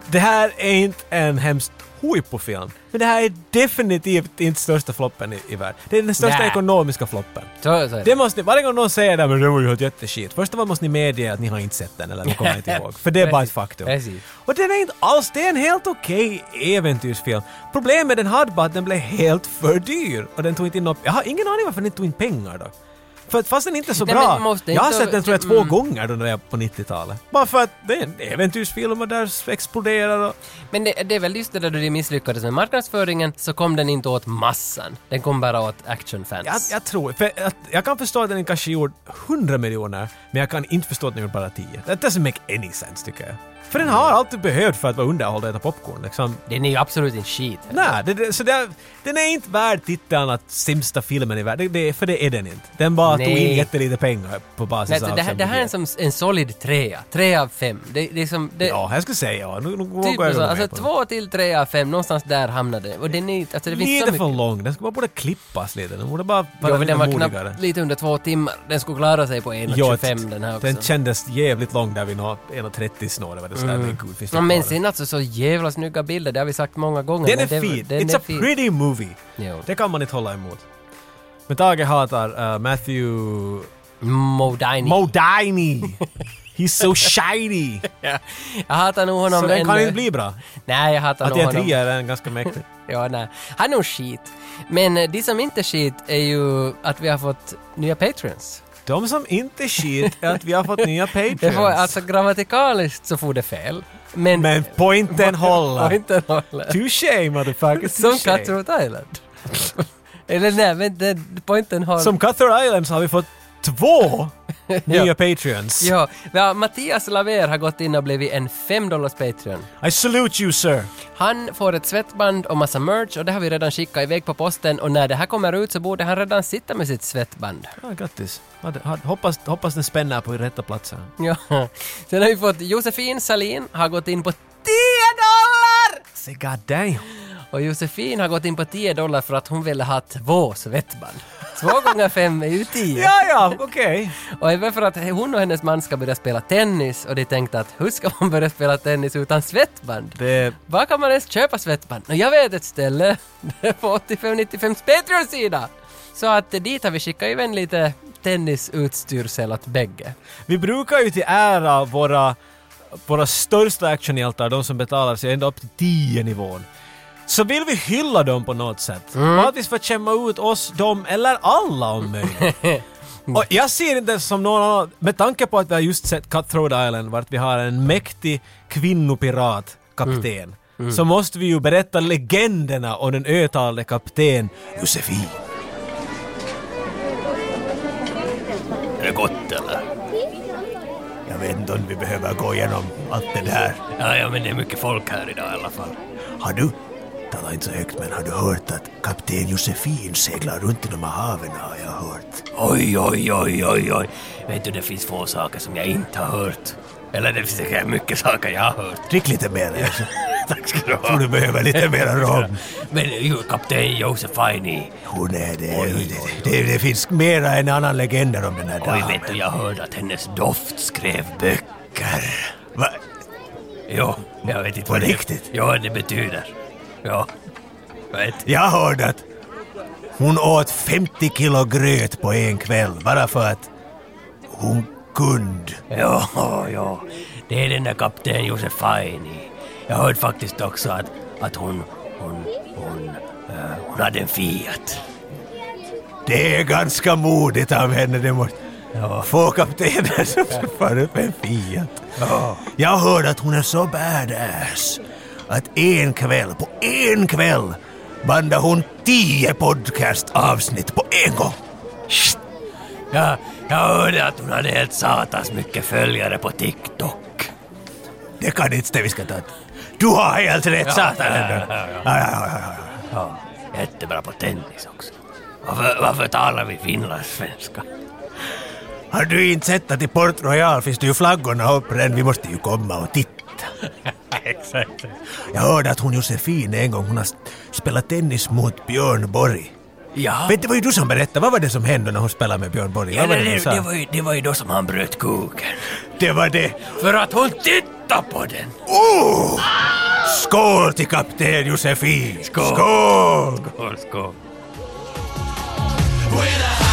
det här är inte en hemskt huippo-film. Men det här är definitivt inte största floppen i, i världen. Det är den största
Nä.
ekonomiska floppen.
Så, så är
Det
det.
måste, varje gång någon säger det, här, men det var ju ett jätteskit. Först av allt måste ni medge att ni har inte sett den eller ni
[LAUGHS]
kommer inte ihåg. För det är bara ett faktum.
Precis.
Och den är inte alls, det är en helt okej äventyrsfilm. Problemet den hade bara att den blev helt för dyr. Och den tog inte in något, jag har ingen aning varför den inte tog in pengar då. För att fast den inte är så
Nej,
bra.
men måste
jag har
inte-
sett den tror jag två
mm.
gånger då den är på 90-talet. Bara för att det är en äventyrsfilm och där exploderar och...
Men det, det är väl just det där då de misslyckades med marknadsföringen, så kom den inte åt massan. Den kom bara åt actionfans.
Jag, jag tror, för jag, jag kan förstå att den kanske gjorde 100 miljoner, men jag kan inte förstå att den gjorde bara 10. That doesn't make any sense tycker jag. För den har alltid behövt för att vara underhållande och äta popcorn liksom.
Den är ju absolut inte skit.
Nej, det, det, så det, den är inte värd titeln att sämsta filmen i världen, det, det, för det är den inte. Den bara tog in
Nej.
jättelite pengar på basis
Nej, alltså,
av...
det, här, det här är en,
budget.
som, en solid trea. Tre av fem. Det, det är som... Det,
Ja, jag skulle säga ja. Nu, nu går
typ
jag
så,
med
alltså
på det.
två till tre av fem, någonstans där hamnade den. Och den är inte... Alltså det finns så
Lite
mycket...
för lång, den skulle bara borde klippas lite. Den borde bara
Jo,
vara
men
lite
den var
modigare.
knappt lite under två timmar. Den skulle klara sig på 1.25 den här också. Mm.
Den kändes jävligt lång där vid nå- 1.30 snarare. Var det sådär, men gud, finns det
Ja, men
kvar?
sen alltså så jävla snygga bilder, det har vi sagt många gånger.
Den är
men det,
fin.
Den
It's
är
a pretty movie.
Jo.
Det kan man inte hålla emot. Men Tage hatar uh, Matthew
Modine.
Modini. He's
[LAUGHS]
so shiny.
jag hatar nog honom
Så den kan
ännu.
inte bli bra.
Nej, jag hatar
Att
nog
jag
honom.
trea är den ganska mäktig.
Ja, nej. Han är nog skit. Men eh, det som inte är skit är ju att vi har fått nya patreons.
De som inte shit är att vi har fått
[LAUGHS]
nya
Det får,
patreons.
alltså grammatikaliskt så får det fel. Men...
Men
[LAUGHS]
pointen
Och
håller.
inte håller.
Touché motherfucker.
Som
touché.
Cutthroat Island. [LAUGHS] Eller nej, men den pointen håller.
Som Cutter Islands har vi fått
[LAUGHS]
två nya patreons.
Ja, ja, Mattias Laver har gått in och blivit en 5 dollars Patreon.
I salute you sir.
Han får ett svettband och massa merch och det har vi redan skickat iväg på posten och när det här kommer ut så borde han redan sitta med sitt svettband. [LAUGHS]
Ja, grattis. Hade- hade- Hoppas, hoppas den spänner på rätta platsen.
Ja. Sen har vi fått Josefin Salin har gått in på 10 dollar!
Say god damn.
Och Josefin har gått in på 10 dollar för att hon ville ha två svettband. Två gånger fem är ju 10.
Ja, ja, okej.
Och även för att hon och hennes man ska börja spela tennis och de tänkte att hur ska man börja spela tennis utan svettband?
Det...
Var kan man ens köpa svettband? Nå, jag vet ett ställe. [LAUGHS] Det är på 8595 Patreons sida. Så att eh, dit har vi skickat även lite tennisutstyrsel åt bägge.
Vi brukar ju till ära våra, våra största actionhjältar, de som betalar sig ända upp till 10 nivån. Så vill vi hylla dem på något sätt. Vanligtvis för att kämma ut oss, dem eller alla om möjligt. Och jag ser inte det som någon annan, med tanke på att vi har just sett Cutthroat Island vart vi har en mäktig kvinnopirat, kapten. Så måste vi ju berätta legenderna om den ötalade kapten Josefin. Är det gott eller? Jag vet inte om vi behöver gå igenom allt det här.
Ja, ja, men det är mycket folk här idag i alla fall.
Har du Tala inte så högt men har du hört att kapten Josefin seglar runt i de här haven har jag hört.
Oj, oj, oj, oj, oj. Vet du, det finns få saker som jag inte har hört. Eller det finns säkert mycket saker jag har hört.
Drick lite mer Elsa.
[LAUGHS] Tack ska du ha.
Tror du behöver lite mera rom?
Men ju, kapten Josefini.
Hon är det.
Oj, oj, oj.
Det, det finns mera än annan legender om den här
Oj,
damen.
vet du, jag hörde att hennes doft skrev böcker.
Va?
Jo, jag vet inte
På
vad det...
riktigt?
Ja, det betyder. Ja. Vet.
Jag hörde att hon åt 50 kilo gröt på en kväll bara för att hon kunde.
Ja, ja. Det är den där kapten Josefini. Jag hörde faktiskt också att, att hon, hon, hon, eh, hon hade en Fiat.
Det är ganska modigt av henne. Det måste... Få kaptenen som far upp en Fiat. Jag hörde att hon är så badass att en kväll, på en kväll, bandade hon tio podcastavsnitt på en gång.
Ja, jag hörde att hon hade helt satans mycket följare på TikTok.
Det kan inte stämma. Vi ska ta ett- Du har helt rätt, satan!
ja,
ändå.
ja,
Ja, ja, ja, ja.
Ja, jättebra på tennis också. Varför, varför talar vi finlandssvenska?
Har du inte sett att i Port Royal finns det ju flaggorna uppbrända? Vi måste ju komma och titta.
[LAUGHS] Exakt.
Jag hörde att hon Josefin en gång, hon har spelat tennis mot Björn Borg.
Ja,
Vet, det var ju du som berättade, vad var det som hände när hon spelade med Björn Borg?
ja
vad var
det,
det, du
det,
sa?
det, var ju, det var ju då som han bröt kuken.
det var det.
För att hon tittade på den!
Oh! Skål till kapten Josefin!
Skål.
Skål!
Skål, skål.
With a